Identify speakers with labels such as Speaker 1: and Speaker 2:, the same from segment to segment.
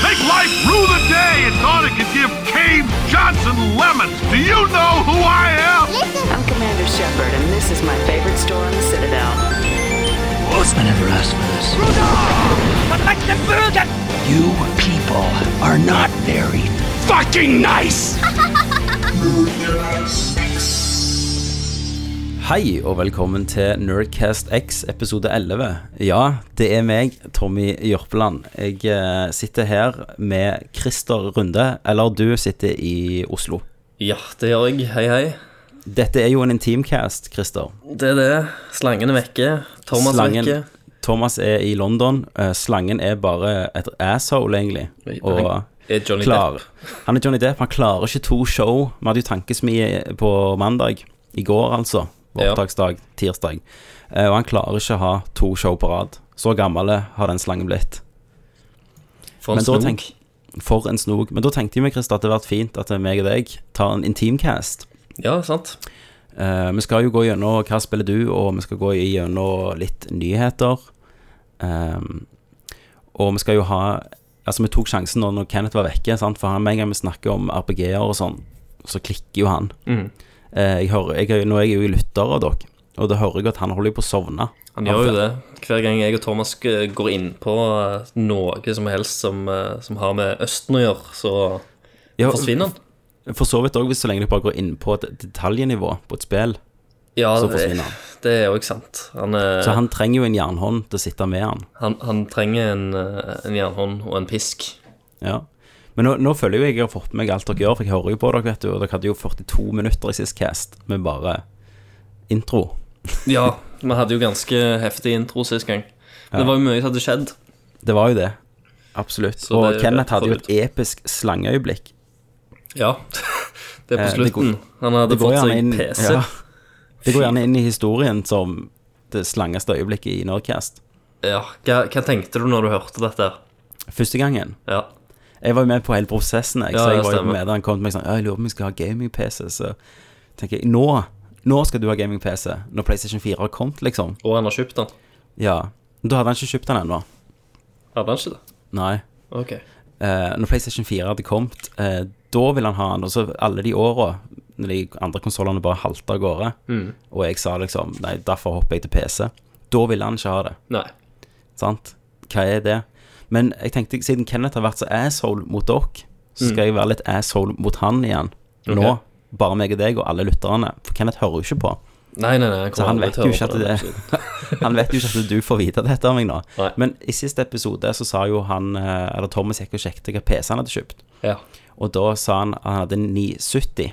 Speaker 1: Sonic Life rue the day and thought it could give Cave Johnson lemons. Do you know who I am?
Speaker 2: I'm Commander Shepard, and this is my favorite store in the Citadel.
Speaker 3: Horseman never asked for this. You people are not very fucking nice!
Speaker 4: Hei og velkommen til Nerdcast X episode 11. Ja, det er meg, Tommy Jørpeland. Jeg eh, sitter her med Christer Runde, eller du sitter i Oslo.
Speaker 5: Ja, det gjør jeg. Hei, hei.
Speaker 4: Dette er jo en intimcast, Christer.
Speaker 5: Det er det. Slangen er vekke. Thomas er
Speaker 4: Slangen-
Speaker 5: vekke.
Speaker 4: Thomas er i London. Eh, Slangen er bare et asshole, egentlig. Og
Speaker 5: Er Johnny
Speaker 4: klar.
Speaker 5: Depp.
Speaker 4: Han er Johnny Depp. Han klarer ikke to show. Vi hadde jo tankesmie på mandag. I går, altså. På
Speaker 5: Ja.
Speaker 4: Opptaksdag. Tirsdag. Eh, Og han klarer ikke å ha to show på rad. Så gammel har den slangen blitt.
Speaker 5: For
Speaker 4: Men
Speaker 5: en
Speaker 4: da
Speaker 5: snok.
Speaker 4: tenk- For en snog. Men da tenkte jeg meg, Christer, at det hadde vært fint at meg og deg tar en intimcast.
Speaker 5: Ja, sant.
Speaker 4: Eh, vi skal jo gå gjennom hva spiller du, og vi skal gå gjennom litt nyheter. Ehm, og vi skal jo ha Altså, vi tok sjansen nå når Kenneth var vekke, sant? for han, med en gang vi snakker om RPG-er og sånn, så klikker jo han.
Speaker 5: Mm.
Speaker 4: Eh, jeg hører, jeg, er- nå er jeg jo lytter av dere, og da hører jeg at han holder jo på å sovne.
Speaker 5: Han gjør jo det. Hver gang jeg og Thomas eh, går inn på eh, noe som helst som, eh, som har med Østen å gjøre, så
Speaker 4: Ja,
Speaker 5: forsvinner han.
Speaker 4: For så vidt òg, hvis så lenge du bare går inn på et detaljnivå på et spill,
Speaker 5: Ja,
Speaker 4: så
Speaker 5: det,
Speaker 4: forsvinner han.
Speaker 5: det er jo ikke sant. Han, eh,
Speaker 4: Så han trenger jo en jernhånd til å sitte med han.
Speaker 5: han, han trenger en, eh, en jernhånd og en pisk.
Speaker 4: Ja. Men nå, nå føler jeg jo jeg har fått med meg alt dere gjør, for jeg hører jo på dere, vet du. Og dere hadde jo 42 minutter i sist cast med bare intro.
Speaker 5: Ja, vi hadde jo ganske heftig intro sist gang. Men det var jo mye som hadde skjedd.
Speaker 4: Det var jo det. Absolutt.
Speaker 5: Så
Speaker 4: og
Speaker 5: det er jo
Speaker 4: Kenneth
Speaker 5: rett
Speaker 4: hadde jo et
Speaker 5: forut.
Speaker 4: episk slangeøyeblikk.
Speaker 5: Ja. Det er
Speaker 4: Eh,
Speaker 5: på
Speaker 4: det går-
Speaker 5: slutten. Han hadde fått seg PC.
Speaker 4: ja. Det går gjerne inn i historien som det slangeste øyeblikket i Nordcast.
Speaker 5: Ja, hva, hva tenkte du når du hørte dette?
Speaker 4: Første gangen.
Speaker 5: Ja,
Speaker 4: Jeg var jo med på hele prosessen. Jeg,
Speaker 5: Ja,
Speaker 4: så jeg
Speaker 5: det
Speaker 4: var jo
Speaker 5: stemmer.
Speaker 4: med da han kom til meg sånn «Ja, Jeg lurer på om jeg skal ha gaming-PC. Så tenker jeg nå, nå skal du ha gaming-PC. Når PlayStation 4 har kommet, liksom.
Speaker 5: Og han har kjøpt den?
Speaker 4: Ja. Men Da hadde han ikke kjøpt den ennå.
Speaker 5: Hadde han ikke det?
Speaker 4: Nei.
Speaker 5: Ok.
Speaker 4: Eh, når PlayStation 4 hadde kommet, eh, da ville han ha den. Og så alle de åra, når de andre konsollene bare halta av gårde, og jeg sa liksom Nei, derfor hopper jeg til PC. Da ville han ikke ha det.
Speaker 5: Nei.
Speaker 4: Sant? Hva er det? Men jeg tenkte, siden Kenneth har vært så asshole mot dere, så skal jeg være litt asshole mot han igjen. Nå.
Speaker 5: Ok.
Speaker 4: Bare meg og deg og alle lytterne. For Kenneth hører jo ikke på.
Speaker 5: Nei, nei, nei.
Speaker 4: Så
Speaker 5: kommer
Speaker 4: han
Speaker 5: aldri
Speaker 4: vet
Speaker 5: til å høre
Speaker 4: jo ikke
Speaker 5: på
Speaker 4: at
Speaker 5: den
Speaker 4: det
Speaker 5: episoden.
Speaker 4: Han vet jo ikke at du får vite dette av meg nå.
Speaker 5: Nei.
Speaker 4: Men i siste episode så sa jo han eh, Eller Thomas gikk og sjekket hva PC han hadde kjøpt.
Speaker 5: Ja.
Speaker 4: Og da sa han at han hadde 970.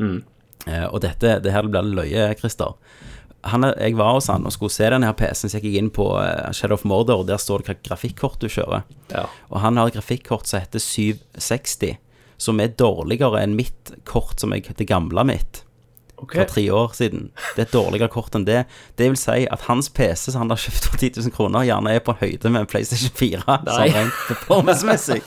Speaker 5: Mm.
Speaker 4: Eh, og dette, det her blir det løye, Christer. Han, er- jeg var hos han og skulle se denne her PC-en, så jeg gikk inn på eh, Shadow of Mordor, og der står det hva grafikkort du kjører.
Speaker 5: ja.
Speaker 4: Og han har et grafikkort som heter 760, som er dårligere enn mitt kort, som jeg, det gamle mitt,
Speaker 5: Ok.
Speaker 4: for tre år siden. Det er et dårligere kort enn det. Det vil si at hans PC, som han har kjøpt for 10 000 kroner, gjerne er på høyde med en PlayStation 4,
Speaker 5: Nei.
Speaker 4: sånn rent performance-messig.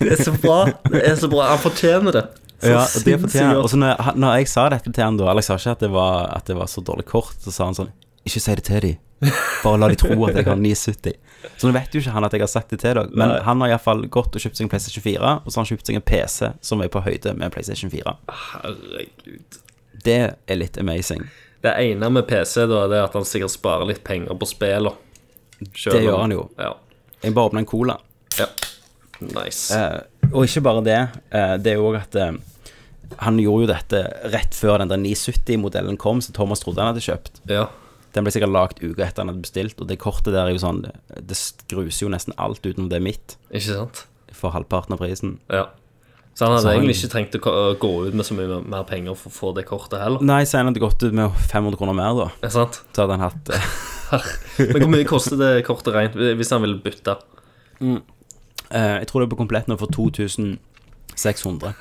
Speaker 5: Det er så bra. Det er så bra. Han fortjener det. Så
Speaker 4: Ja, og det
Speaker 5: sinnssykt
Speaker 4: fortjener
Speaker 5: godt.
Speaker 4: Og så når, jeg- når jeg sa dette til han da, eller jeg sa ikke at det var, at det var så dårlig kort, så sa han sånn Ikke si det til dem. Bare la de tro at jeg har 970. Så nå vet jo ikke han at jeg har sagt det til dere, men
Speaker 5: Nei.
Speaker 4: han har iallfall gått og kjøpt seg en PlayStation 4, og så har han kjøpt seg en PC som er på høyde med en PlayStation 4.
Speaker 5: Herregud.
Speaker 4: Det er litt amazing.
Speaker 5: Det ene med PC, da, det er at han sikkert sparer litt penger på spillene.
Speaker 4: Det gjør han jo.
Speaker 5: Ja.
Speaker 4: Jeg bare åpna en cola.
Speaker 5: ja. Nice.
Speaker 4: Eh, og ikke bare det. eh, det er jo òg at eh, han gjorde jo dette rett før den der 970-modellen kom, som Thomas trodde han hadde kjøpt.
Speaker 5: Ja.
Speaker 4: Den ble sikkert lagd uka etter han hadde bestilt, og det kortet der er jo sånn Det gruser jo nesten alt utenom det er mitt,
Speaker 5: Ikke sant?
Speaker 4: for halvparten av prisen.
Speaker 5: Ja. Så han hadde
Speaker 4: Så han-
Speaker 5: egentlig ikke trengt å ko- gå ut med så mye mer penger for å få det kortet heller.
Speaker 4: Nei, så han hadde gått ut med 500 kroner mer, da.
Speaker 5: Er sant?
Speaker 4: Så hadde han hatt eh,
Speaker 5: Men hvor mye koster det kortet rent hvis han vil bytte?
Speaker 4: eh, Jeg tror det er på komplett nå for 2600.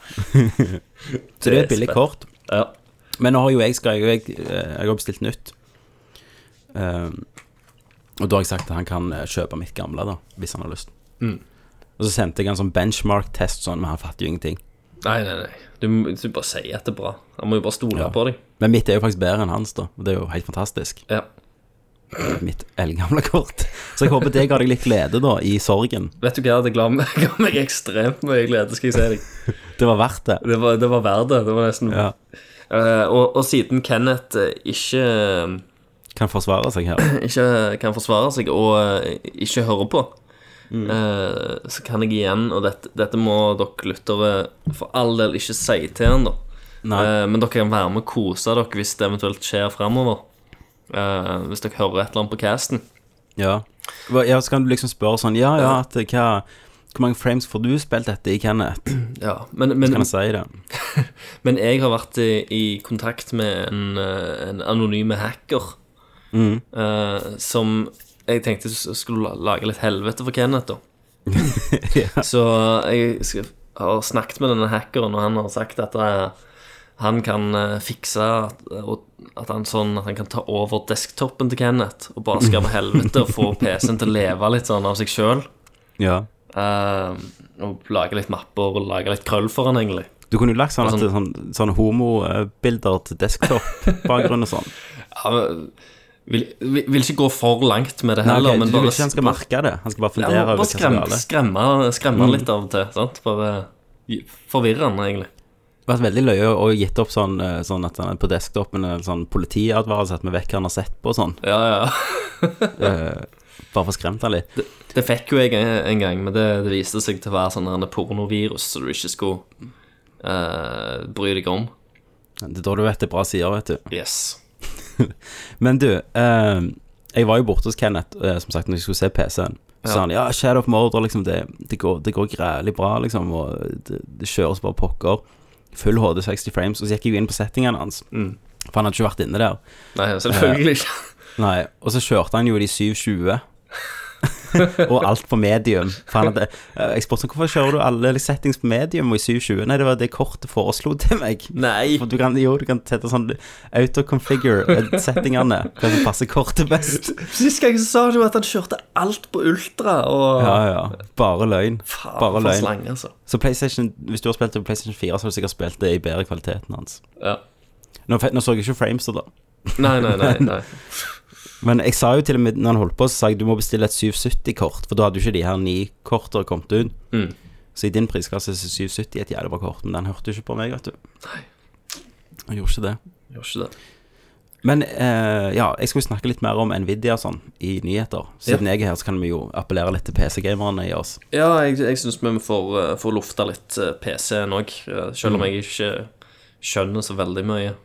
Speaker 4: så det er et billig kort.
Speaker 5: Ja.
Speaker 4: Men nå har jo jeg, skal, jeg, jeg, eh, jeg har bestilt nytt. Eh, og da har jeg sagt at han kan eh, kjøpe mitt gamle, da, hvis han har lyst. Og så sendte jeg han sånn benchmark-test, sånn, men han fatter jo ingenting.
Speaker 5: Nei, nei, nei. Du, må- du bare sier at det er bra. Han må jo bare stole
Speaker 4: Ja.
Speaker 5: på deg.
Speaker 4: Men mitt er jo faktisk bedre enn hans, da. Og det er jo helt fantastisk.
Speaker 5: Ja.
Speaker 4: mitt eldgamle kort. Så jeg håper det ga deg litt glede, da, i sorgen.
Speaker 5: Vet du hva, det ga meg, ga meg ekstremt mye glede, skal jeg si deg.
Speaker 4: Det var verdt det.
Speaker 5: Det var, det var verdt det. Det var nesten
Speaker 4: Ja.
Speaker 5: Eh, og, og siden Kenneth eh, ikke, eh,
Speaker 4: Kan forsvare seg her.
Speaker 5: ikke kan forsvare seg og eh, ikke hører på,
Speaker 4: Mm.
Speaker 5: eh, så kan jeg igjen Og dette, dette må dere lyttere for all del ikke si til han, da.
Speaker 4: Nei.
Speaker 5: Eh, men dere kan være med og kose dere hvis det eventuelt skjer framover. hvis dere hører et eller annet på casten.
Speaker 4: Ja. Hva- ja, så kan du liksom spørre sånn Ja, ja, at hva Hvor mange frames får du spilt dette i, Kenneth?
Speaker 5: Ja, men, men,
Speaker 4: Kan jeg si det?
Speaker 5: Men jeg har vært i, i kontakt med en, eh, en anonyme hacker eh, som jeg tenkte s- skulle la- lage litt helvete for Kenneth, da. Så eh, jeg skal, har snakket med denne hackeren, og han har sagt at eh, han kan eh, fikse at, eh, og, at, han sånn, at han kan ta over desktopen til Kenneth og bare skape helvete og få PC-en til å leve litt sånn av seg sjøl.
Speaker 4: Ja.
Speaker 5: og lage litt mapper og lage litt krøll for han, egentlig.
Speaker 4: Du kunne jo lagt sånn,
Speaker 5: Og
Speaker 4: at det er sånn, sånn homobilder til desktop-bakgrunn og sånn.
Speaker 5: Ja, men vil, vil, vil ikke gå for langt med det
Speaker 4: Nei,
Speaker 5: heller,
Speaker 4: ok,
Speaker 5: men
Speaker 4: du vil
Speaker 5: bare,
Speaker 4: ikke han skal merke det? Han skal bare
Speaker 5: ja,
Speaker 4: fundere
Speaker 5: bare
Speaker 4: over hva som er
Speaker 5: skremme,
Speaker 4: galt. Mm.
Speaker 5: skremme, skremme han litt av og til. sant? Bare gi- forvirre han, egentlig.
Speaker 4: vært veldig løye og gitt opp sånn, eh, sånn at han er på desktopen en sånn politiadvarsel at vi vet hva han har sett på og sånn.
Speaker 5: Ja, ja.
Speaker 4: Eh, bare for å skremme han litt.
Speaker 5: Det fikk jo jeg en, en gang, men det, det viste seg til å være sånn her en pornovirus som du ikke skulle eh, bry deg om.
Speaker 4: Det er da du vet det er bra sider, vet du.
Speaker 5: Yes.
Speaker 4: Men du, eh, jeg var jo borte hos Kenneth, eh, som sagt, når jeg skulle se PC-en. Så
Speaker 5: Ja.
Speaker 4: sa han ja, Shadow of Murder, liksom, det, det, går, det går grælig bra, liksom, og det, det kjøres bare pokker. Full HD 60 frames, og så gikk jeg jo inn på settingene hans. For han hadde ikke vært inne der.
Speaker 5: Nei, selvfølgelig ikke.
Speaker 4: Nei, og så kjørte han jo de 720 Og alt på medium For han hadde eh, Jeg spurte sånn, hvorfor kjører du alle settings på medium Og i 720? Nei, det var det kortet foreslo til meg
Speaker 5: Nei.
Speaker 4: For du kan, jo, du kan sette sånn Auto-configure eh, settingene Hva som passer kortet best
Speaker 5: Sist gang så sa du jo at han kjørte alt på ultra, og
Speaker 4: Ja, ja, bare løgn
Speaker 5: Faen,
Speaker 4: Bare
Speaker 5: for en
Speaker 4: løgn
Speaker 5: slange, altså.
Speaker 4: Så Playstation, hvis du har spilt det på Playstation 4 Så har du sikkert spilt det i bedre kvaliteten hans
Speaker 5: Ja.
Speaker 4: Nå, fe- nå så jeg ikke frames da
Speaker 5: Nei, nei, nei. nei.
Speaker 4: Men jeg sa jo til og med når han holdt på, så sa jeg du må bestille et 770-kort, for da hadde jo ikke de her ni kortene kommet ut.
Speaker 5: Mm.
Speaker 4: Så i din prisklasse så er 770 et jævlig bra kort, men den hørte jo ikke på meg, vet du. Han gjorde ikke det.
Speaker 5: Gjør ikke det.
Speaker 4: Men eh, ja, jeg skulle snakke litt mer om Nvidia og sånn i nyheter. Siden jeg er her, så kan vi jo appellere litt til PC-gamerne i oss.
Speaker 5: Ja, jeg, jeg syns vi får, eh, får lufta litt eh, PC-en òg, eh, selv om jeg ikke skjønner så veldig mye.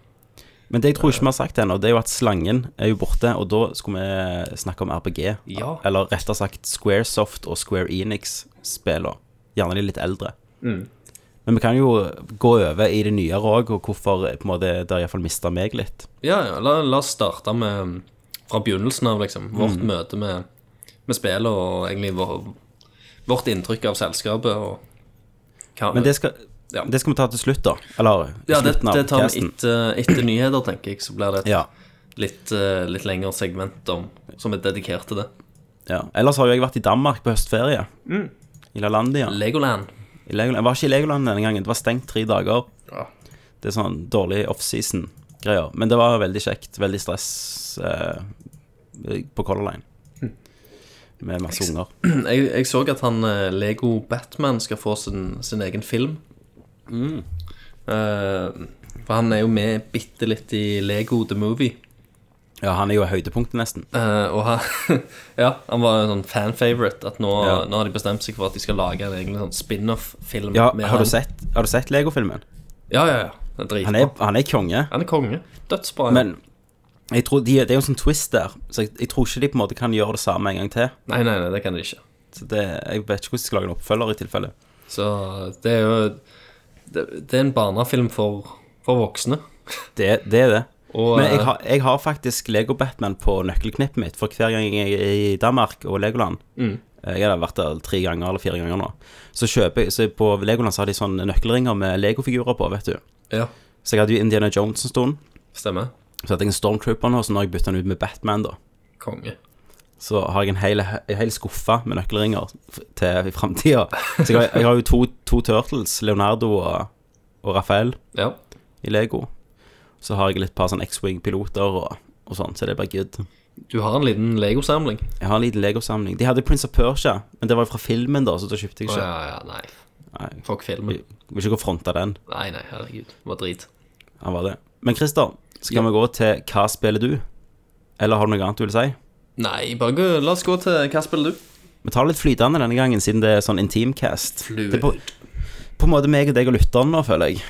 Speaker 4: Men det jeg tror ikke vi har sagt ennå, det er jo at slangen er jo borte, og da skulle vi snakke om RPG.
Speaker 5: Ja.
Speaker 4: Eller rettere sagt Squaresoft og Square Enix-spillene. Gjerne de litt eldre. Men vi kan jo gå over i det nyere òg, og hvorfor på en måte, det iallfall mista meg litt.
Speaker 5: Ja, ja, la, la oss starte med mm, fra begynnelsen av, liksom. Vårt møte med, med spillet og egentlig vår, vårt inntrykk av selskapet og hva
Speaker 4: Men det skal,
Speaker 5: Ja.
Speaker 4: det skal vi ta til slutt, da. Eller i
Speaker 5: ja, det,
Speaker 4: slutten av
Speaker 5: det tar vi
Speaker 4: casten.
Speaker 5: etter, etter nyheter, tenker jeg. Så blir det et
Speaker 4: Ja,
Speaker 5: litt, eh, litt lengre segment om, som er dedikert til det.
Speaker 4: ja. Ellers har jo jeg vært i Danmark på høstferie. I Lalandia.
Speaker 5: Legoland.
Speaker 4: I Legoland. Jeg var ikke i Legoland denne gangen. Det var stengt tre dager.
Speaker 5: Ja.
Speaker 4: Det er sånn dårlig offseason-greier. Men det var veldig kjekt. Veldig stress eh, på Color Line. Med masse unger.
Speaker 5: Jeg, jeg så at han eh, Lego Batman skal få sin, sin egen film.
Speaker 4: Mm.
Speaker 5: Eh, for han er jo med bitte litt i Lego The Movie.
Speaker 4: Ja, han er jo høydepunktet, nesten.
Speaker 5: Eh, og han, ja, han var en sånn fan-favorite. At nå,
Speaker 4: Ja.
Speaker 5: nå har de bestemt seg for at de skal lage en egen sånn spin-off-film.
Speaker 4: Ja,
Speaker 5: med
Speaker 4: har
Speaker 5: han.
Speaker 4: du sett, har du sett Lego-filmen?
Speaker 5: Ja, ja, ja. Det er dritbra.
Speaker 4: Han, er- han er konge.
Speaker 5: konge. Dødsbra. ja.
Speaker 4: Men jeg tror de, det er jo en sånn twist der, så jeg, jeg tror ikke de på en måte kan gjøre det samme en gang til.
Speaker 5: Nei, nei, nei, det kan de ikke.
Speaker 4: Så det, Jeg vet ikke hvordan de skal lage en oppfølger i tilfelle.
Speaker 5: Så det er jo Det, det er en barnefilm for, for voksne.
Speaker 4: Det, det er det.
Speaker 5: Og,
Speaker 4: Men jeg
Speaker 5: eh,
Speaker 4: har, jeg har faktisk Lego-Batman på nøkkelknippet mitt, for hver gang jeg er i Danmark og Legoland
Speaker 5: Mm.
Speaker 4: eh, Jeg har vært der tre ganger eller fire ganger nå. Så kjøper jeg, så på Legoland så har de sånne nøkkelringer med Lego-figurer på, vet du.
Speaker 5: Ja,
Speaker 4: Så jeg hadde jo Indiana Jones en stund.
Speaker 5: stemmer.
Speaker 4: Så hadde jeg en Stormtrooper nå, så nå har jeg bytta den ut med Batman, da.
Speaker 5: Konge.
Speaker 4: så har jeg en hel, en hel skuffe med nøkkelringer f- til i framtida. Så jeg har, jeg har jo to, to Turtles, Leonardo og, og Rafael
Speaker 5: Ja.
Speaker 4: i Lego. Så har jeg litt par sånn X-Wing-piloter og, og sånn, så det er bare good.
Speaker 5: Du har en liten legosamling.
Speaker 4: Jeg har en liten Lego-samling. De hadde Prince of Persia, men det var jo fra filmen, da, så da kjøpte jeg
Speaker 5: Å
Speaker 4: ikke.
Speaker 5: ja, ja, nei.
Speaker 4: Nei.
Speaker 5: Fuck filmen.
Speaker 4: Jeg Vil ikke gå og fronte den.
Speaker 5: Nei, nei, herregud. Det var drit.
Speaker 4: Han var det. Men Christer, skal vi gå til hva spiller du? Eller har du noe annet du vil si?
Speaker 5: Nei, bare gå, la oss gå til Hva spiller du?
Speaker 4: Vi tar det litt flytende denne gangen, siden det er sånn intimcast.
Speaker 5: Fluid.
Speaker 4: Det er på, på en måte meg og deg og lytteren nå, føler jeg.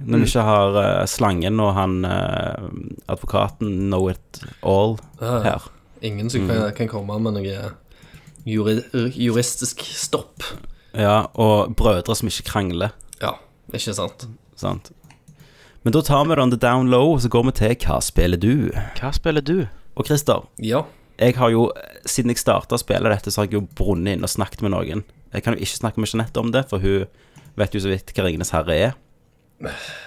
Speaker 5: Mm.
Speaker 4: Når vi ikke har eh, slangen og han eh, advokaten know it all
Speaker 5: Ah.
Speaker 4: her.
Speaker 5: Ingen som kan, kan komme med noe eh, juri, juristisk stopp.
Speaker 4: Ja, og brødre som ikke krangler.
Speaker 5: Ja, ikke sant?
Speaker 4: Sant? Men da tar vi det on the down low, og så går vi til Hva spiller du? Hva spiller du? Og Christer,
Speaker 5: Ja.
Speaker 4: jeg har jo, siden jeg starta å spille dette, så har jeg jo brunnet inn og snakket med noen. Jeg kan jo ikke snakke med Jeanette om det, for hun vet jo så vidt hva Ringenes herre er.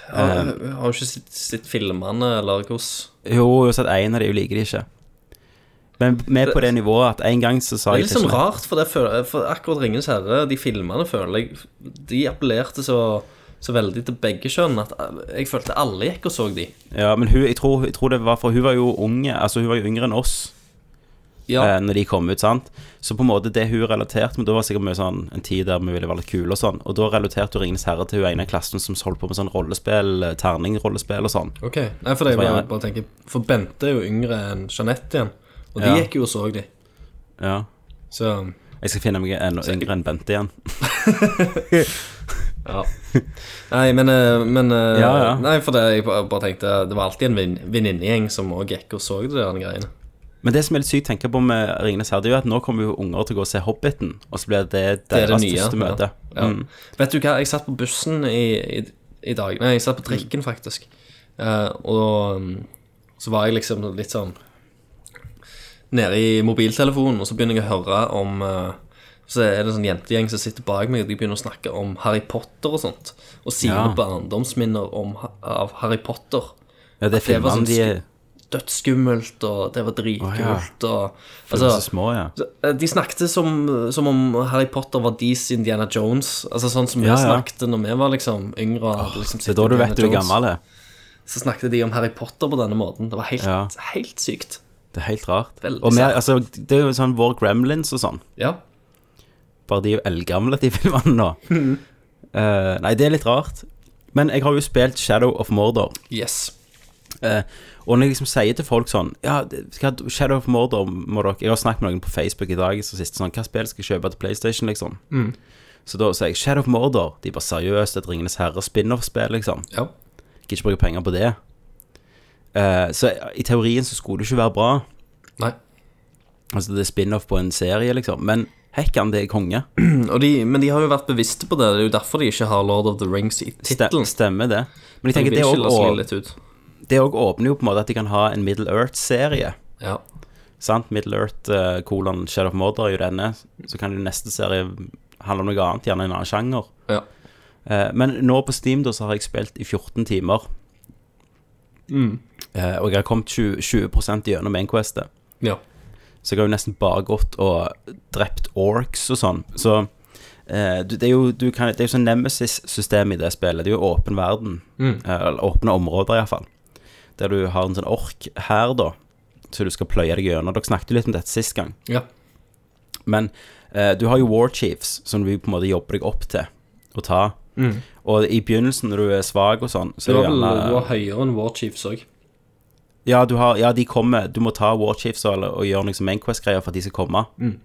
Speaker 5: Har, har du ikke sett, sett filmene, eller hvordan?
Speaker 4: Jo, hun har sett en av de, hun liker de ikke. Men vi er på det nivået at en gang så
Speaker 5: Det
Speaker 4: sa
Speaker 5: er
Speaker 4: jeg
Speaker 5: litt sånn
Speaker 4: Jeanette-
Speaker 5: rart, for, det føler, for akkurat 'Ringenes herre', de filmene, føler jeg De appellerte så, så veldig til begge kjønn at jeg følte alle gikk og så de.
Speaker 4: Ja, men hun, jeg tror, jeg tror det var for hun var jo unge, altså hun var jo yngre enn oss eh,
Speaker 5: Ja,
Speaker 4: når de kom ut, sant. Så på en måte det hun relaterte med, da var det sikkert mye sånn en tid der vi ville være litt kule og sånn, og da relaterte hun Ringenes herre til hun ene i klassen som holdt på med sånn rollespill, eh, terningrollespill og sånn.
Speaker 5: ok. Nei, for det jeg
Speaker 4: Så var
Speaker 5: bare,
Speaker 4: jeg-
Speaker 5: bare tenker For Bente er jo yngre enn Jeanette igjen, og de
Speaker 4: Ja.
Speaker 5: gikk jo og så de.
Speaker 4: Ja.
Speaker 5: Så
Speaker 4: Jeg skal finne meg en yngre enn Bente igjen.
Speaker 5: Ja. Nei, men, eh, men eh,
Speaker 4: Ja, ja.
Speaker 5: Nei, for det, jeg bare bare tenkte Det var alltid en vin- venninnegjeng som òg gikk og så de der greiene.
Speaker 4: Men det som er litt sykt å tenke på med Ringenes herre, det er jo at nå kommer jo unger til å gå og se Hobbiten, og så blir det deres
Speaker 5: Det er det nye.
Speaker 4: første møte.
Speaker 5: Ja. Ja.
Speaker 4: Mm.
Speaker 5: Vet du hva, jeg satt på bussen i, i, i dag Nei, jeg satt på trikken, faktisk. Eh, og mm, så var jeg liksom litt sånn Nede i mobiltelefonen, og så begynner jeg å høre om eh, Så er det en sånn jentegjeng som sitter bak meg, og de begynner å snakke om Harry Potter og sånt. Og sine
Speaker 4: Ja.
Speaker 5: barndomsminner om, ha- av Harry Potter.
Speaker 4: Ja, det er
Speaker 5: Det var
Speaker 4: filmene
Speaker 5: sånn
Speaker 4: de er
Speaker 5: dødsskummelt, og det var dritkult, og
Speaker 4: de er så
Speaker 5: altså,
Speaker 4: små, ja.
Speaker 5: De snakket som, som om Harry Potter var deres Indiana Jones. Altså sånn som
Speaker 4: Ja,
Speaker 5: vi
Speaker 4: ja.
Speaker 5: snakket når vi var liksom yngre. og hadde liksom
Speaker 4: Det er da du vet du er gammel. det.
Speaker 5: Så snakket de om Harry Potter på denne måten. Det var helt,
Speaker 4: Ja.
Speaker 5: helt sykt.
Speaker 4: Det er helt rart.
Speaker 5: Veldig
Speaker 4: og vi,
Speaker 5: sært.
Speaker 4: altså, det er jo sånn vår gremlins og sånn.
Speaker 5: Ja.
Speaker 4: Bare de er jo eldgamle, de filmene nå. Eh, nei, det er litt rart. Men jeg har jo spilt Shadow of Mordor.
Speaker 5: Yes.
Speaker 4: Eh, og når jeg liksom sier til folk sånn Ja, det- hva- Shadow of Mordor må dere Jeg har snakket med noen på Facebook i dag som siste sånn Hva spill skal jeg kjøpe til PlayStation, liksom?
Speaker 5: Mm.
Speaker 4: Så da sier jeg Shadow of Mordor. De bare seriøst, et Ringenes herre spin-off-spill, liksom.
Speaker 5: Ja.
Speaker 4: Kan ikke bruke penger på det. Eh, så i teorien så skulle det ikke være bra.
Speaker 5: Nei.
Speaker 4: Altså det er spin-off på en serie, liksom. Men hekkan, det er konge.
Speaker 5: Og de, men de har jo vært bevisste på det. Det er jo derfor de ikke har Lord of the Rings i
Speaker 4: Ste
Speaker 5: tittelen.
Speaker 4: stemmer det. Men
Speaker 5: De
Speaker 4: jeg tenker
Speaker 5: vil
Speaker 4: det
Speaker 5: ikke la oss
Speaker 4: også-
Speaker 5: lide litt ut.
Speaker 4: det også åpner jo på en måte at de kan ha en Middle Earth-serie.
Speaker 5: Ja.
Speaker 4: Sant? Middle Earth, eh, kolon Shadow of Mordor er jo denne. Så kan jo neste serie handle om noe annet, gjerne en annen sjanger.
Speaker 5: ja.
Speaker 4: Eh, men nå på Steam da, så har jeg spilt i 14 timer. Eh, og jeg har kommet 20, 20 gjennom Mainquestet.
Speaker 5: Ja.
Speaker 4: Så jeg har jo nesten bare gått og drept orcs og sånn. Så eh, du, det er jo, du kan, det er jo sånn nemesis-system i det spillet. Det er jo åpen verden.
Speaker 5: Mm.
Speaker 4: Eh, eller åpne områder, iallfall. Der du har en sånn ork her, da. Så du skal pløye deg gjennom. Dere snakket jo litt om dette sist gang.
Speaker 5: ja.
Speaker 4: Men eh, du har jo war chiefs, som du på en måte jobber deg opp til å ta. Og i begynnelsen, når du er svak og sånn, så
Speaker 5: Du
Speaker 4: er
Speaker 5: Mm. var
Speaker 4: det
Speaker 5: vel
Speaker 4: gjerne-
Speaker 5: du var høyere enn War Chiefs òg.
Speaker 4: Ja, du har, ja, de kommer. Du må ta War Chiefs og, og gjøre noe som Mainquest-greier for at de skal komme.
Speaker 5: Mm.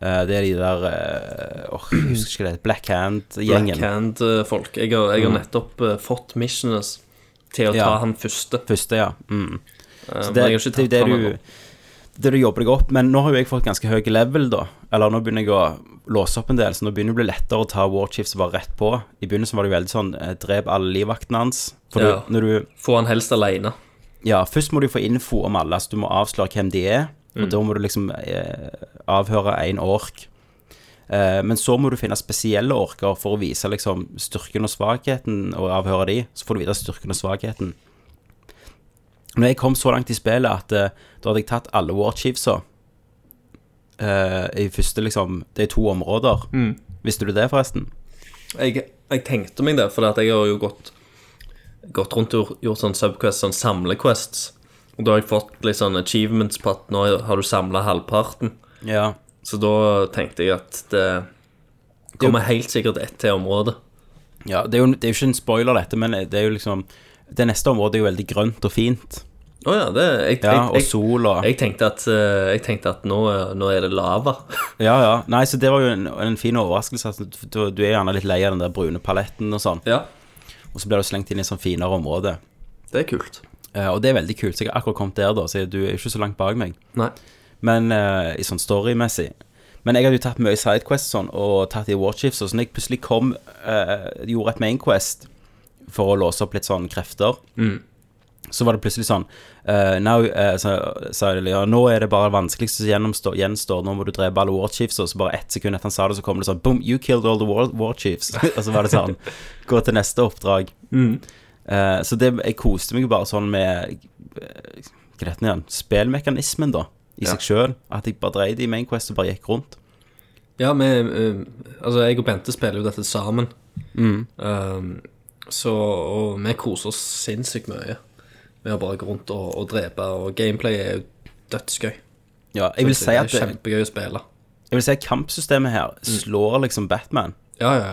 Speaker 4: Eh, det er de der eh, åh, Jeg husker ikke det. Black Hand-gjengen.
Speaker 5: Blackhand-folk. eh, Jeg, har- jeg har nettopp eh, fått missioners til å ta
Speaker 4: Mm. Ja.
Speaker 5: han første.
Speaker 4: Første, ja. Mm.
Speaker 5: Eh,
Speaker 4: Så
Speaker 5: men jeg har ikke
Speaker 4: det, det, er jo
Speaker 5: tatt
Speaker 4: det,
Speaker 5: han ennå.
Speaker 4: du, det du jobber deg opp Men nå har jo jeg fått ganske høy level, da. Eller nå begynner jeg å låse opp en del, så nå begynner det å bli lettere å ta War Chiefs bare rett på. I begynnelsen var det jo veldig sånn eh, Drep alle livvaktene hans. For
Speaker 5: Ja.
Speaker 4: du, når du
Speaker 5: Få han helst alene.
Speaker 4: Ja, først må du få info om alle, så du må avsløre hvem de er. Og da må du liksom eh, avhøre én ork. Eh, men så må du finne spesielle orker for å vise liksom styrken og svakheten, og avhøre de. Så får du vite styrken og svakheten. Når jeg kom så langt i spillet at eh, da hadde jeg tatt alle war chiefsa eh, i første liksom Det er to områder. Visste du det, forresten?
Speaker 5: Jeg, jeg tenkte meg det, for at jeg har jo gått, gått rundt og gjort sånn subquest, sånn samlequests. Og Og da har jeg fått litt sånn achievements på at nå har du samla halvparten.
Speaker 4: Ja.
Speaker 5: Så da tenkte jeg at det kommer helt sikkert ett til området.
Speaker 4: ja det, er jo, det er jo ikke en spoiler, dette, men det er jo liksom Det neste området er jo veldig grønt og fint.
Speaker 5: Å ja, det jeg, jeg,
Speaker 4: Ja, og
Speaker 5: jeg,
Speaker 4: sol og
Speaker 5: jeg tenkte at, eh, jeg tenkte at nå, eh, nå er det lava.
Speaker 4: Ja, ja. Nei, så det var jo en, en fin overraskelse. at du- du, du er gjerne litt lei av den der brune paletten og sånn,
Speaker 5: ja,
Speaker 4: og så blir du slengt inn i et sånn finere område.
Speaker 5: det er kult.
Speaker 4: Eh, og det er veldig kult. Så jeg har akkurat kommet der, da, så du er ikke så langt bak meg.
Speaker 5: Nei.
Speaker 4: Men eh, i sånn storymessig. Men jeg hadde jo tatt mye sidequest sånn, og tatt i warchips, og så når jeg plutselig kom eh, Gjorde et mainquest for å låse opp litt sånn krefter, så var det plutselig sånn eh, now, eh, så, sa de, ja, Nå er det bare det vanskeligste som gjennomstår- gjenstår, nå må du drepe alle warchiefs, og så bare ett sekund etter han sa det, så kom det sånn Boom, you killed all the war warchiefs. og så var det sånn Gå til neste oppdrag. Eh, så det, jeg koste meg jo bare sånn med eh, Hva heter den igjen? Spillmekanismen, da. I
Speaker 5: Ja.
Speaker 4: seg sjøl. At jeg bare dreide i Main Quest og bare gikk rundt.
Speaker 5: Ja, vi, eh, altså jeg og Bente spiller jo dette sammen.
Speaker 4: Mm.
Speaker 5: Um, så, og vi koser oss sinnssykt mye med å bare gå rundt og, og drepe, og gameplay er jo dødsgøy.
Speaker 4: Ja, jeg vil si
Speaker 5: det er Mm.
Speaker 4: at det,
Speaker 5: kjempegøy å spille.
Speaker 4: jeg vil si at kampsystemet her slår liksom Batman
Speaker 5: Ja, ja,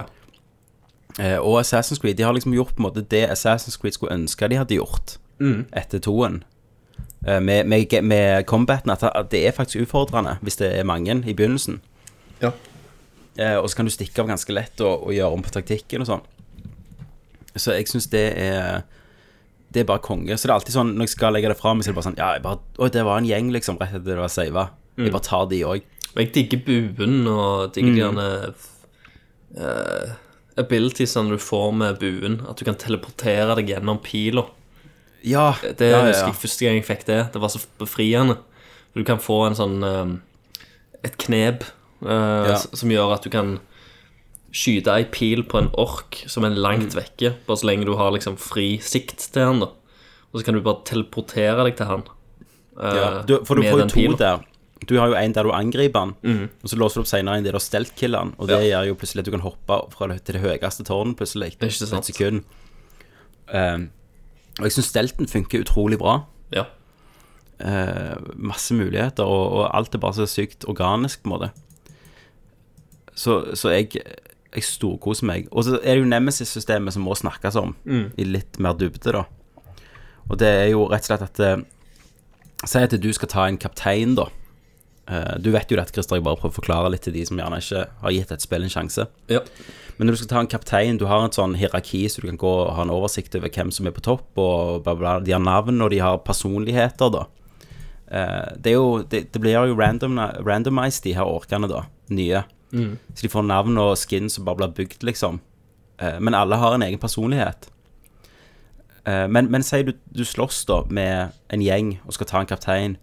Speaker 5: ja.
Speaker 4: eh, og Assassin's Creed. De har liksom gjort på en måte det Assassin's Creed skulle ønske de hadde gjort
Speaker 5: Mm.
Speaker 4: etter toen. Eh, med, med, med combaten. At at det er faktisk utfordrende hvis det er mange i begynnelsen.
Speaker 5: Ja.
Speaker 4: Eh, og så kan du stikke av ganske lett og, og gjøre om på taktikken og sånn. Så jeg syns det er Det er bare konge. Så det er alltid sånn når jeg skal legge det fra meg, så er det bare sånn Ja, jeg bare, å, det var en gjeng, liksom, rett etter det var sava.
Speaker 5: Mm.
Speaker 4: Jeg bare tar de òg.
Speaker 5: Men jeg digger buen, og digger
Speaker 4: Mm.
Speaker 5: de gjerne eh, abilitiesene du får med buen. At du kan teleportere deg gjennom pila.
Speaker 4: Ja,
Speaker 5: Det
Speaker 4: ja, ja,
Speaker 5: husker
Speaker 4: ja.
Speaker 5: jeg første gang jeg fikk det. Det var så befriende. Du kan få en sånn eh, et knep eh, s- som gjør at du kan skyte ei pil på en ork som er langt
Speaker 4: Mm.
Speaker 5: vekke, bare så lenge du har liksom fri sikt til han da. Og så kan du bare teleportere deg til han. eh,
Speaker 4: Ja, du, for du
Speaker 5: med
Speaker 4: får jo
Speaker 5: den
Speaker 4: to
Speaker 5: pilen. Mm.
Speaker 4: der. Du har jo en der du angriper han, og så låser du opp senere en der du har stelt killeren, og det gjør jo plutselig at du kan hoppe fra det, til det høyeste tårnet plutselig.
Speaker 5: er ikke
Speaker 4: på
Speaker 5: sant.
Speaker 4: Et sekund. Ehm, og jeg syns stelten funker utrolig bra.
Speaker 5: Ja.
Speaker 4: Eh, masse muligheter, og, og alt er bare så sykt organisk, på en måte. Så, så jeg, jeg storkoser meg. Og så er det jo Nemesis-systemet som må snakkes om i litt mer dybde, da. Og det er jo rett og slett at eh, Si at du skal ta en kaptein, da. Eh, Du vet jo dette, Christer, jeg bare prøver å forklare litt til de som gjerne ikke har gitt et spill en sjanse.
Speaker 5: ja.
Speaker 4: Men når du skal ta en kaptein, du har et sånn hierarki, så du kan gå og ha en oversikt over hvem som er på topp, og bla, bla. bla. De har navn, og de har personligheter, da. Eh, det, er jo, det, det blir jo random, randomized, de her orkene, da. Nye. Så de får navn og skin som bare blir bygd, liksom. Eh, men alle har en egen personlighet. Eh, men, men si du, du slåss, da, med en gjeng og skal ta en kaptein,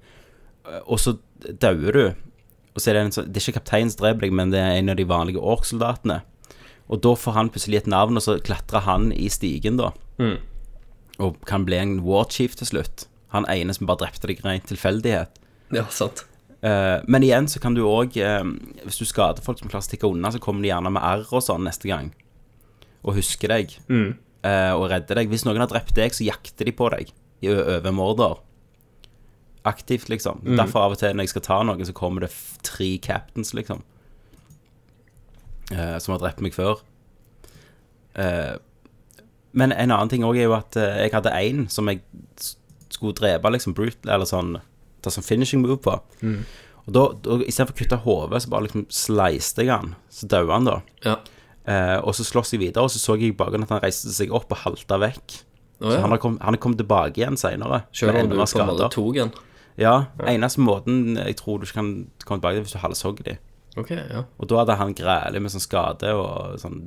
Speaker 4: eh, og så dauer du. Og så er det, en, sånn- det er ikke kapteinen som dreper deg, men det er en av de vanlige orksoldatene. Og da får han plutselig et navn, og så klatrer han i stigen, da. Og kan bli en warchief til slutt. Han ene som bare drepte deg rent tilfeldighet.
Speaker 5: ja, sant.
Speaker 4: Eh, men igjen så kan du òg, hvis du skader folk som klarer å stikke unna, så kommer de gjerne med arr og sånn neste gang. Og husker deg. eh, og redder deg. Hvis noen har drept deg, så jakter de på deg. I ø- overmorder. Aktivt, liksom. Derfor av og til når jeg skal ta noen, så kommer det f- tre captains, liksom. eh, som har drept meg før. Eh, men en annen ting òg er jo at eh, jeg hadde én som jeg s- skulle drepe, liksom brutal, eller sånn Ta sånn finishing move på. Og da, da istedenfor å kutte hodet, så bare liksom sleiste jeg han. Så døde han, da.
Speaker 5: Ja.
Speaker 4: Eh, og så slåss jeg videre, og så så jeg i bakgrunnen at han reiste seg opp og halta vekk.
Speaker 5: Å,
Speaker 4: Så han
Speaker 5: ja.
Speaker 4: har kommet kom tilbake igjen seinere.
Speaker 5: Selv om du på en måte tok den.
Speaker 4: Ja, eneste måten jeg tror du ikke kan komme tilbake, er hvis du halshogger de.
Speaker 5: Ok, ja.
Speaker 4: Og da hadde han grælig med sånn skade og sånn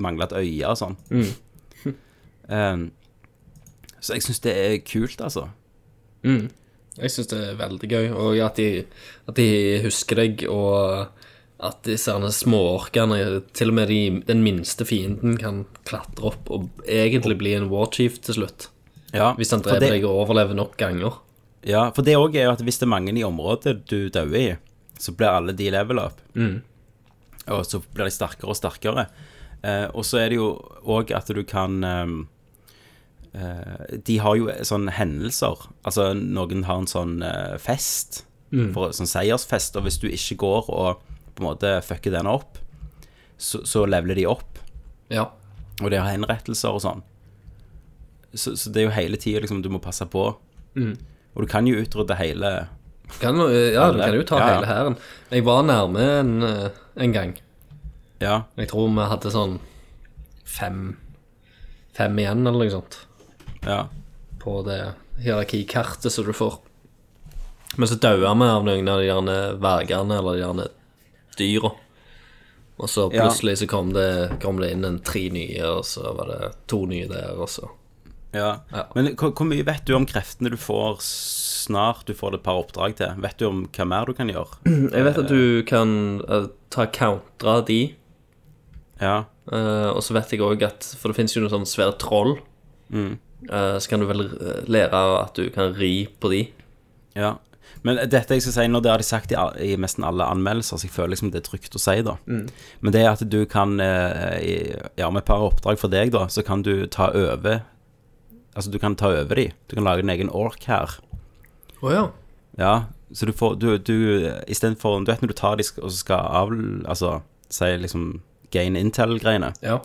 Speaker 4: mangla et øye og sånn.
Speaker 5: Mm.
Speaker 4: Em, så jeg syns det er kult, altså.
Speaker 5: Jeg syns det er veldig gøy, og at de, at de husker deg, og at disse herne småorkene, til og med de, den minste fienden, kan klatre opp og egentlig bli en warchief til slutt.
Speaker 4: Ja,
Speaker 5: Hvis han
Speaker 4: for
Speaker 5: dreper
Speaker 4: det-
Speaker 5: deg og overlever nok ganger.
Speaker 4: Ja, for det òg er jo at hvis det er mange i området du dauer i, så blir alle de level up. Og så blir de sterkere og sterkere. Eh, og så er det jo òg at du kan eh, ehm, eh, De har jo sånne hendelser. Altså, noen har en sånn eh, fest, for, sånn seiersfest, og hvis du ikke går og på en måte fucker den opp, så, så leveler de opp,
Speaker 5: Ja.
Speaker 4: og de har henrettelser og sånn. Så, så det er jo hele tida liksom, du må passe på. Og du kan jo utrydde hele
Speaker 5: Kan, jo- ja, du kan jo ta
Speaker 4: Ja, ja.
Speaker 5: hele hæren. Jeg var nærme en, eh, en gang.
Speaker 4: Ja,
Speaker 5: Jeg tror vi hadde sånn fem Fem igjen, eller noe sånt.
Speaker 4: ja.
Speaker 5: på det hierarkikartet som du får. Men så dauer vi av noen av de gjerne vergene eller de gjerne dyra. Og så
Speaker 4: Ja.
Speaker 5: plutselig så kom det, kom det inn en tre nye, og så var det to nye der, og så
Speaker 4: Ja.
Speaker 5: Ja.
Speaker 4: Men hvor, hvor mye vet du om kreftene du får snart du får et par oppdrag til? Vet du om hva mer du kan gjøre?
Speaker 5: Jeg vet at du kan eh, ta countra de,
Speaker 4: Ja,
Speaker 5: eh, og så vet jeg òg at For det fins jo noen sånne svære troll.
Speaker 4: Mm.
Speaker 5: Eh, så kan du vel eh, lære at du kan ri på de.
Speaker 4: ja. Men dette jeg skal si nå, det har de sagt i, al- i nesten alle anmeldelser, så jeg føler liksom det er trygt å si, da. Men det er at du kan, eh, i- ja, med et par oppdrag for deg, da, så kan du ta over Altså, du kan ta over de. Du kan lage en egen ork her.
Speaker 5: Å ja.
Speaker 4: Ja, så du får Du, du istedenfor Du vet når du tar de sk- og så skal av... Altså, si liksom gain intel-greiene.
Speaker 5: Ja.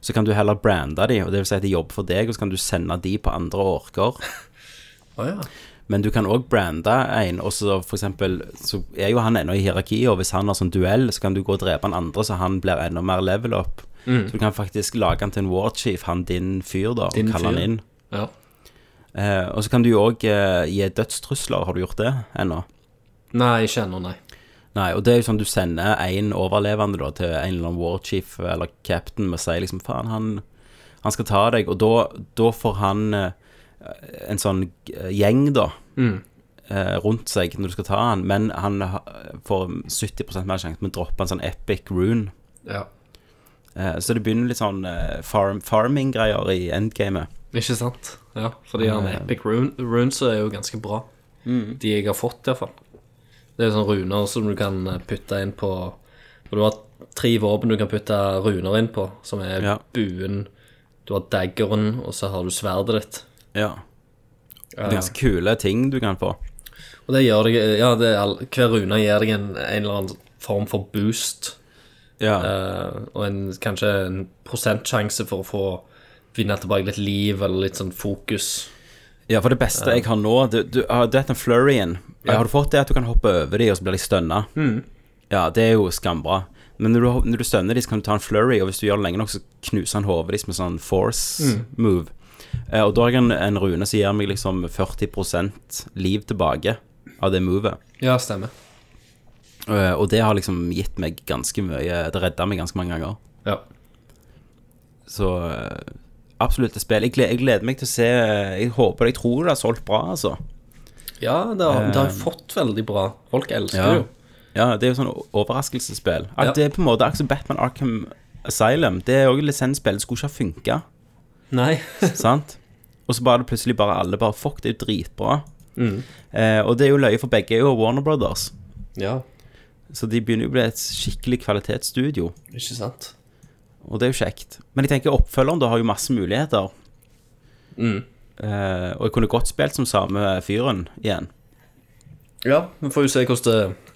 Speaker 4: så kan du heller brande de, og det vil si at de jobber for deg, og så kan du sende de på andre orker.
Speaker 5: Å ja.
Speaker 4: Men du kan òg brande en, og så for eksempel så er jo han ennå i hierarkiet, og hvis han har sånn duell, så kan du gå og drepe han andre, så han blir enda mer level up.
Speaker 5: Mm.
Speaker 4: Så du kan faktisk lage han til en warchief, han din fyr, da,
Speaker 5: Din
Speaker 4: og kalle
Speaker 5: fyr.
Speaker 4: han inn.
Speaker 5: ja.
Speaker 4: Eh, og så kan du jo òg eh, gi dødstrusler, har du gjort det ennå?
Speaker 5: Nei, ikke ennå, nei.
Speaker 4: Nei, og det er jo sånn du sender en overlevende da, til en eller annen warchief eller captain med å si liksom, faen, han, han skal ta deg, og da, da får han eh, en sånn eh, gjeng da, eh, rundt seg når du skal ta han, men han ha- får 70% mer sjanse med å droppe en sånn epic rune.
Speaker 5: Ja.
Speaker 4: Eh, så det begynner litt sånn eh, farm, farming-greier i endgamet.
Speaker 5: Ikke sant? Ja, fordi han Epic Rune, Runes er jo ganske bra. De jeg har fått, iallfall. Det er sånne runer som du kan eh, putte inn på Og du har tre våpen du kan putte runer inn på, som er
Speaker 4: Ja.
Speaker 5: buen, du har daggeren, og så har du sverdet ditt.
Speaker 4: Ja. Det er ganske kule ting du kan få.
Speaker 5: Og det gjør deg Ja, det er, all- hver rune gir deg en, en eller annen form for boost.
Speaker 4: Ja,
Speaker 5: Eh, og en, kanskje en prosentsjanse for å få vinne tilbake litt liv eller litt sånn fokus.
Speaker 4: ja for det beste jeg har nå, du, du, ah, du vet den flurryen, har du fått det at du kan hoppe over de, og så blir de stønna? Ja, det er jo skambra. Men når du, når du stønner de, så kan du ta en flurry, og hvis du gjør det lenge nok, så knuser han hodet ditt med sånn force move. Eh, og da har jeg en, en rune som gir meg liksom 40 liv tilbake av det movet.
Speaker 5: Ja, stemmer.
Speaker 4: Eh, og det har liksom gitt meg ganske mye Det redda meg ganske mange ganger.
Speaker 5: Ja.
Speaker 4: Så eh, absolutt et spill. Jeg gleder, jeg gleder meg til å se eh, Jeg håper jeg tror det har solgt bra, altså.
Speaker 5: Ja, det har, det har jo fått veldig bra. Folk elsker det
Speaker 4: Ja.
Speaker 5: jo.
Speaker 4: ja, det er jo sånn o- overraskelsesspill. Ak-
Speaker 5: Ja.
Speaker 4: Det er på en måte akkurat som Batman Arkham Asylum. Det er òg lisensspill. Det skulle ikke ha funka.
Speaker 5: Nei.
Speaker 4: Sant? Og så bare det plutselig bare alle bare Fuck, det er jo dritbra.
Speaker 5: Mm.
Speaker 4: Eh, og det er jo løye, for begge er jo Warner Brothers.
Speaker 5: ja,
Speaker 4: Så de begynner jo å bli et skikkelig kvalitetsstudio,
Speaker 5: ikke sant?
Speaker 4: og det er jo kjekt. Men jeg tenker oppfølgeren da har jo masse muligheter.
Speaker 5: Mm.
Speaker 4: Eh, og jeg kunne godt spilt som samme fyren igjen.
Speaker 5: Ja, vi får jo se hvordan det,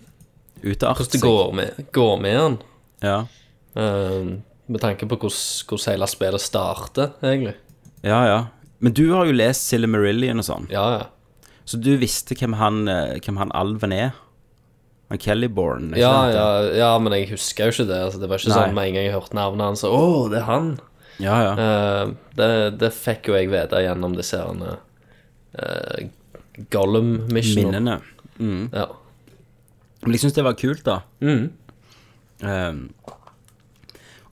Speaker 4: Uteart.
Speaker 5: hvordan det går, med, går med han.
Speaker 4: Ja.
Speaker 5: eh, med tanke på hvordan, hvordan hele spillet starter, egentlig.
Speaker 4: ja, ja. Men du har jo lest Silmarillion og sånn,
Speaker 5: Ja, ja.
Speaker 4: så du visste hvem han, eh, hvem han alven er? Han Kellyborn? ikke
Speaker 5: Ja,
Speaker 4: sant?
Speaker 5: ja, ja, men jeg husker jo ikke det. Altså, det var ikke
Speaker 4: Nei.
Speaker 5: sånn med en gang jeg hørte navnet hans. Å, det er han!
Speaker 4: ja, ja.
Speaker 5: Eh, det, det fikk jo jeg vite gjennom disse herne eh, Gollum-missionene.
Speaker 4: Minnene.
Speaker 5: Ja.
Speaker 4: Men jeg syns det var kult, da.
Speaker 5: Mm.
Speaker 4: Ehm,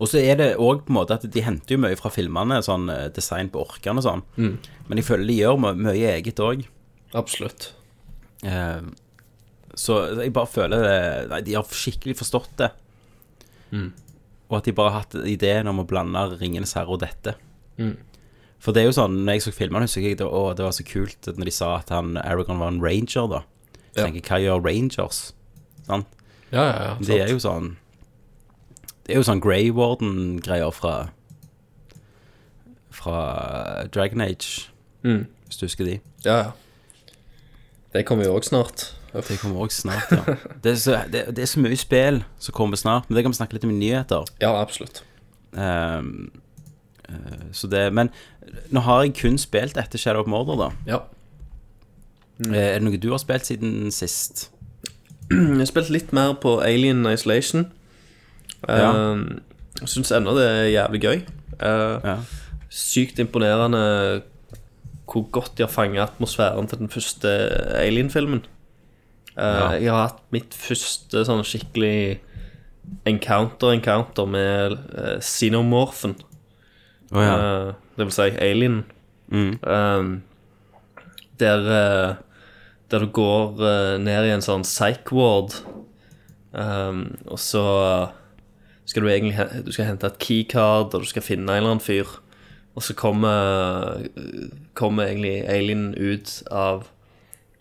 Speaker 4: og så er det òg på en måte at de henter jo mye fra filmene, sånn eh, design på orkene og sånn.
Speaker 5: Mm.
Speaker 4: Men jeg føler de gjør mye, mye eget òg.
Speaker 5: Absolutt.
Speaker 4: Ehm, så jeg bare føler eh, Nei, de har skikkelig forstått det.
Speaker 5: Mm.
Speaker 4: Og at de bare har hatt ideen om å blande 'Ringenes herre' og dette.
Speaker 5: Mm.
Speaker 4: For det er jo sånn, når jeg så filmene, husker jeg det, å, det var så kult når de sa at han Aragon var en ranger, da.
Speaker 5: Ja.
Speaker 4: Så tenker jeg, hva gjør rangers? Sant?
Speaker 5: Ja, ja, ja.
Speaker 4: Det er jo sånn Det er jo sånn Grey Warden-greier fra fra Dragon Age,
Speaker 5: Mm.
Speaker 4: hvis du husker de.
Speaker 5: Ja, ja. Det kommer jo òg snart. Uff.
Speaker 4: Det kommer også snart, ja. Det er, så, det, det er så mye spill som kommer snart, men det kan vi snakke litt om i nyheter.
Speaker 5: Ja, absolutt.
Speaker 4: Ehm, eh, så det, men nå har jeg kun spilt etter Shadow of Mordor, da.
Speaker 5: Ja.
Speaker 4: Eh, Er det noe du har spilt siden sist?
Speaker 5: Mm, Jeg har spilt litt mer på Alien Isolation.
Speaker 4: Ja.
Speaker 5: Ehm, Jeg Syns ennå det er jævlig gøy. Eh,
Speaker 4: Ja.
Speaker 5: Sykt imponerende hvor godt de har fanget atmosfæren til den første Alien-filmen. Eh, Jeg har hatt mitt første sånn skikkelig encounter-encounter med uh, xenomorphen.
Speaker 4: Å ja. Mm.
Speaker 5: Eh, det vil si alien. Um, der, eh, der du går eh, ned i en sånn psych ward, um, og så skal du egentlig he- du skal hente et keycard, og du skal finne en eller annen fyr. Og så kommer, eh, kommer egentlig alien ut av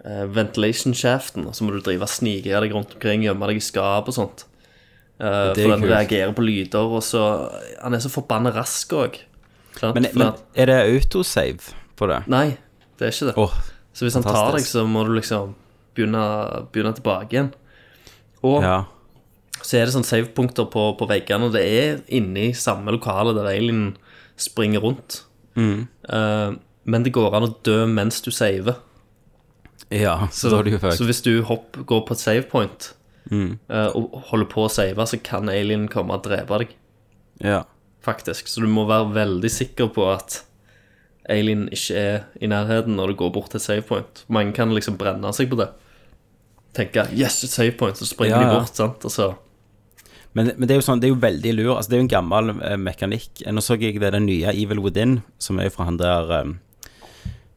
Speaker 5: eh, ventilation-shaften, og så må du drive og snike deg rundt omkring, gjemme deg i skap og sånt. Eh,
Speaker 4: Det er
Speaker 5: for den
Speaker 4: kult.
Speaker 5: reagerer på lyder, og så Han er så forbanna rask òg.
Speaker 4: men, men er det autosave på det?
Speaker 5: Nei, det er ikke det.
Speaker 4: Åh,
Speaker 5: så hvis han tar deg,
Speaker 4: fantastisk.
Speaker 5: så må du liksom begynne, begynne tilbake igjen. Og
Speaker 4: ja.
Speaker 5: så er det sånn savepunkter på, på veggene, og det er inni samme lokale der alien springer rundt.
Speaker 4: Mm.
Speaker 5: Eh, men det går an å dø mens du saver.
Speaker 4: ja, så da har du jo Mm.
Speaker 5: så
Speaker 4: fucked.
Speaker 5: hvis du hopp, går på et savepoint eh, og holder på å save, så kan alien komme og drepe deg,
Speaker 4: Ja.
Speaker 5: faktisk. Så du må være veldig sikker på at alien ikke er i nærheten når du går bort til et savepoint. Mange kan liksom brenne seg på det. Tenke 'yes, et savepoint', så springer
Speaker 4: Ja,
Speaker 5: de
Speaker 4: ja.
Speaker 5: bort, sant, og så
Speaker 4: Men, men det er jo sånn, det er jo veldig lur. Altså, det er jo en gammel eh, mekanikk. Eh, Nå så jeg det, den nye Evil Within, som er jo fra han der eh,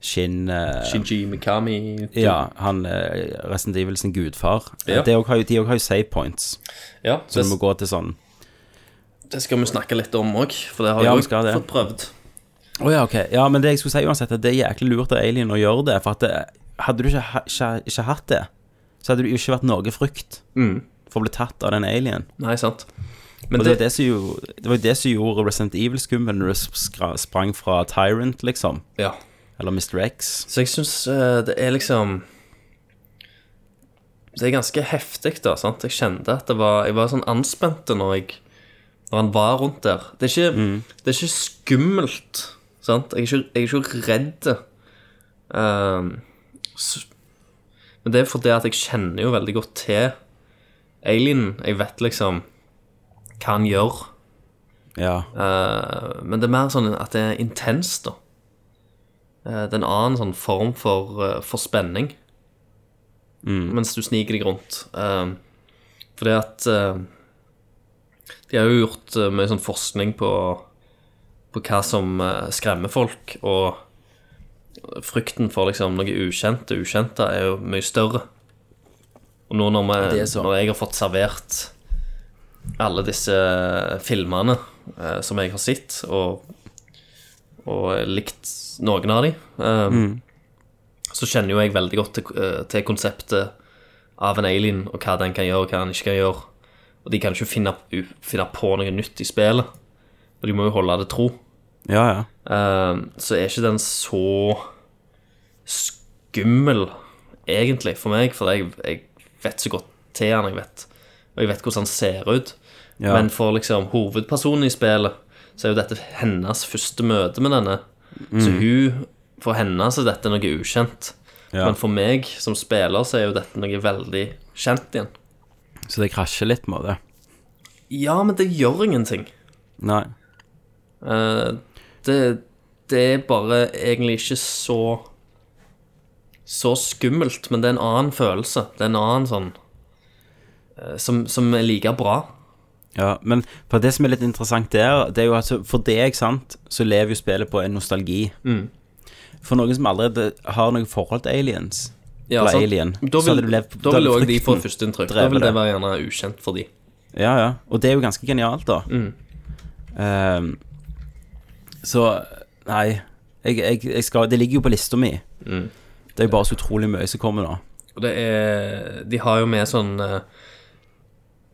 Speaker 4: Shin eh,
Speaker 5: Shinji Mikami
Speaker 4: Ja, han eh, Resident Evil sin gudfar. Eh,
Speaker 5: Ja.
Speaker 4: det også har jo, de også har jo save points,
Speaker 5: Ja,
Speaker 4: så
Speaker 5: det,
Speaker 4: du må gå til sånn
Speaker 5: det skal vi snakke litt om òg, for det har
Speaker 4: Ja,
Speaker 5: jeg
Speaker 4: vi
Speaker 5: òg
Speaker 4: skal det.
Speaker 5: fått prøvd.
Speaker 4: Å ja, ok. Ja, men det jeg skulle si uansett, er at det er jæklig lurt av Alien å gjøre det. For at det, hadde du ikke, ha- ikke, ikke hatt det, så hadde det jo ikke vært noe frykt for å bli tatt av den alien.
Speaker 5: Nei, sant. Men
Speaker 4: Og Mm.
Speaker 5: det,
Speaker 4: det, var det, som jo, det var jo det som gjorde Resident Evil skummel når du skra- sprang fra Tyrant, liksom.
Speaker 5: Ja.
Speaker 4: Eller Mr. X.
Speaker 5: Så jeg syns det er liksom Det er ganske heftig, da. sant? Jeg kjente at det var, jeg var sånn anspent når jeg Når han var rundt der. Det er ikke, det er ikke skummelt, sant? Jeg er ikke, jeg er ikke redd. Ehm, s- men det er fordi at jeg kjenner jo veldig godt til alienen. Jeg vet liksom hva han gjør.
Speaker 4: Ja.
Speaker 5: Eh, men det er mer sånn at det er intenst, da. Eh, det er en annen sånn form for, eh, for spenning
Speaker 4: Mm.
Speaker 5: mens du sniker deg rundt. Eh, fordi at eh, De har jo gjort eh, mye sånn forskning på, på hva som eh, skremmer folk, og frykten for liksom noe ukjent og ukjente er jo mye større. Og nå når, vi,
Speaker 4: Det er så.
Speaker 5: når jeg har fått servert alle disse filmene eh, som jeg har sett, og, og likt noen av de, eh, så kjenner jo jeg veldig godt til, eh, til konseptet av en alien, og hva den kan gjøre, og hva den ikke kan gjøre. Og de kan ikke finne, u- finne på noe nytt i spillet, og de må jo holde det tro.
Speaker 4: Ja, ja.
Speaker 5: Eh, så er ikke den så skummel, egentlig, for meg, for jeg, jeg vet så godt til han, jeg vet. Og jeg vet hvordan han ser ut.
Speaker 4: Ja.
Speaker 5: Men for liksom hovedpersonen i spillet, så er jo dette hennes første møte med denne. Så
Speaker 4: Mm.
Speaker 5: hun, for henne så er dette noe ukjent.
Speaker 4: Ja.
Speaker 5: Men for meg som spiller, så er jo dette noe veldig kjent igjen.
Speaker 4: Så det krasjer litt med det.
Speaker 5: Ja, men det gjør ingenting.
Speaker 4: Nei.
Speaker 5: Eh, det, det er bare egentlig ikke så Så skummelt, men det er en annen følelse. Det er en annen sånn eh, Som, som er like bra.
Speaker 4: Ja, men for det som er litt interessant der, det er jo altså For deg, sant, så lever jo spillet på en nostalgi.
Speaker 5: Mm.
Speaker 4: For noen som allerede har noe forhold til aliens
Speaker 5: Ja,
Speaker 4: Eller
Speaker 5: sant?
Speaker 4: alien.
Speaker 5: Da
Speaker 4: Så hadde
Speaker 5: vil,
Speaker 4: det levd-
Speaker 5: da
Speaker 4: da
Speaker 5: vil
Speaker 4: hadde
Speaker 5: også de få
Speaker 4: frykten
Speaker 5: førsteinntrykk. Da
Speaker 4: drevet
Speaker 5: vil det
Speaker 4: det.
Speaker 5: være gjerne ukjent for de.
Speaker 4: Ja, ja. Og det er jo ganske genialt, da.
Speaker 5: Mm.
Speaker 4: Ehm, så Nei. Jeg, jeg, jeg skal, det ligger jo på lista mi.
Speaker 5: Mm.
Speaker 4: Det er jo bare så utrolig mye som kommer nå.
Speaker 5: Og det er De har jo med sånn eh,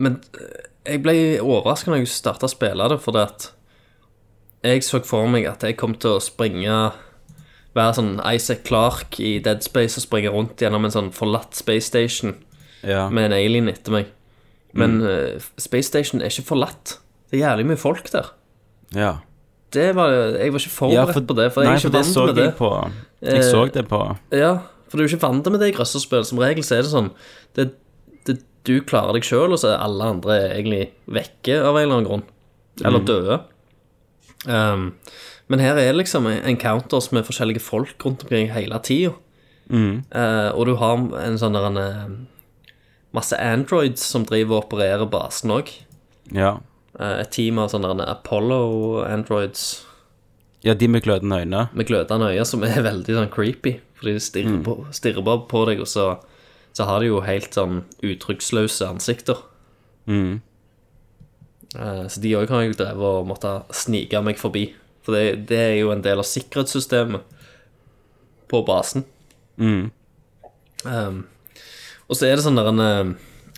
Speaker 5: Men eh, jeg ble overraska når jeg starta å spille det, fordi at jeg så for meg at jeg kom til å springe Være sånn Isaac Clark i Dead Space og springe rundt gjennom en sånn forlatt space station
Speaker 4: Ja.
Speaker 5: med en alien etter meg. Men
Speaker 4: Mm.
Speaker 5: eh, space station er ikke forlatt. Det er jævlig mye folk der.
Speaker 4: ja.
Speaker 5: Det var, jeg var ikke
Speaker 4: Ja,
Speaker 5: forberedt på det, for jeg
Speaker 4: nei,
Speaker 5: er ikke
Speaker 4: for det
Speaker 5: vant
Speaker 4: så
Speaker 5: med det.
Speaker 4: Jeg, på, jeg
Speaker 5: Eh,
Speaker 4: så det på
Speaker 5: Ja, for du er ikke vant med det i grøsserspill. Som regel så er det sånn det, det, Du klarer deg sjøl, og så er alle andre egentlig vekke av en eller annen grunn. Eller døde. Um, men her er det liksom encounters med forskjellige folk rundt omkring hele tida. Eh, og du har en sånn der en, eh, masse androids som driver og opererer basen òg.
Speaker 4: Ja.
Speaker 5: et team av sånne der Apollo-androids
Speaker 4: ja, de med glødende øyne.
Speaker 5: med glødende øyne, som er veldig sånn creepy. Fordi de stirrer, på, stirrer bare på deg, og så, så har de jo helt sånn uttrykksløse ansikter. Eh, så de òg har jeg jo drevet og måtte snike meg forbi. For det, det er jo en del av sikkerhetssystemet på basen. Eh, og så er det sånn der en eh,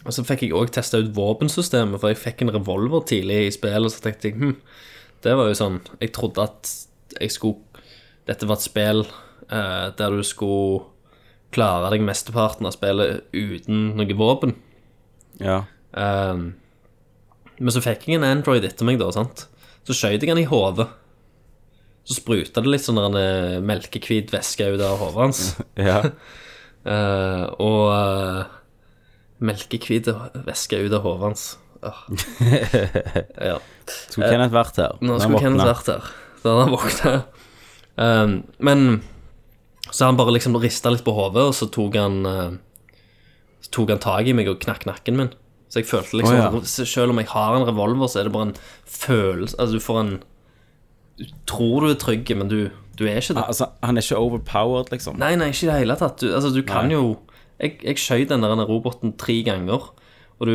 Speaker 5: Og så fikk jeg òg testa ut våpensystemet, for jeg fikk en revolver tidlig i spillet, og så tenkte jeg hm, det var jo sånn Jeg trodde at jeg skulle Dette var et spill eh, der du skulle klare deg mesteparten av spillet uten noe våpen.
Speaker 4: Ja.
Speaker 5: Ehm, men så fikk jeg en Android etter meg, da. sant? Så skjøt jeg han i hodet. Så spruta det litt sånn der en eh, melkehvit væske ut av hodet hans.
Speaker 4: Ja.
Speaker 5: Eh, og uh, melkehvit væske ut av hodet hans. Åh. ja.
Speaker 4: Skulle Kenneth vært her?
Speaker 5: Nå
Speaker 4: Han
Speaker 5: skulle
Speaker 4: våkna.
Speaker 5: Kenneth vært her. Da han våkna. Um, men så han bare liksom rista litt på hodet, og så tok han eh, Så tok han tak i meg og knakk nakken min. Så jeg følte liksom
Speaker 4: Å, ja.
Speaker 5: at så Selv om jeg har en revolver, så er det bare en følelse Altså, du får en Du tror du er trygg, men du, du er ikke det.
Speaker 4: Altså, han er ikke overpowered, liksom?
Speaker 5: Nei, nei, ikke i det hele tatt. Du, altså, du kan jo Jeg, jeg skjøt den der roboten tre ganger. Og du,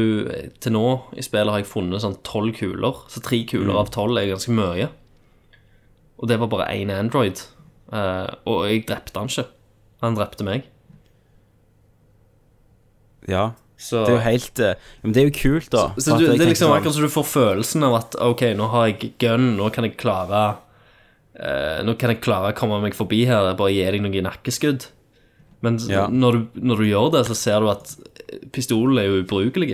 Speaker 5: til nå i spillet har jeg funnet sånn tolv kuler. Så tre kuler av tolv er ganske mye. Og det var bare én Android. Eh, og jeg drepte han ikke. Han drepte meg.
Speaker 4: Ja.
Speaker 5: Så,
Speaker 4: Det er jo helt eh, Men det er jo kult, da.
Speaker 5: så
Speaker 4: at
Speaker 5: du,
Speaker 4: jeg
Speaker 5: det er
Speaker 4: tenkte
Speaker 5: liksom
Speaker 4: sånn,
Speaker 5: akkurat som du får følelsen av at OK, nå har jeg gun, nå kan jeg klare eh, Nå kan jeg klare å komme meg forbi her, bare gi deg noen nakkeskudd. Men s-
Speaker 4: Ja.
Speaker 5: når, du, når du gjør det, så ser du at eh, pistolen er jo ubrukelig.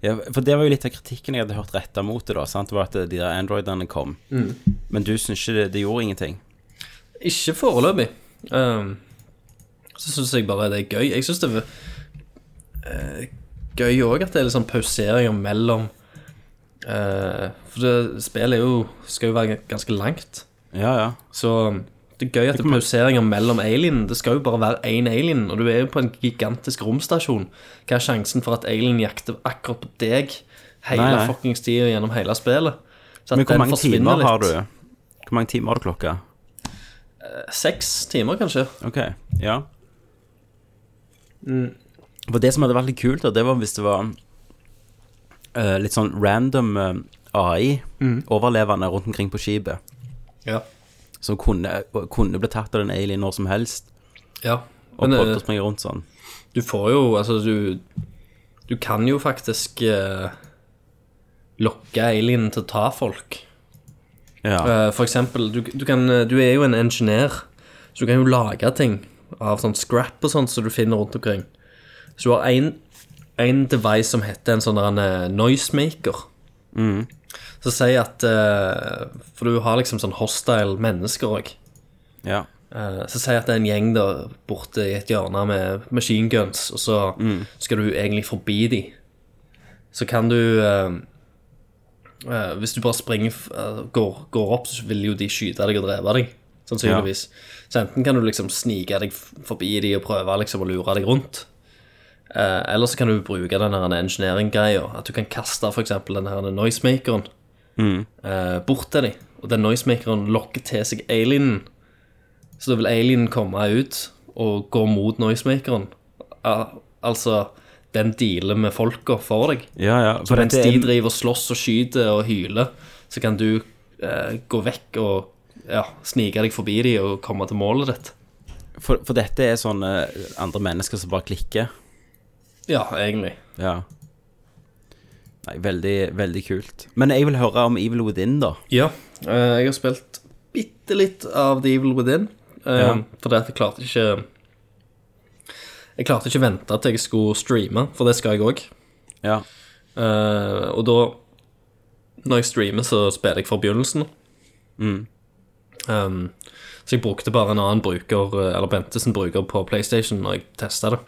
Speaker 4: Ja, for det var jo litt av kritikken jeg hadde hørt retta mot det, da. Sant? Det var at eh, de der androidene kom.
Speaker 5: Mm.
Speaker 4: Men du syns ikke det, det gjorde ingenting?
Speaker 5: Ikke foreløpig. Ehm, så syns jeg bare det er gøy. Jeg syns det er eh, gøy òg at det er litt sånn pauseringer mellom eh, For det, spillet er jo, skal jo være ganske langt.
Speaker 4: Ja, ja.
Speaker 5: Så det er gøy at det er pauseringer mellom alienene. Det skal jo bare være én alien, og du er jo på en gigantisk romstasjon. Hva er sjansen for at alien jakter akkurat på deg hele
Speaker 4: Nei, nei.
Speaker 5: fuckings tida gjennom hele spillet? Så
Speaker 4: Men hvor mange timer har du?
Speaker 5: litt.
Speaker 4: Hvor mange timer har du klokka?
Speaker 5: Seks timer, kanskje.
Speaker 4: Ok, ja.
Speaker 5: Mm.
Speaker 4: For det som hadde vært litt kult, da, det var hvis det var eh, litt sånn random eh, AI,
Speaker 5: Mm.
Speaker 4: overlevende rundt omkring på skipet,
Speaker 5: Ja.
Speaker 4: som kunne, kunne bli tatt av en alien når som helst,
Speaker 5: ja.
Speaker 4: og
Speaker 5: Men,
Speaker 4: prøvde
Speaker 5: eh,
Speaker 4: å springe rundt sånn.
Speaker 5: Du får jo, altså du Du kan jo faktisk eh, lokke alien til å ta folk.
Speaker 4: Ja.
Speaker 5: Eh, for eksempel, du, du, kan, eh, du er jo en ingeniør, så du kan jo lage ting av sånn scrap og sånt som du finner rundt omkring. Så du har en, en device som heter en sånn der en, eh, noisemaker. Så si at eh, For du har liksom sånn hostile mennesker òg.
Speaker 4: ja.
Speaker 5: Eh, Så si at det er en gjeng der borte i et hjørne med machine guns, og så skal du egentlig forbi de. Så kan du eh, eh, Hvis du bare springer f- eh, går, går opp, så vil jo de skyte deg og drepe deg. Sannsynligvis. Så enten kan du liksom snike deg f- forbi de og prøve liksom å lure deg rundt. Eh, eller så kan du bruke den her engineering-greia. At du kan kaste f.eks. den her noisemakeren eh, bort til dem. Og den noisemakeren lokker til seg alienen. Så da vil alienen komme ut og gå mot noisemakeren. Al- altså, den dealer med folka for deg.
Speaker 4: Ja, ja.
Speaker 5: Så mens
Speaker 4: dette er
Speaker 5: de
Speaker 4: en-
Speaker 5: driver og slåss og skyter og hyler, så kan du eh, gå vekk og ja, snike deg forbi dem og komme til målet ditt.
Speaker 4: for, for dette er sånne eh, andre mennesker som bare klikker.
Speaker 5: Ja, egentlig.
Speaker 4: Ja. Nei, veldig, veldig kult. Men jeg vil høre om Evil Within, da.
Speaker 5: Ja, eh, jeg har spilt bitte litt av The Evil Within. eh,
Speaker 4: Ja.
Speaker 5: Fordi at jeg klarte ikke Jeg klarte ikke vente til jeg skulle streame, for det skal jeg òg.
Speaker 4: Ja.
Speaker 5: Eh, og da Når jeg streamer, så spiller jeg fra begynnelsen. Um, så jeg brukte bare en annen bruker, eh, eller Bentesen bruker, på PlayStation når jeg testa det.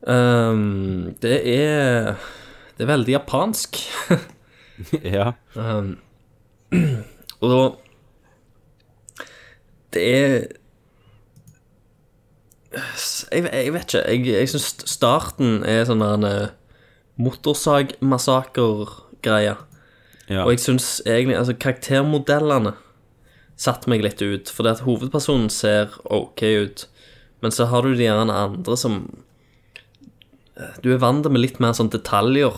Speaker 5: Um, det er Det er veldig japansk.
Speaker 4: ja.
Speaker 5: Og da Det er Jeg, jeg vet ikke. Jeg, jeg syns starten er sånn der en eh, motorsagmassaker-greie.
Speaker 4: ja.
Speaker 5: Og jeg syns egentlig altså karaktermodellene satte meg litt ut. For det at hovedpersonen ser OK ut, men så har du de gjerne andre som eh, Du er vant med litt mer sånn detaljer.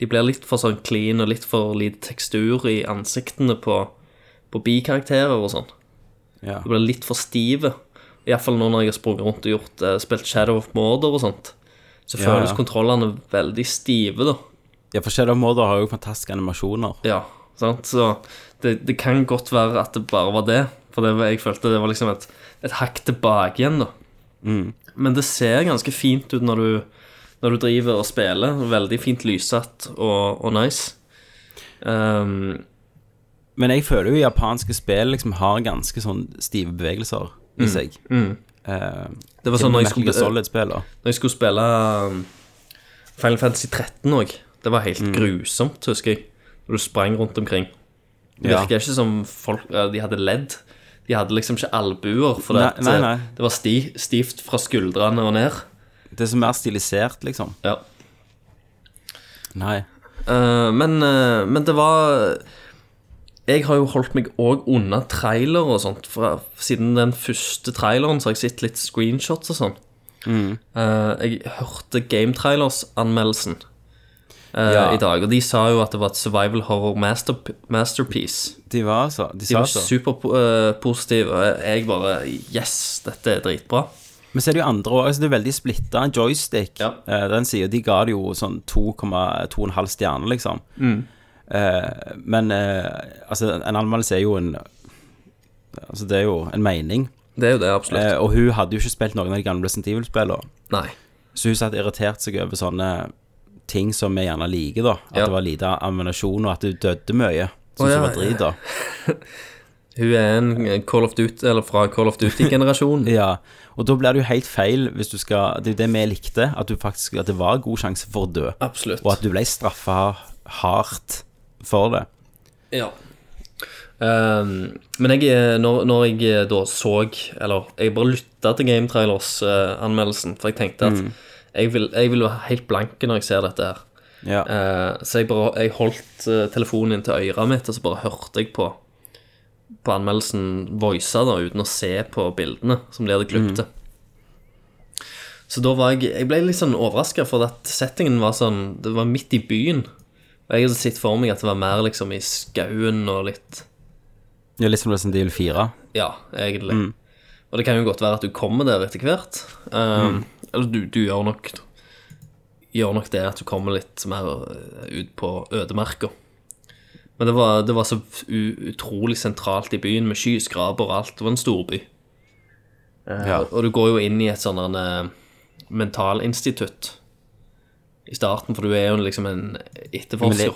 Speaker 5: De blir litt for sånn clean og litt for lite tekstur i ansiktene på, på bikarakterer og sånn.
Speaker 4: ja.
Speaker 5: De blir litt for stive. Iallfall nå når jeg har sprunget rundt og gjort, eh, spilt Shadow of Morder og sånt. Så
Speaker 4: Ja,
Speaker 5: føles
Speaker 4: ja.
Speaker 5: kontrollene veldig stive, da.
Speaker 4: ja for Shadow of Mordor har jo fantastiske animasjoner.
Speaker 5: Ja, sant? Så det, det kan godt være at det bare var det. For det var, jeg følte det var liksom et, et hakk tilbake igjen, da. Men det ser ganske fint ut når du, når du driver og spiller. Veldig fint lyssatt og, og nice. Ehm,
Speaker 4: Men jeg føler jo japanske spill liksom har ganske sånn stive bevegelser i seg. Eh,
Speaker 5: Mm. det var sånn når jeg skulle,
Speaker 4: Solid-spill, da.
Speaker 5: når jeg skulle spille um, Final Fantasy 13 òg. Det var
Speaker 4: Mm.
Speaker 5: helt grusomt, husker jeg. Når du sprang rundt omkring. Det
Speaker 4: Ja.
Speaker 5: virka ikke som folk eh, De hadde ledd. De hadde liksom ikke albuer, for det, at,
Speaker 4: Nei, nei,
Speaker 5: eh,
Speaker 4: nei.
Speaker 5: det var sti, stivt fra skuldrene og ned.
Speaker 4: Det som er mer stilisert, liksom.
Speaker 5: Ja.
Speaker 4: Nei.
Speaker 5: Eh, men, eh, men det var Jeg har jo holdt meg òg unna trailer og sånt. Fra, siden den første traileren så har jeg sett litt screenshots og sånn. Eh, jeg hørte Gametrailers-anmeldelsen eh,
Speaker 4: Ja.
Speaker 5: i dag, og de sa jo at det var et survival horror masterp masterpiece.
Speaker 4: De var altså De,
Speaker 5: De
Speaker 4: sa
Speaker 5: var
Speaker 4: så.
Speaker 5: superpositive, og jeg bare Yes, dette er dritbra.
Speaker 4: Men så er det jo andre òg. Altså, det er veldig splitta. Joystick,
Speaker 5: Ja.
Speaker 4: eh, den sida, de ga det jo sånn 2,2,5 stjerner, liksom. Eh, men eh, altså, en anmeldelse er jo en Altså, det er jo en mening.
Speaker 5: Det er jo det, absolutt.
Speaker 4: Eh, og hun hadde jo ikke spilt noen av de gamle Resident Evil-spillene.
Speaker 5: Nei.
Speaker 4: Så hun satt irritert seg over sånne ting som vi gjerne liker, da. At
Speaker 5: Ja.
Speaker 4: det var lite ammunasjon, og at du døde mye. Sånn
Speaker 5: Å,
Speaker 4: som
Speaker 5: ja.
Speaker 4: var drit, da.
Speaker 5: Hun er en Call of Duty, eller fra Call of Duty-generasjonen.
Speaker 4: Ja. Og da blir det jo helt feil hvis du skal Det er jo det vi likte, at du faktisk At det var god sjanse for å dø.
Speaker 5: absolutt.
Speaker 4: Og at du ble straffa hardt for det.
Speaker 5: Ja. Ehm, men jeg, eh, når, når jeg eh, da så Eller jeg bare lytta til Game Trailers-anmeldelsen, for jeg tenkte at jeg, vil, jeg vil være helt blank når jeg ser dette her.
Speaker 4: Ja.
Speaker 5: Eh, så jeg bare jeg holdt eh, telefonen inn til øret mitt, og så bare hørte jeg på På anmeldelsen voisa da, uten å se på bildene som de hadde klippet til. Så da var jeg Jeg ble litt sånn overraska, for at settingen var sånn Det var midt i byen. Og jeg hadde sett for meg at det var mer liksom i skauen og litt
Speaker 4: ja litt som Resident Evil 4.
Speaker 5: Ja, egentlig. Og det kan jo godt være at du kommer der etter hvert. Eh, Eller du, du gjør nok Gjør nok det at du kommer litt mer eh, ut på ødemarka. Men det var, det var så u utrolig sentralt i byen, med skyskraper og alt. Det var en storby. Eh,
Speaker 4: Ja.
Speaker 5: Og du går jo inn i et sånn der, eh, mentalinstitutt i starten, for du er jo liksom en
Speaker 4: Men det,
Speaker 5: etterforsker.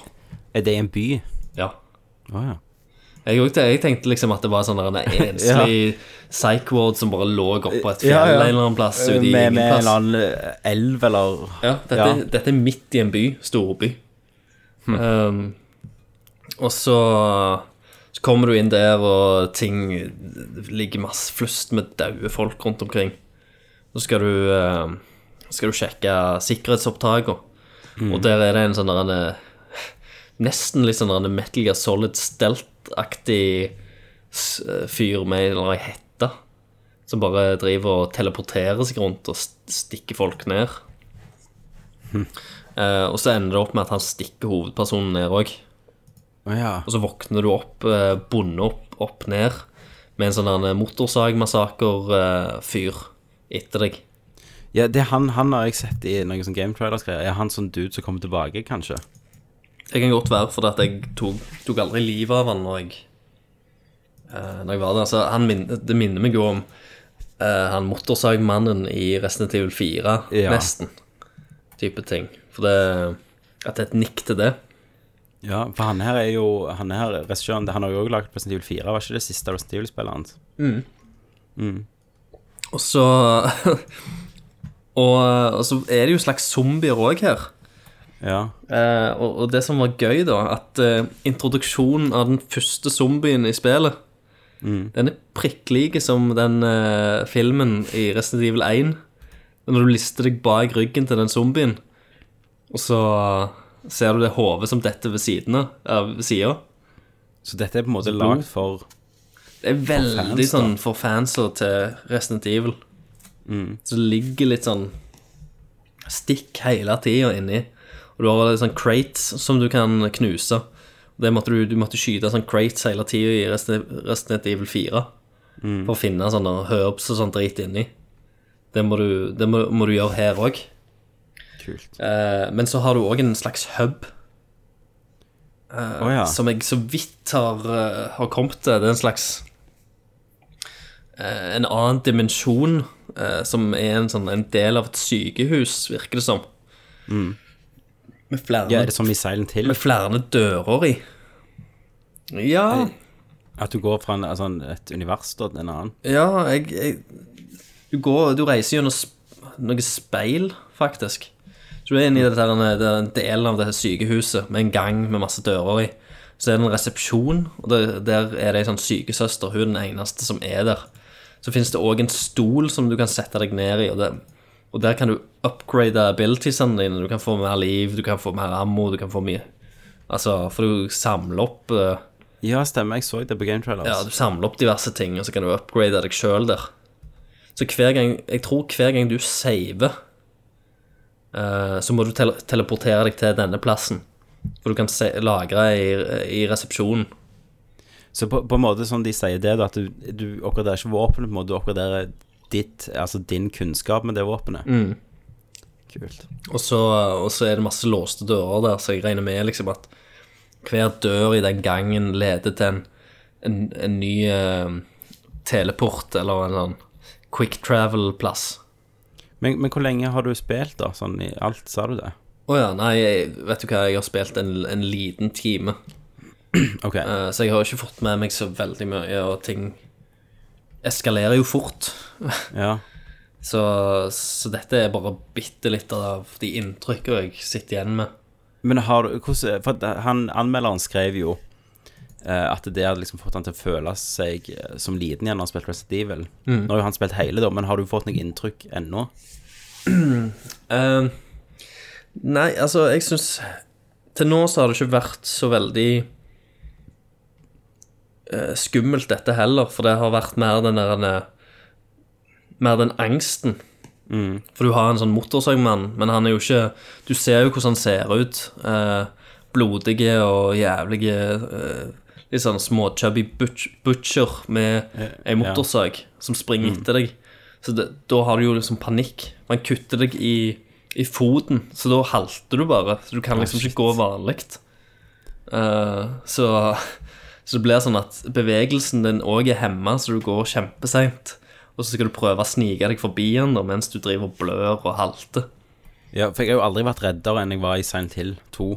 Speaker 4: er det en by?
Speaker 5: Ja.
Speaker 4: Å ja.
Speaker 5: Jeg, også, jeg tenkte liksom at det var sånn der en enslig psych ward som bare lå oppå et fjell
Speaker 4: Ja, ja.
Speaker 5: en eller annen plass ute i
Speaker 4: Med,
Speaker 5: ingen
Speaker 4: med en eller
Speaker 5: plass.
Speaker 4: annen eh, elv eller
Speaker 5: Ja, dette,
Speaker 4: Ja.
Speaker 5: dette er midt i en by. Storby. Um, og så, så kommer du inn der, og ting det ligger masse flust med daue folk rundt omkring. Så skal du, um, skal du sjekke sikkerhetsopptakene, og der er det en sånn der en eh, nesten litt sånn der en Metal Gear Solid Stelt-aktig s- eh, fyr med en eller annen hette. Som bare driver og teleporterer seg rundt og st- stikker folk ned. Eh, og så ender det opp med at han stikker hovedpersonen ned òg.
Speaker 4: Å ja.
Speaker 5: Og så våkner du opp, eh, bundet opp, opp ned, eh, med en sånn der motorsagmassaker-fyr eh, etter deg.
Speaker 4: Ja, det er han, han har jeg sett i noen sånn Game Trailers-greier. Er han sånn dude som kommer tilbake, kanskje?
Speaker 5: Jeg kan godt være fordi at jeg tok, tok aldri livet av han når jeg, eh, når jeg var der. Altså, han min, det minner meg jo om eh, han motorsagmannen i Resident Evil 4,
Speaker 4: Ja.
Speaker 5: nesten. Type ting. For det, at det er et nikk til det.
Speaker 4: Ja, for han her er jo Han her, regissøren, han har jo også lagt Resident Evil 4, var ikke det siste Resident Evil-spillet hans?
Speaker 5: Og så og, og så er det jo slags zombier òg her.
Speaker 4: Ja.
Speaker 5: Eh, og, og det som var gøy, da, at eh, introduksjonen av den første zombien i spillet Den er prikk like som den eh, filmen i Resident Evil 1. Når du lister deg bak ryggen til den zombien, og så ser du det hodet som detter ved siden av- av sida.
Speaker 4: Så dette er på en måte lagd for
Speaker 5: Det er veldig
Speaker 4: fans, da.
Speaker 5: sånn for fanser til Resident Evil.
Speaker 4: Mm.
Speaker 5: Så det ligger litt sånn stikk hele tida inni. Og du har litt sånn crates som du kan knuse. Det måtte du, du måtte skyte sånn crates hele tida i Resident Resident Evil 4
Speaker 4: Mm.
Speaker 5: for å finne sånne herbs og sånn drit inni. Det må du, det må, må du gjøre her òg.
Speaker 4: Kult. Å
Speaker 5: Eh, men så har du òg en slags hub
Speaker 4: ja.
Speaker 5: som jeg så vidt har, eh, har kommet til. Det er en slags eh, En annen dimensjon eh, som er en, sånn, en del av et sykehus, virker det som. Med, flere,
Speaker 4: Mm. ja. Er det som i Silent Hill?
Speaker 5: med flere dører i.
Speaker 4: Eh,
Speaker 5: Ja,
Speaker 4: At du går fra en, altså en- et univers da, til en annen?
Speaker 5: ja jeg, jeg du, går, du reiser gjennom sp noe speil, faktisk. Så du er inne i dette her, den- den delen av dette sykehuset med en gang med masse dører i. Så er det en resepsjon, og der, der er det ei sånn sykesøster. Hun er den eneste som er der. Så fins det òg en stol som du kan sette deg ned i. Og, det, og der kan du upgrade abilitiesene dine. Du kan få mer liv, du kan få mer ammo, du kan få mye Altså, for du samler opp eh,
Speaker 4: Ja, stemmer. Jeg så det på Game Trailers.
Speaker 5: ja, du samler opp diverse ting, og så kan du upgrade deg sjøl der. Så hver gang, jeg tror hver gang du saver, eh, så må du tele teleportere deg til denne plassen. For du kan se lagre i, i resepsjonen.
Speaker 4: Så på, på en måte som de sier det, da, at du, du oppgraderer ikke våpenet, på en måte, du oppgraderer ditt, altså din kunnskap med det våpenet. Kult.
Speaker 5: Og så, og så er det masse låste dører der, så jeg regner med liksom at hver dør i den gangen leder til en, en, en ny eh, teleport eller en eller annen quick travel-plass.
Speaker 4: Men, men hvor lenge har du spilt, da? Sånn i alt, sa du det?
Speaker 5: Å ja, nei, jeg, vet du hva, jeg har spilt en, en liten time.
Speaker 4: Ok.
Speaker 5: Eh, Så jeg har jo ikke fått med meg så veldig mye, og ting eskalerer jo fort.
Speaker 4: ja.
Speaker 5: Så, så dette er bare bitte litt av de inntrykkene jeg sitter igjen med.
Speaker 4: Men har du hvordan, For at han, anmelderen skrev jo eh, at det hadde liksom fått han til å føle seg eh, som liten igjen når han spilte Resident Evil. Nå har jo han spilt hele, da, men har du fått noe inntrykk ennå?
Speaker 5: Eh, nei, altså, jeg syns Til nå så har det ikke vært så veldig eh, skummelt, dette heller, for det har vært mer den der eh, Mer den angsten. For du har en sånn motorsagmann, men han er jo ikke Du ser jo hvordan han ser ut. eh, blodige og jævlige eh, Litt sånn småchubby butch, butcher med ei motorsag som springer etter deg. Så det, da har du jo liksom panikk. Man kutter deg i, i foten, så da halter du bare. Så du kan liksom ikke gå vanlig. Eh, så, så det blir sånn at bevegelsen din òg er hemma, så du går kjempeseint. Og så skal du prøve å snike deg forbi han da, mens du driver og blør og halter.
Speaker 4: Ja, for jeg har jo aldri vært reddere enn jeg var i Silent Hill 2,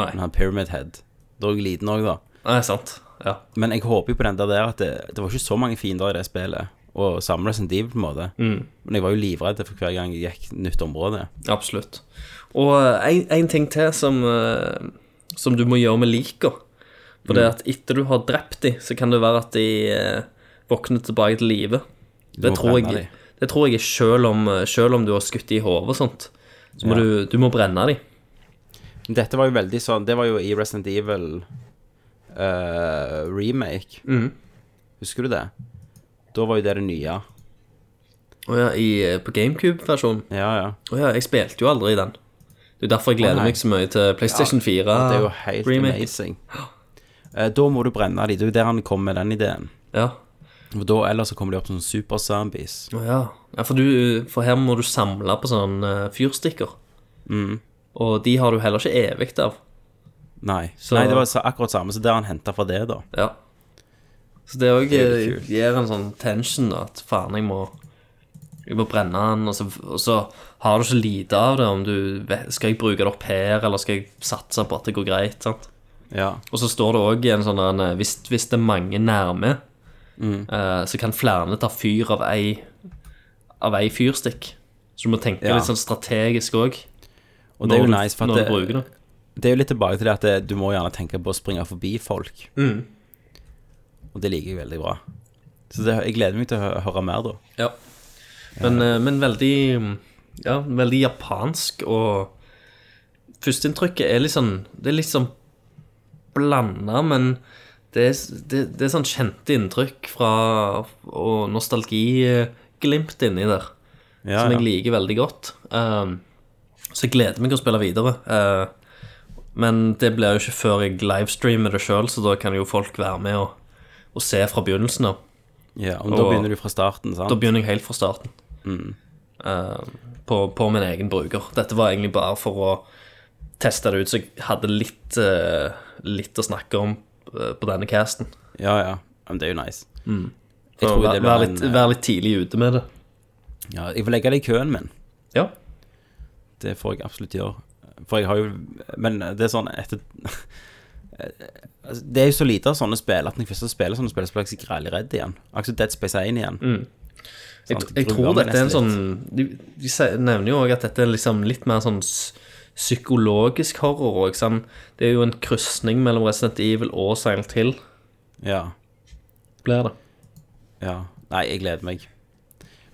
Speaker 5: Nei,
Speaker 4: med han Pyramid Head. Da var jeg liten òg, da.
Speaker 5: Nei sant. Ja.
Speaker 4: Men jeg håper jo på den der der at det, det var ikke så mange fiender i det spillet. Og samle Resident Evil, på en måte. Men jeg var jo livredd for hver gang jeg gikk nytt område.
Speaker 5: Absolutt. Og eh, en, en ting til som, eh, som du må gjøre med liker. For
Speaker 4: Mm.
Speaker 5: det er at etter du har drept dem, så kan det være at de eh, våkner tilbake til live. Det
Speaker 4: må
Speaker 5: tror,
Speaker 4: brenne de.
Speaker 5: jeg, det tror jeg er selv om, eh, selv om du har skutt de i hodet og sånt. Så må
Speaker 4: Ja.
Speaker 5: du, du må brenne dem.
Speaker 4: Men Dette var jo veldig sånn Det var jo i Resident Evil eh, remake.
Speaker 5: Mm.
Speaker 4: Husker du det? Da var jo det det nye.
Speaker 5: Å ja, i, eh, på GameCube-versjonen.
Speaker 4: Ja, ja.
Speaker 5: Å ja, jeg spilte jo aldri den. Det er derfor jeg gleder
Speaker 4: nei.
Speaker 5: meg så mye til PlayStation 4.
Speaker 4: Det er jo helt amazing. Eh, da må du brenne de. Det er jo der han kom med den ideen.
Speaker 5: Ja.
Speaker 4: For da ellers så kommer de opp som superzombies.
Speaker 5: Å ja. ja for, du, for her må du samle på sånne eh, fyrstikker.
Speaker 4: Mm.
Speaker 5: Og de har du heller ikke evig av.
Speaker 4: Nei.
Speaker 5: Så-
Speaker 4: Nei, det var sa- akkurat samme, så det har han henta fra det, da.
Speaker 5: Ja. Så det òg
Speaker 4: Det er litt kult.
Speaker 5: gir en sånn tension, da, at faen, jeg må jeg må brenne den, og så, og så har du så lite av det om du vet- Skal jeg bruke det opp her, eller skal jeg satse på at det går greit? sant?
Speaker 4: Ja.
Speaker 5: Og så står det òg en sånn der, hvis, hvis det er mange nærme,
Speaker 4: Mm.
Speaker 5: eh, så kan flere ta fyr av ei, av ei fyrstikk. Så du må tenke
Speaker 4: Ja.
Speaker 5: litt sånn strategisk òg.
Speaker 4: Og det er jo nice, for at
Speaker 5: når du
Speaker 4: det,
Speaker 5: bruker det.
Speaker 4: det er jo litt tilbake til det at det, du må gjerne tenke på å springe forbi folk.
Speaker 5: Mm.
Speaker 4: Og det liker jeg veldig bra. Så det, jeg gleder meg til å hø- høre mer, da.
Speaker 5: Ja. Men, eh, men veldig Ja, veldig japansk, og førsteinntrykket er litt sånn Det er litt sånn blanda, men det er, s- det, det er sånn kjente inntrykk fra Og nostalgiglimt inni der,
Speaker 4: Ja,
Speaker 5: som jeg
Speaker 4: ja.
Speaker 5: liker veldig godt. Um, så jeg gleder meg å spille videre. eh, men det blir jo ikke før jeg livestreamer det sjøl, så da kan jo folk være med og, og se fra begynnelsen av.
Speaker 4: ja men da
Speaker 5: Og-
Speaker 4: begynner du fra starten, sant?
Speaker 5: Da begynner jeg helt fra starten.
Speaker 4: Mm.
Speaker 5: Eh, på, på min egen bruker. Dette var egentlig bare for å teste det ut, så jeg hadde litt, eh, litt å snakke om eh, på denne casten.
Speaker 4: Ja, ja. Men det er jo nice.
Speaker 5: Mm. For
Speaker 4: Jeg
Speaker 5: å
Speaker 4: tror
Speaker 5: være
Speaker 4: det
Speaker 5: være
Speaker 4: blir
Speaker 5: litt,
Speaker 4: en eh,
Speaker 5: være litt tidlig ute med det.
Speaker 4: ja, Jeg får legge det i køen min.
Speaker 5: Ja.
Speaker 4: Det får jeg absolutt gjøre. For jeg har jo Men det er sånn etter Altså, Det er jo så lite av sånne spill at når jeg først spiller sånne spill, så blir jeg så grælig redd igjen. Akkurat Dead Space 1 igjen.
Speaker 5: Mm. Jeg,
Speaker 4: Sant,
Speaker 5: jeg
Speaker 4: gruer
Speaker 5: tror
Speaker 4: meg
Speaker 5: dette er en
Speaker 4: nesten
Speaker 5: sånn
Speaker 4: litt.
Speaker 5: De, de sier- nevner jo òg at dette er liksom litt mer sånn s- psykologisk horror. Ikke sant? Det er jo en krysning mellom Resident Evil og Silent Hill,
Speaker 4: Ja.
Speaker 5: blir det.
Speaker 4: Ja. Nei, jeg gleder meg.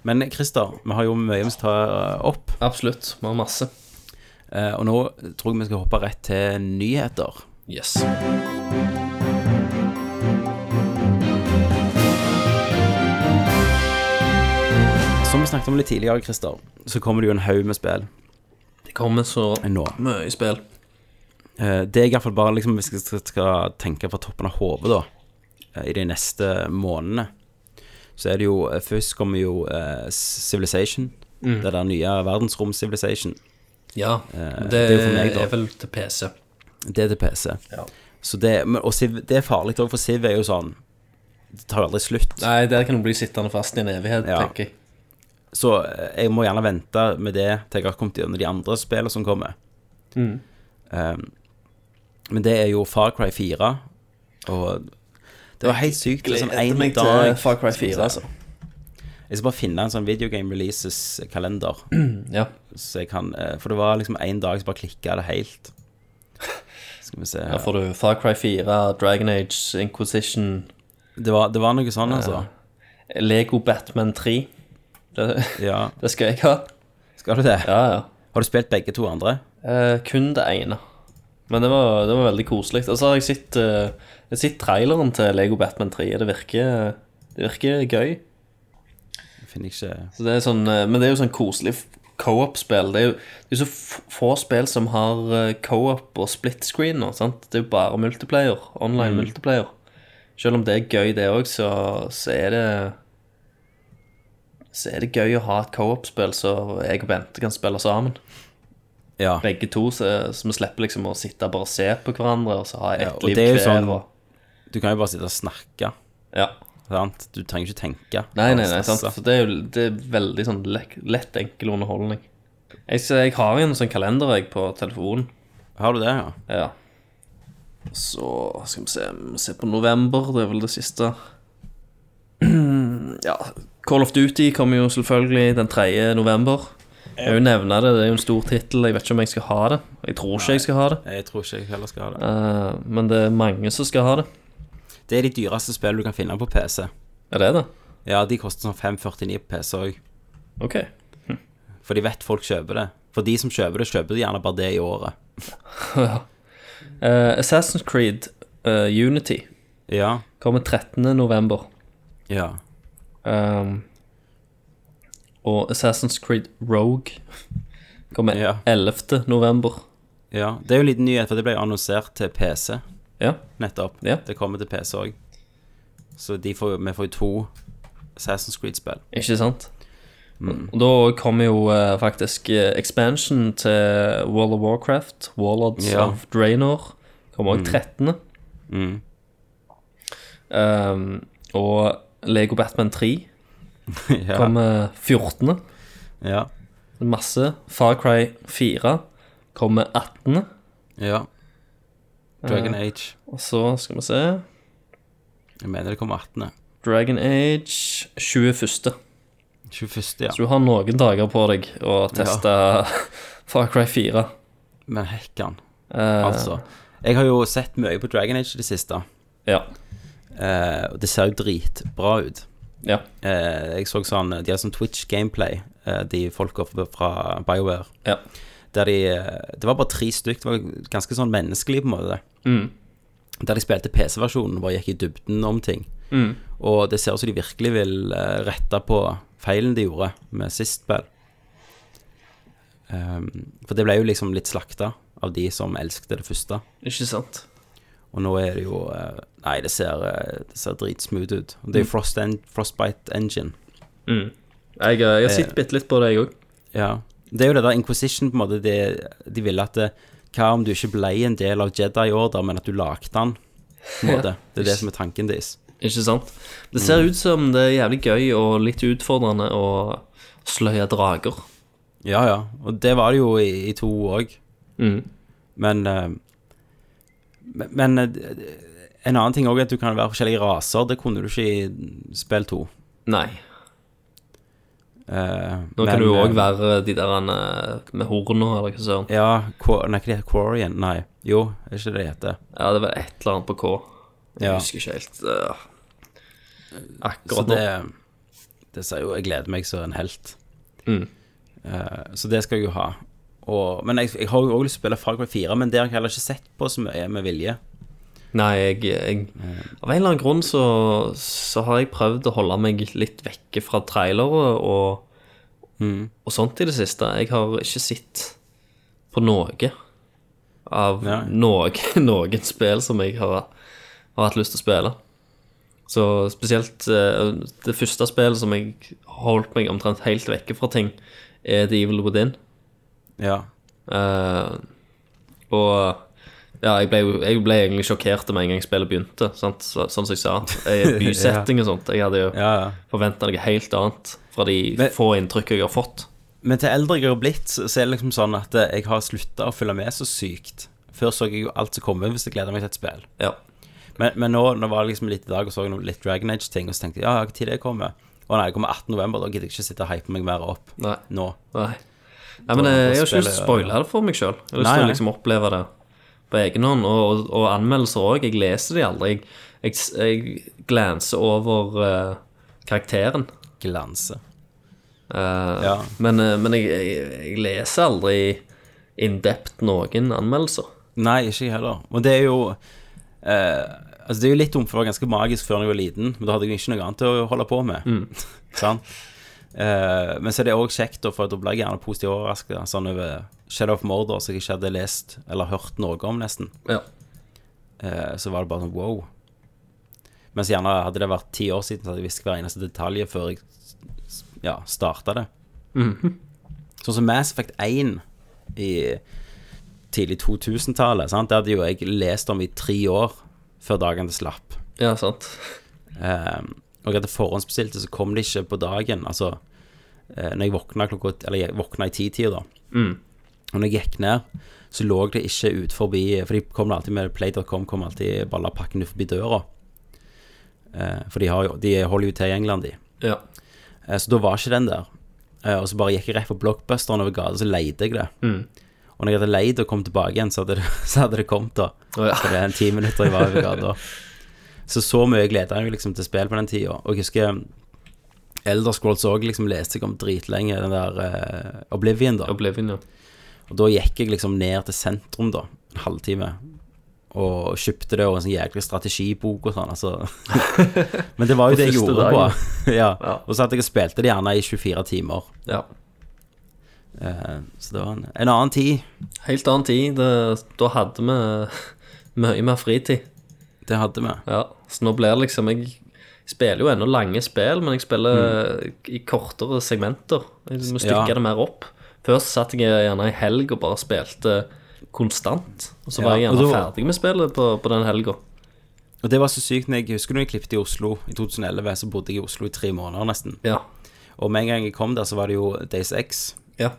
Speaker 4: Men Christer, vi har jo mye vi skal ta eh, opp,
Speaker 5: Absolutt. Vi har masse.
Speaker 4: eh, og nå tror jeg vi skal hoppe rett til nyheter.
Speaker 5: Yes.
Speaker 4: Som vi snakket om litt tidligere, Christer, så kommer det jo en haug med spill
Speaker 5: Det kommer så
Speaker 4: nå.
Speaker 5: mye spill.
Speaker 4: Eh, Det er i hvert fall bare liksom, hvis jeg skal, skal tenke fra toppen av hodet da, eh, i de neste månedene, så er det jo, eh, først kommer jo eh, Civilization, det der nye verdensrom-Civilization,
Speaker 5: Ja, det,
Speaker 4: Eh, det er jo for meg, da.
Speaker 5: er vel til PC.
Speaker 4: det er til PC. Så det, men, og Civ, det er farlig også, for Civ er jo sånn, det tar jo aldri slutt.
Speaker 5: Nei, der kan du bli sittende fast i en evighet,
Speaker 4: Ja.
Speaker 5: tenker jeg.
Speaker 4: Så eh, jeg må gjerne vente med det til jeg har kommet gjennom de andre spillene som kommer. Um, men det er jo Far Cry 4, og det var helt sykt. det er sånn en dag-
Speaker 5: altså.
Speaker 4: Jeg skal bare finne en sånn videogame releases-kalender,
Speaker 5: Ja.
Speaker 4: eh, så jeg kan eh, For det var liksom en dag som bare klikka det helt. Skal vi se
Speaker 5: Her
Speaker 4: her.
Speaker 5: får du Far Cry 4, Dragon Age, Inquisition,
Speaker 4: Det var, det var noe sånn, altså.
Speaker 5: Lego Batman 3. Det,
Speaker 4: Ja,
Speaker 5: det skal jeg ha.
Speaker 4: skal du det?
Speaker 5: Ja, ja.
Speaker 4: Har du spilt begge to andre?
Speaker 5: Eh, kun det ene. Men det var, det var veldig koselig. Og så har jeg sett, eh, jeg har sett traileren til Lego Batman 3. og Det virker, det virker gøy.
Speaker 4: Jeg finner ikke
Speaker 5: Så det er sånn, eh, men det er jo sånn koselig f- co-op-spill. Det er jo det er jo så f- få spill som har eh, co-op og split screen nå. sant? Det er jo bare multiplayer. Online multiplayer. Selv om det er gøy, det òg, så, så er det Så er det gøy å ha et co-op-spill så jeg og Bente kan spille sammen.
Speaker 4: Ja.
Speaker 5: Begge to, så, så vi slipper liksom å sitte og bare se på hverandre og så ha ett
Speaker 4: Ja, og
Speaker 5: liv
Speaker 4: det er jo
Speaker 5: hver.
Speaker 4: sånn-
Speaker 5: og,
Speaker 4: Du kan jo bare sitte og snakke,
Speaker 5: ja.
Speaker 4: sant? Du trenger ikke tenke.
Speaker 5: Nei, nei, nei,
Speaker 4: Bare
Speaker 5: sant?
Speaker 4: stresse.
Speaker 5: For det er jo det er veldig sånn lek, lett, enkel underholdning. Jeg, ser- jeg har jo en sånn kalender jeg på telefonen.
Speaker 4: Har du det, ja?
Speaker 5: Ja. Så skal vi se Vi må se på november, det er vel det siste. ja. Call of Duty kommer jo selvfølgelig den 3. november. Jeg vil nevne det, det er jo en stor tittel. Jeg vet ikke om jeg skal ha det. Jeg tror ikke jeg skal ha det.
Speaker 4: Jeg tror ikke jeg heller skal ha det.
Speaker 5: Eh, men det er mange som skal ha det.
Speaker 4: Det er de dyreste spillene du kan finne på PC.
Speaker 5: Er det det?
Speaker 4: Ja, de koster sånn 549 på PC òg.
Speaker 5: Ok.
Speaker 4: For de vet folk kjøper det. For de som kjøper det, kjøper de gjerne bare det i året.
Speaker 5: Eh, Assassin's Creed eh, Unity
Speaker 4: Ja.
Speaker 5: kommer 13. november.
Speaker 4: Ja.
Speaker 5: Um, og Assassin's Creed Rogue kommer
Speaker 4: Ja.
Speaker 5: 11. november.
Speaker 4: ja. Det er jo en liten nyhet, for det ble jo annonsert til PC
Speaker 5: Ja,
Speaker 4: nettopp.
Speaker 5: Ja.
Speaker 4: Det kommer til PC òg. Så de får, jo- vi får jo to Assassin's Creed-spill.
Speaker 5: Ikke sant?
Speaker 4: Mm.
Speaker 5: Og da kommer jo eh, faktisk eh, expansion til World of Warcraft, Warlords
Speaker 4: Ja. Mm.
Speaker 5: of Draenor. Kommer også 13. Um, og Lego Batman 3
Speaker 4: ja.
Speaker 5: kommer 14.
Speaker 4: ja.
Speaker 5: Masse. Far Cry 4 kommer 18.
Speaker 4: Ja.
Speaker 5: Eh.
Speaker 4: Dragon Age.
Speaker 5: Og så skal vi se
Speaker 4: Jeg mener det kommer 18.
Speaker 5: Dragon Age 21.
Speaker 4: 21., ja.
Speaker 5: Så du har noen dager på deg å teste Far Cry 4.
Speaker 4: Men hekkan,
Speaker 5: Eh,
Speaker 4: altså. Jeg har jo sett mye på Dragon Age i det siste,
Speaker 5: Ja.
Speaker 4: eh, og det ser jo dritbra ut.
Speaker 5: ja.
Speaker 4: Eh, jeg så sånn De har sånn Twitch-gameplay, eh, de folka fra- fra BioWare.
Speaker 5: Ja.
Speaker 4: Der de eh, Det var bare tre stykk. Det var ganske sånn menneskelig, på en måte.
Speaker 5: Mm.
Speaker 4: Der de spilte PC-versjonen, bare gikk i dybden om ting.
Speaker 5: Mm.
Speaker 4: Og det ser ut som de virkelig vil eh, rette på feilen de gjorde med sist spill. Ehm, for det ble jo liksom litt slakta av de som elsket det første.
Speaker 5: Ikke sant?
Speaker 4: Og nå er det jo eh, Nei, det ser, eh, det ser dritsmooth ut. Og
Speaker 5: Mm.
Speaker 4: Det er jo Frost en Frostbite Engine.
Speaker 5: Jeg, eh, jeg har sett bitte litt på det, jeg òg.
Speaker 4: Ja. Det er jo det der Inquisition, på en måte. Det, de ville at det, Hva om du ikke ble en del av Jedi-order, men at du lagde den? På en måte. Det er det som er tanken deres.
Speaker 5: Ikke sant? Mm. Det ser ut som det er jævlig gøy og litt utfordrende å sløye drager.
Speaker 4: Ja, ja. Og det var det jo i, i to òg.
Speaker 5: Mm.
Speaker 4: Men eh, men- Men eh, en annen ting òg er at du kan være forskjellige raser. Det kunne du ikke i spill to.
Speaker 5: Nei.
Speaker 4: Eh,
Speaker 5: Nå
Speaker 4: men,
Speaker 5: kan du jo
Speaker 4: eh,
Speaker 5: òg være de der eh, med horna, eller hva søren.
Speaker 4: Ja, Qua- nei, ikke det heter Quarrien, nei. Jo, er ikke det det heter?
Speaker 5: Ja, det var et eller annet på K. Jeg
Speaker 4: Ja.
Speaker 5: husker ikke helt eh,
Speaker 4: Så
Speaker 5: akkurat nå.
Speaker 4: det, det ser jo Jeg gleder meg som en helt. Eh, så det skal jeg jo ha. Og, men jeg, jeg har jo òg lyst til å spille Far Cry 4, men det har jeg heller ikke sett på så mye med vilje.
Speaker 5: Nei, jeg, jeg
Speaker 4: Eh.
Speaker 5: Av en eller annen grunn så, så har jeg prøvd å holde meg litt vekke fra trailere og,
Speaker 4: Mm.
Speaker 5: og sånt i det siste. Jeg har ikke sett på noe av
Speaker 4: Nei.
Speaker 5: noe, noen spill som jeg har, har hatt lyst til å spille. Så spesielt eh, det første spillet som jeg holdt meg omtrent helt vekke fra ting, er The Evil Within.
Speaker 4: Ja.
Speaker 5: Eh, og ja, jeg ble, jo- jeg ble egentlig sjokkert med en gang spillet begynte, sant? Så, sånn som jeg sa. Jeg, bysetting og sånt. Jeg hadde jo
Speaker 4: ja, ja.
Speaker 5: forventa noe helt annet fra de
Speaker 4: Men-
Speaker 5: få inntrykk jeg har fått.
Speaker 4: Men til eldre jeg har blitt, så så er det liksom sånn at eh, jeg har slutta å følge med så sykt. Før så jeg jo alt som kom ut hvis jeg gleda meg til et spill.
Speaker 5: Ja.
Speaker 4: Men, men nå, nå var det liksom litt i dag og så jeg noe litt Dragon Age-ting, og så tenkte jeg ja, når det kommer? Å nei, det kommer 18. november, da gidder jeg ikke sitte og hype meg mer opp
Speaker 5: Nei.
Speaker 4: nå.
Speaker 5: Nei. Nei, men eh, jeg har ikke lyst til å
Speaker 4: spillet-
Speaker 5: spoile det for meg sjøl. Jeg har lyst
Speaker 4: Nei,
Speaker 5: til å
Speaker 4: nei.
Speaker 5: liksom oppleve det på egen hånd. Og, og, og anmeldelser òg. Jeg leser de aldri. Jeg, jeg, s- jeg glanser over eh, karakteren.
Speaker 4: Glanse.
Speaker 5: Eh,
Speaker 4: Ja.
Speaker 5: Men, eh, men jeg, jeg, jeg leser aldri in-dept noen anmeldelser.
Speaker 4: Nei, ikke jeg heller. Og det er jo eh, Altså det er jo litt dumt, for det var ganske magisk før jeg var liten, men da hadde jeg jo ikke noe annet å holde på med. Sant? Eh, men så er det òg kjekt, da, for da ble jeg gjerne positivt overraska sånn over Shadow of Mordor, som jeg ikke hadde lest eller hørt noe om, nesten.
Speaker 5: Ja.
Speaker 4: Eh, så var det bare sånn wow. Mens gjerne hadde det vært ti år siden, så hadde jeg visst hver eneste detalj før jeg s- ja, starta det. Sånn som Mass Effect 1 i tidlig 2000-tallet, sant? det hadde jo jeg lest om i tre år før dagen det slapp.
Speaker 5: ja, sant.
Speaker 4: Um, og jeg hadde forhåndsbestilt det, så kom det ikke på dagen. Altså, eh, når jeg våkna klokka Eller jeg våkna i titida, da. Og når jeg gikk ned, så lå det ikke ut forbi For de kom alltid med Play.com, kom alltid bare la pakken ut forbi døra. Eh, for de, har, jo- de holder jo til i England, de.
Speaker 5: Ja.
Speaker 4: Eh, så da var ikke den der. Eh, og så bare gikk jeg rett på blockbusteren over gata, så leide jeg det.
Speaker 5: Mm.
Speaker 4: Og når jeg hadde leid og kom tilbake igjen, så hadde det, så hadde det kommet, da.
Speaker 5: Å, ja.
Speaker 4: Så det er en ti minutter jeg var over gata. Så så mye gleda jeg meg liksom til spill på den tida. Og jeg husker Elder Scrolls òg liksom leste jeg om dritlenge, den der eh, Oblivion, da.
Speaker 5: Oblivion, ja.
Speaker 4: Og da gikk jeg liksom ned til sentrum, da, en halvtime, og kjøpte det og en sånn jæklig strategibok og sånn, altså. Men det var jo
Speaker 5: På
Speaker 4: det jeg
Speaker 5: første
Speaker 4: gjorde på. ja.
Speaker 5: Ja.
Speaker 4: Og så hadde jeg og spilte det gjerne i 24 timer.
Speaker 5: ja.
Speaker 4: Eh, så det var en, en annen tid.
Speaker 5: Helt annen tid. Det, da hadde vi mye mer fritid.
Speaker 4: Det hadde vi.
Speaker 5: Ja. Så nå blir det liksom Jeg spiller jo ennå lange spill, men jeg spiller i kortere segmenter. Jeg må stykke
Speaker 4: Ja.
Speaker 5: det mer opp. Før så satt jeg gjerne i helg og bare spilte konstant. Og så var jeg
Speaker 4: Ja, og
Speaker 5: gjerne
Speaker 4: da-
Speaker 5: ferdig med spillet på, på den helga.
Speaker 4: Og det var så sykt når jeg husker når jeg klippet i Oslo i 2011, så bodde jeg i Oslo i tre måneder nesten.
Speaker 5: Ja.
Speaker 4: Og med en gang jeg kom der, så var det jo Days X
Speaker 5: ja.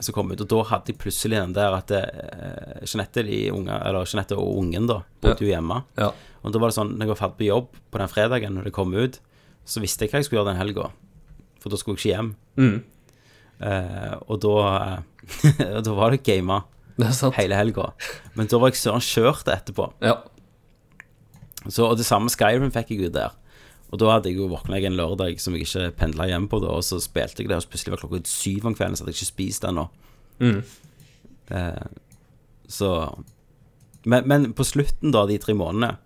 Speaker 4: som kom ut, og da hadde jeg plutselig den der at eh, Jeanette, de unge, eller Jeanette og ungen da, bodde jo hjemme.
Speaker 5: Ja.
Speaker 4: Og da var det sånn, når jeg var ferdig på jobb på den fredagen når det kom ut, så visste jeg hva jeg skulle gjøre den helga. For da skulle jeg ikke hjem. Eh, og da, og da var det gama
Speaker 5: Det er sant.
Speaker 4: hele helga. Men da var jeg søren kjørt etterpå.
Speaker 5: Ja.
Speaker 4: Så, og det samme Skyrim fikk jeg ut der. Og da hadde jeg jo våkna jeg en lørdag som jeg ikke pendla hjem på, da, og så spilte jeg det, og så plutselig var klokka syv om kvelden, så hadde jeg ikke spist ennå. Eh, så men, men på slutten, da, de tre månedene,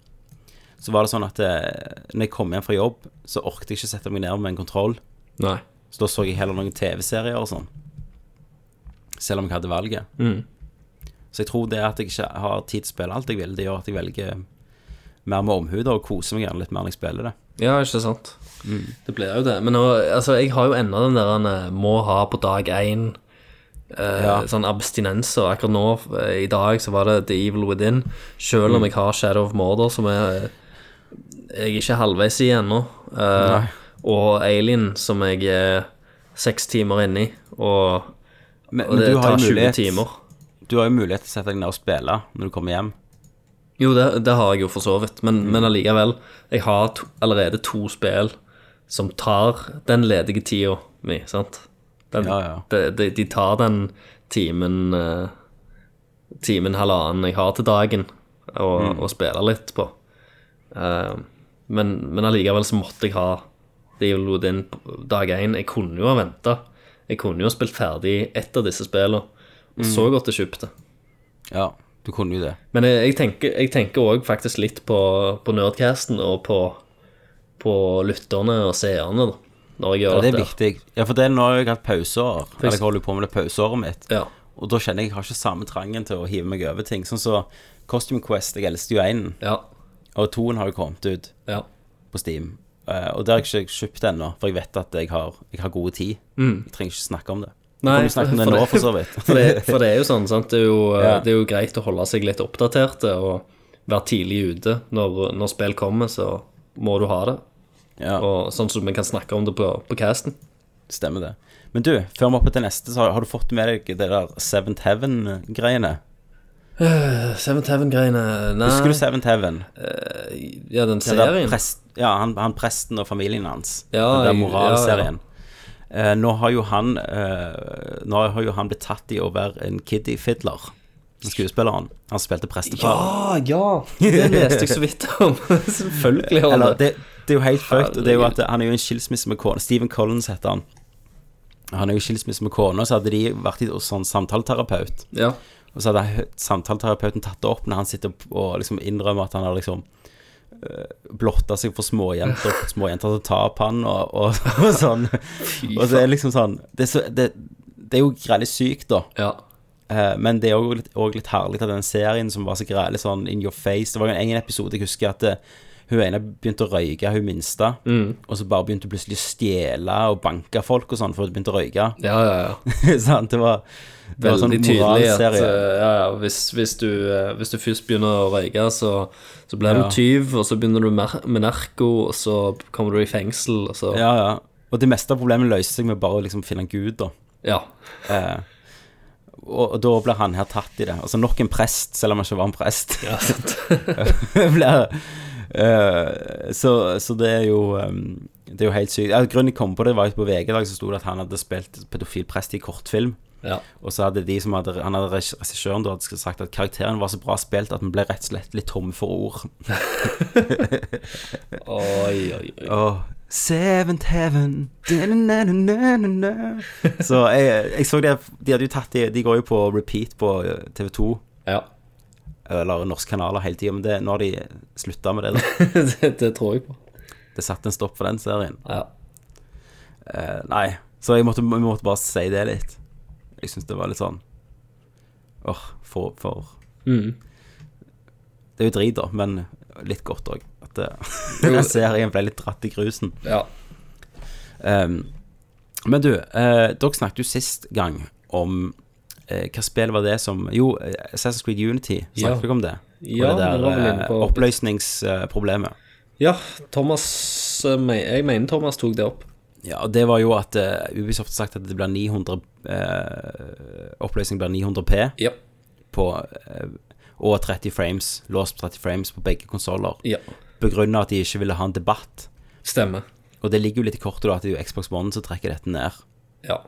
Speaker 4: så var det sånn at eh, når jeg kom hjem fra jobb, så orket jeg ikke sette meg ned med en kontroll,
Speaker 5: Nei.
Speaker 4: så da så jeg heller noen TV-serier og sånn. Selv om jeg hadde valget.
Speaker 5: Mm.
Speaker 4: Så jeg tror det at jeg ikke har tid til å spille alt jeg vil, det gjør at jeg velger mer med omhu da, og koser meg gjerne litt mer når jeg spiller det.
Speaker 5: Ja, ikke sant.
Speaker 4: Mm.
Speaker 5: Det blir jo det. Men nå, altså, jeg har jo ennå den der han, eh, må ha på dag én. Eh,
Speaker 4: Ja.
Speaker 5: Sånn abstinenser. Akkurat nå, eh, i dag, så var det The Evil Within. Selv
Speaker 4: Mm.
Speaker 5: om jeg har Shadow of Murder, som er eh, Jeg er ikke halvveis i ennå. Eh,
Speaker 4: Nei.
Speaker 5: og Alien, som jeg er seks timer inni. Og,
Speaker 4: Men,
Speaker 5: og
Speaker 4: men
Speaker 5: det
Speaker 4: du,
Speaker 5: tar
Speaker 4: har jo
Speaker 5: 20
Speaker 4: mulighet,
Speaker 5: timer.
Speaker 4: du har jo mulighet til å sette deg ned og spille når du kommer hjem.
Speaker 5: Jo, det, det har jeg jo for så vidt, men,
Speaker 4: Mm.
Speaker 5: men allikevel. Jeg har to, allerede to spill som tar den ledige tida mi, sant? Den,
Speaker 4: Ja, ja.
Speaker 5: De, de, de tar den timen, eh, timen halvannen jeg har til dagen, og,
Speaker 4: Mm.
Speaker 5: og spiller litt på. Eh, men, men allikevel så måtte jeg ha det jeg lot inn på dag én. Jeg kunne jo ha venta. Jeg kunne jo ha spilt ferdig ett av disse spillene, og
Speaker 4: Mm.
Speaker 5: så gått og kjøpt det.
Speaker 4: Ja, du kunne jo det.
Speaker 5: Men jeg, jeg tenker jeg tenker òg faktisk litt på, på Nerdcasten og på, på lytterne og seerne da, når jeg gjør
Speaker 4: Ja, det er
Speaker 5: dette.
Speaker 4: viktig. Ja, for det, nå har jeg hatt pauseår, eller jeg
Speaker 5: eksempel.
Speaker 4: holder jo på med det pauseåret mitt,
Speaker 5: Ja.
Speaker 4: og da kjenner jeg jeg har ikke samme trangen til å hive meg over ting. Sånn som så Costume Quest, jeg elsket jo einen,
Speaker 5: Ja.
Speaker 4: og toen har jo kommet ut
Speaker 5: ja.
Speaker 4: på Steam. Eh, og det har jeg ikke kjøpt ennå, for jeg vet at jeg har, jeg har gode tid. Jeg trenger ikke snakke om det.
Speaker 5: Mm. Nei,
Speaker 4: Kan du snakke om det
Speaker 5: for
Speaker 4: nå,
Speaker 5: det-
Speaker 4: for så vidt?
Speaker 5: For det, for det er jo sånn, sant. Det er jo,
Speaker 4: Ja.
Speaker 5: det er jo greit å holde seg litt oppdaterte og være tidlig ute. Når, når spill kommer, så må du ha det.
Speaker 4: ja.
Speaker 5: Og sånn som vi kan snakke om det på, på casten.
Speaker 4: Stemmer det. Men du, før vi er oppe til neste, så har, har du fått med deg det der Seventh Heaven-greiene?
Speaker 5: Seventh Heaven-greiene Nei, eh,
Speaker 4: Husker du Seventh Heaven?
Speaker 5: ja, den
Speaker 4: Den der
Speaker 5: serien.
Speaker 4: prest, ja, han, han presten og familien hans.
Speaker 5: Ja,
Speaker 4: den der
Speaker 5: jeg-
Speaker 4: moralserien. Eh, nå, har jo han, eh, nå har jo han blitt tatt i å være en kiddie fiddler. Skuespilleren. Han spilte prestefar.
Speaker 5: Ja, Ah, ja! Det leste jeg så vidt om. Selvfølgelig har
Speaker 4: Eller,
Speaker 5: han det.
Speaker 4: det, det er jo helt fucked. Og det er jo at
Speaker 5: Herregud.
Speaker 4: Han er jo en skilsmisse med kona. Stephen Collins heter han. Han er jo i skilsmisse med kona, så hadde de vært i sånn samtaleterapeut.
Speaker 5: Ja.
Speaker 4: Og så hadde jeg hørt samtaleterapeuten tatt det opp når han sitter opp og liksom innrømmer at han har liksom eh, blotta seg for småjenter, fått småjenter til å ta på han og, og, og sånn. Og så er det liksom sånn Det er, så, det, det er jo grælig sykt, da.
Speaker 5: ja.
Speaker 4: Eh, men det er òg litt, og litt herlig at den serien som var så grælig sånn in your face Det var jo en egen episode jeg husker at eh, hun ene begynte å røyke, hun minste,
Speaker 5: Mm.
Speaker 4: og så bare begynte hun plutselig å stjele og banke folk og sånn for hun begynte å røyke.
Speaker 5: Ja, ja, ja.
Speaker 4: Sant? det var, det var sånn
Speaker 5: Veldig tydelig at eh,
Speaker 4: moralserie.
Speaker 5: ja, ja, hvis, hvis, du, eh, hvis du først begynner å røyke, så, så blir
Speaker 4: Ja.
Speaker 5: du tyv, og så begynner du mer- med narko, og så kommer du i fengsel, og så Ja.
Speaker 4: Ja, ja. Og det meste av problemet løser seg med bare å liksom finne en gud, da. Og, og da blir han her tatt i det. Altså nok en prest, selv om han ikke var en prest.
Speaker 5: sant.
Speaker 4: blir, eh, så, så det er jo ehm, Det er jo helt sykt. Ja, grunnen jeg kom på det, var jo på VG i dag så sto det at han hadde spilt pedofil prest i kortfilm.
Speaker 5: Ja.
Speaker 4: Og så hadde de som hadde, han hadde regi- regissøren da hadde sagt at karakteren var så bra spilt at vi ble rett og slett litt tomme for ord.
Speaker 5: Oi, oi, oi.
Speaker 4: Åh, Seventh Heaven Da-na-na-na-na-na. Så jeg, jeg så det De hadde jo tatt de, de går jo på repeat på eh, TV2
Speaker 5: Ja.
Speaker 4: Eller norske kanaler hele tiden Men det, nå har de sluttet med det da.
Speaker 5: det, det tror jeg på.
Speaker 4: Det satte en stopp for den serien
Speaker 5: Ja.
Speaker 4: Eh, Nei, så jeg måtte, jeg måtte bare si det litt Jeg synes det var litt sånn
Speaker 5: Mm.
Speaker 4: Åh, for, for Det er jo drit da, men litt godt òg. At eh, den serien ble litt dratt i grusen.
Speaker 5: Ja.
Speaker 4: Ehm, men du, eh, dere snakket jo sist gang om eh, hva spill var det som Jo, eh, Assassin's Creed Unity,
Speaker 5: Ja.
Speaker 4: snakket dere om det?
Speaker 5: Ja,
Speaker 4: og
Speaker 5: vi
Speaker 4: det
Speaker 5: var vel
Speaker 4: der
Speaker 5: inne
Speaker 4: eh,
Speaker 5: på-
Speaker 4: oppløsningsproblemet.
Speaker 5: ja, Thomas eh, me- Jeg mener Thomas tok det opp.
Speaker 4: Ja, og det var jo at eh, Ubisoft har sagt at det blir 900 eh, Oppløsning blir 900P
Speaker 5: Ja.
Speaker 4: på eh, og 30 frames, låst på 30 frames på begge konsoller.
Speaker 5: ja.
Speaker 4: Begrunna at de ikke ville ha en debatt.
Speaker 5: Stemmer.
Speaker 4: Og det ligger jo litt i kortet da at det er jo Xbox One som trekker dette ned.
Speaker 5: Ja.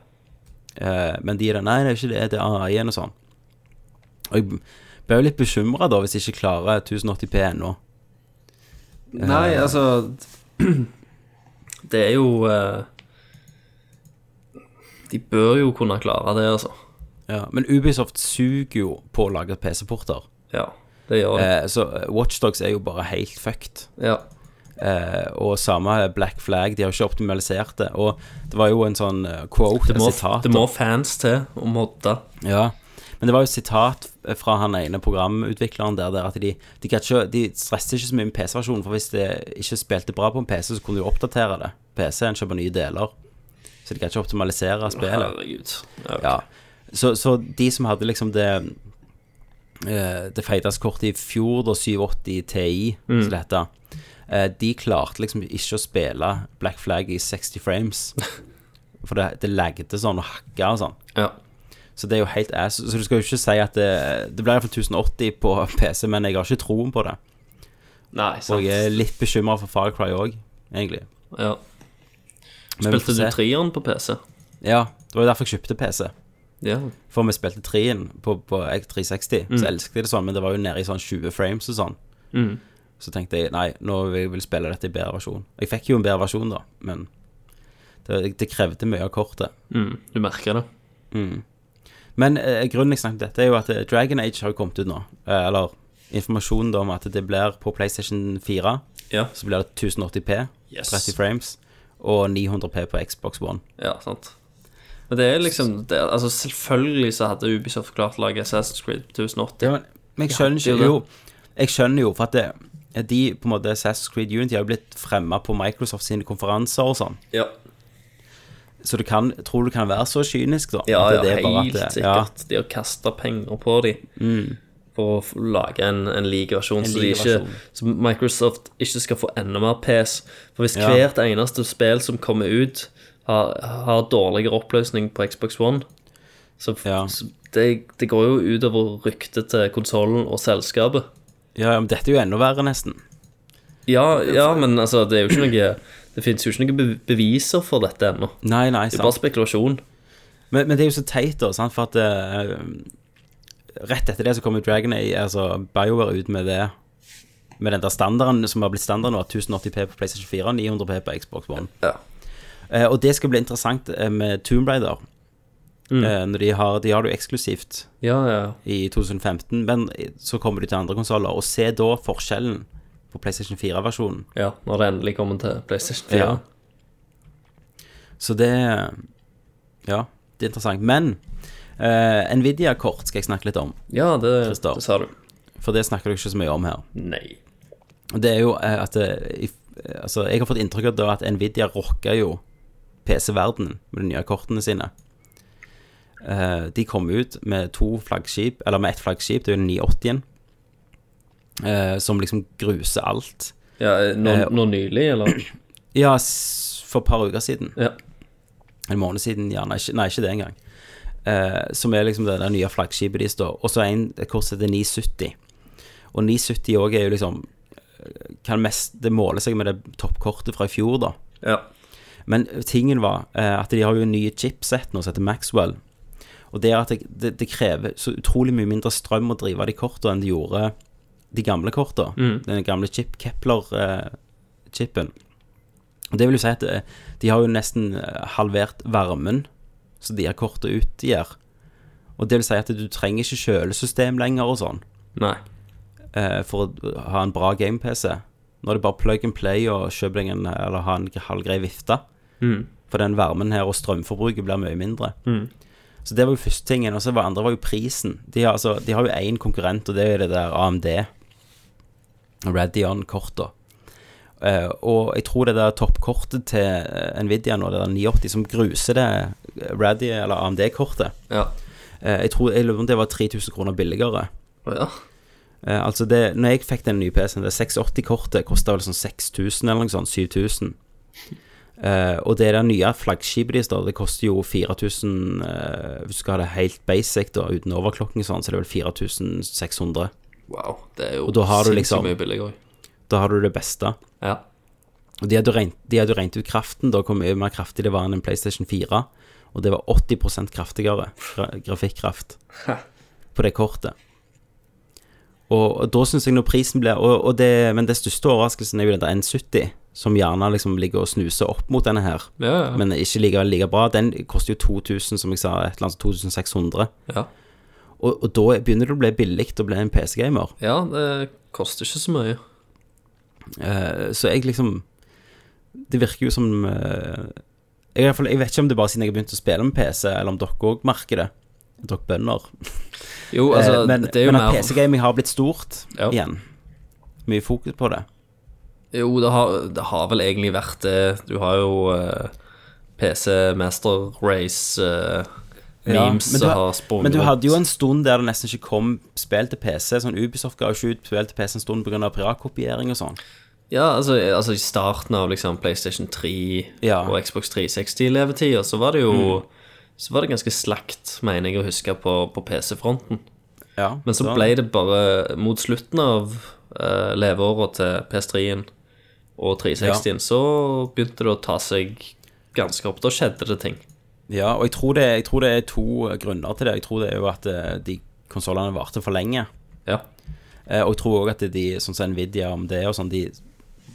Speaker 4: Eh, men de er der, nei, det er ikke det, det er AI-en og sånn. Og jeg ble jo litt bekymra da, hvis jeg ikke klarer 1080P ennå. Eh.
Speaker 5: Nei, altså Det er jo eh, De bør jo kunne klare det, altså.
Speaker 4: Ja, men Ubisoft suger jo på å lage PC-porter.
Speaker 5: Ja, det gjør det.
Speaker 4: Eh, så Watchdogs er jo bare helt fucked.
Speaker 5: Ja.
Speaker 4: Eh, og samme Black Flag, de har jo ikke optimalisert det. Og det var jo en sånn eh, quote,
Speaker 5: Det må,
Speaker 4: et sitat
Speaker 5: det må fans til å modde.
Speaker 4: Ja, men det var jo et sitat eh, fra han ene programutvikleren der, der at de, de, kan ikke, de stresser ikke så mye med PC-versjonen, for hvis det ikke spilte bra på en PC, så kunne de jo oppdatere det. PC-en kjøper nye deler, så de kan ikke optimalisere spillet.
Speaker 5: Herregud. Ja.
Speaker 4: Ja. Så, så de som hadde liksom det eh, det feiteste kortet i fjor, da 780 Ti,
Speaker 5: Mm.
Speaker 4: som det heter, eh, de klarte liksom ikke å spille Black Flag i 60 frames. For det, det lagde sånn og hakka og sånn.
Speaker 5: Ja.
Speaker 4: Så det er jo helt ass. Så du skal jo ikke si at det, det blir iallfall 1080 på PC, men jeg har ikke troen på det.
Speaker 5: Nei,
Speaker 4: Og
Speaker 5: sant.
Speaker 4: jeg er litt bekymra for Far Cry òg, egentlig.
Speaker 5: Ja.
Speaker 4: Men vi får
Speaker 5: Spilte du
Speaker 4: se.
Speaker 5: treeren på PC?
Speaker 4: Ja, det var jo derfor jeg kjøpte PC.
Speaker 5: Ja.
Speaker 4: For vi spilte 3-en på, på 360, så elsket jeg det sånn, men det var jo nede i sånn 20 frames og sånn. Så tenkte jeg nei, nå vil jeg vil spille dette i bedre versjon. Jeg fikk jo en bedre versjon, da, men det, det krevde mye av kortet.
Speaker 5: Mm, du merker det.
Speaker 4: Men eh, grunnen jeg snakket om dette, er jo at eh, Dragon Age har jo kommet ut nå. Eh, eller informasjonen da om at det blir på PlayStation 4.
Speaker 5: Ja.
Speaker 4: Så blir det 1080P,
Speaker 5: Yes.
Speaker 4: 30 frames, og 900P på Xbox One.
Speaker 5: Ja, sant. Men det er liksom det, altså Selvfølgelig så hadde Ubisoft klart å lage Assassin's Creed 1080.
Speaker 4: men, jeg skjønner
Speaker 5: Ja, det
Speaker 4: ikke
Speaker 5: er
Speaker 4: jo, Jeg skjønner jo, for at det, at de på en måte Assassin's Creed Unity har jo blitt fremma på Microsoft sine konferanser og sånn.
Speaker 5: Ja,
Speaker 4: Så du kan, tror du kan være så kynisk, da?
Speaker 5: ja,
Speaker 4: at
Speaker 5: ja
Speaker 4: det er bare at
Speaker 5: helt
Speaker 4: det- Mm.
Speaker 5: sikkert. De har kasta penger på de for å f- lage en, en lik versjon,
Speaker 4: En
Speaker 5: så, de
Speaker 4: lik
Speaker 5: ikke,
Speaker 4: versjon.
Speaker 5: så Microsoft ikke skal få enda mer pes. For hvis
Speaker 4: Ja.
Speaker 5: hvert eneste spill som kommer ut, har, har dårligere oppløsning på Xbox One, så, f-
Speaker 4: Ja.
Speaker 5: så det, det går jo utover ryktet til konsollen og selskapet.
Speaker 4: Ja, ja, men dette er jo enda verre, nesten.
Speaker 5: Ja, ja, men altså, det er jo ikke noe Det finnes jo ikke noen be- beviser for dette ennå.
Speaker 4: Nei, nei,
Speaker 5: Det
Speaker 4: sant.
Speaker 5: er bare spekulasjon.
Speaker 4: Men, men det er jo så teit, da, sant? for at eh, Rett etter det så kommer Dragon Age, altså BioWare ut med det Med den der standarden som har blitt standarden, nå, at 1080P på PlayStation 4 og 900P på Xbox One.
Speaker 5: Ja.
Speaker 4: Eh, og det skal bli interessant eh, med Tomb Raider. Eh, når de, har, de har det jo eksklusivt
Speaker 5: Ja, ja.
Speaker 4: i 2015, men eh, så kommer de til andre konsoller. Og se da forskjellen på PlayStation 4-versjonen.
Speaker 5: ja når det endelig kommer til PlayStation 4.
Speaker 4: Ja. Så det eh, Ja, det er interessant. Men eh, Nvidia-kort skal jeg snakke litt om.
Speaker 5: Ja, det,
Speaker 4: Christer.
Speaker 5: det sa du.
Speaker 4: For det snakker du ikke så mye om her.
Speaker 5: Nei.
Speaker 4: Og Det er jo eh, at eh, if- eh, altså, Jeg har fått inntrykk av da at Nvidia rocker jo PC-verdenen med de nye kortene sine. Eh, De kom ut med to flaggskip, eller med ett flaggskip, det er jo 980-en, eh, som liksom gruser alt.
Speaker 5: Ja, nå,
Speaker 4: Eh,
Speaker 5: nå nylig, eller?
Speaker 4: Ja, s- for et par uker siden.
Speaker 5: Ja.
Speaker 4: en måned siden, gjerne ikke, nei, ikke det engang, eh, som er liksom det der nye flaggskipet de står, og så er en et kurs heter 970. Og 970 også er jo liksom, eh, kan mest, det måler seg med det toppkortet fra i fjor da.
Speaker 5: ja.
Speaker 4: Men tingen var eh, at de har jo en ny chipset nå som heter Maxwell, og det er at det, det, det krever så utrolig mye mindre strøm å drive de kortene enn det gjorde de gamle kortene, den gamle chip, Kepler-chippen. Og Det vil jo si at eh, de har jo nesten eh, halvert varmen som de her kortene utgir. Og det vil si at du trenger ikke kjølesystem lenger og sånn
Speaker 5: Nei.
Speaker 4: eh, for å ha en bra game-PC. Nå er det bare plug and play og kjøp deg en eller ha en halvgrei vifte.
Speaker 5: Mm.
Speaker 4: For den varmen her og strømforbruket blir mye mindre. Så det var jo første tingen. Og så var andre var jo prisen. De har, altså, de har jo én konkurrent, og det er det der AMD. Radion-korta. Eh, og jeg tror det der toppkortet til eh, Nvidia nå, det der 980 som gruser det eh, Radi- eller AMD-kortet
Speaker 5: Ja.
Speaker 4: eh, Jeg tror jeg lurer på om det var 3000 kroner billigere.
Speaker 5: ja.
Speaker 4: Eh, altså det, når jeg fikk den nye PC-en, det 680-kortet kosta vel sånn 6000 eller noe sånt, 7000. Eh, og det der nye flaggskipet deres, da, det koster jo 4000 eh, Hvis du skal ha det helt basic, da, uten overklokking og sånn, så er det vel 4600.
Speaker 5: Wow. Det er jo
Speaker 4: Og da har du
Speaker 5: sinnssykt
Speaker 4: liksom-
Speaker 5: mye billigere òg.
Speaker 4: Da har du det beste.
Speaker 5: Ja.
Speaker 4: Og de hadde regnet, de hadde regnet ut kraften, da hvor mye mer kraftig det var enn en PlayStation 4. Og det var 80 kraftigere gra- grafikkraft på det kortet. Og, og da syns jeg når prisen ble og, og det, Men den største overraskelsen er jo den der N70, som gjerne liksom ligger og snuser opp mot denne her,
Speaker 5: Ja, ja.
Speaker 4: men ikke likevel like bra. Den koster jo 2000, som jeg sa, et eller annet sånn 2600.
Speaker 5: ja.
Speaker 4: Og, og da begynner det å bli billig å bli en PC-gamer.
Speaker 5: ja, det koster ikke så mye.
Speaker 4: Eh, så jeg liksom Det virker jo som eh, jeg, i hvert fall, jeg vet ikke om det er bare siden jeg har begynt å spille med PC, eller om dere òg merker det. Dere bønder.
Speaker 5: Jo, altså,
Speaker 4: Eh, men
Speaker 5: det er jo
Speaker 4: men at
Speaker 5: mer
Speaker 4: PC-gaming har blitt stort
Speaker 5: Ja.
Speaker 4: igjen. Mye fokus på det.
Speaker 5: Jo, det har, det har vel egentlig vært det. Du har jo eh, PC Master Race eh,
Speaker 4: Ja,
Speaker 5: memes
Speaker 4: men du
Speaker 5: som
Speaker 4: har-
Speaker 5: har sprunget
Speaker 4: Men du hadde jo
Speaker 5: rundt.
Speaker 4: en stund der det nesten ikke kom spill til PC. Sånn Ubisoft ga jo ikke ut spill til PC en stund pga. piratkopiering og sånn.
Speaker 5: Ja, altså, altså i starten av liksom PlayStation 3
Speaker 4: Ja.
Speaker 5: og Xbox 360-levetida, så var det jo Så var det ganske slakt, mener jeg å huske, på, på PC-fronten.
Speaker 4: Ja,
Speaker 5: Men så
Speaker 4: da-
Speaker 5: ble det bare mot slutten av uh, leveåra til PS3-en og 360-en, så begynte det å ta seg ganske opp. Da skjedde det ting.
Speaker 4: Ja, og jeg tror, det, jeg tror det er to eh, grunner til det. Jeg tror det er jo at eh, de konsollene varte for lenge.
Speaker 5: Ja.
Speaker 4: Eh, Og jeg tror òg at de, sånn som Nvidia om det og sånn, de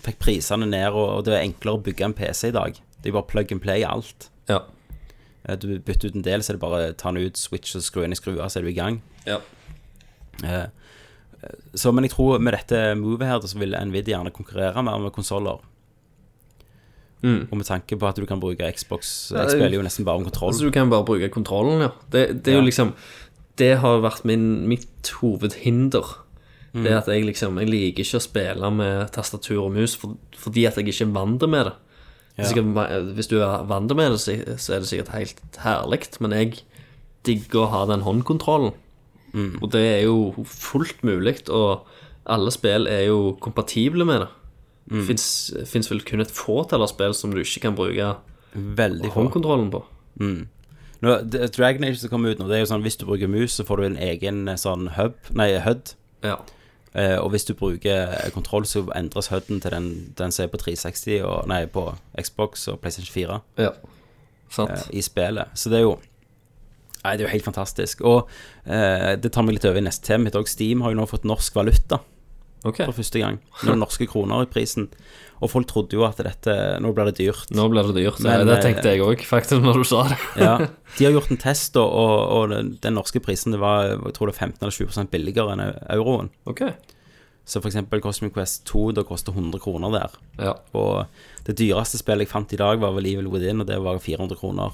Speaker 4: fikk prisene ned, og, og det er enklere å bygge en PC i dag. Det er bare plug and play i alt.
Speaker 5: Ja.
Speaker 4: Eh, Du bytter ut en del, så er det bare ta den ut, switch og skru inn i skrua, så er du i gang.
Speaker 5: ja.
Speaker 4: Så, men jeg tror med dette movet her, da, så vil Nvidia gjerne konkurrere mer med konsoller. Og med tanke på at du kan bruke Xbox
Speaker 5: Mm.
Speaker 4: Jeg
Speaker 5: det er jo-
Speaker 4: spiller jo nesten bare med kontroll.
Speaker 5: Altså, du kan bare bruke kontrollen, ja. Det, det er
Speaker 4: Ja.
Speaker 5: jo liksom Det har jo vært min, mitt hovedhinder. Det
Speaker 4: Mm.
Speaker 5: at jeg liksom Jeg liker ikke å spille med tastatur og mus for, fordi at jeg ikke er vant med det. Det er
Speaker 4: Ja.
Speaker 5: sikkert ma- hvis du er vant med det, så så er det sikkert helt herlig, men jeg digger å ha den håndkontrollen.
Speaker 4: Mm.
Speaker 5: Og det er jo fullt mulig, og alle spill er jo kompatible med det. Mm. Fins vel kun et fåtall av spill som du ikke kan bruke
Speaker 4: Veldig få.
Speaker 5: håndkontrollen på.
Speaker 4: Nå, det- Dragon Age som kommer ut nå, det er jo sånn hvis du bruker mus, så får du en egen eh, sånn hub, nei, HUD.
Speaker 5: Ja
Speaker 4: Eh, og hvis du bruker kontroll, så endres HUD-en til den, den som er på 360 og, Nei, på Xbox og PlayStation 4
Speaker 5: Ja, sant.
Speaker 4: eh, i spillet. Så det er jo Nei, det er jo helt fantastisk. Og eh, det tar meg litt over i neste tema mitt òg. Steam har jo nå fått norsk valuta
Speaker 5: ok,
Speaker 4: for første gang. Noen norske kroner i prisen. Og folk trodde jo at dette Nå blir det dyrt.
Speaker 5: nå ble det dyrt.
Speaker 4: Men,
Speaker 5: det
Speaker 4: eh,
Speaker 5: tenkte jeg òg, faktisk, når du sa det.
Speaker 4: Ja, De har gjort en test, og, og, og den- den norske prisen det var jeg tror det var 15 eller 20 billigere enn euroen.
Speaker 5: Ok.
Speaker 4: Så for eksempel Cosmic Quest 2 da koster 100 kroner der.
Speaker 5: Ja.
Speaker 4: Og det dyreste spillet jeg fant i dag, var vel Evil Within, og det var 400 kroner.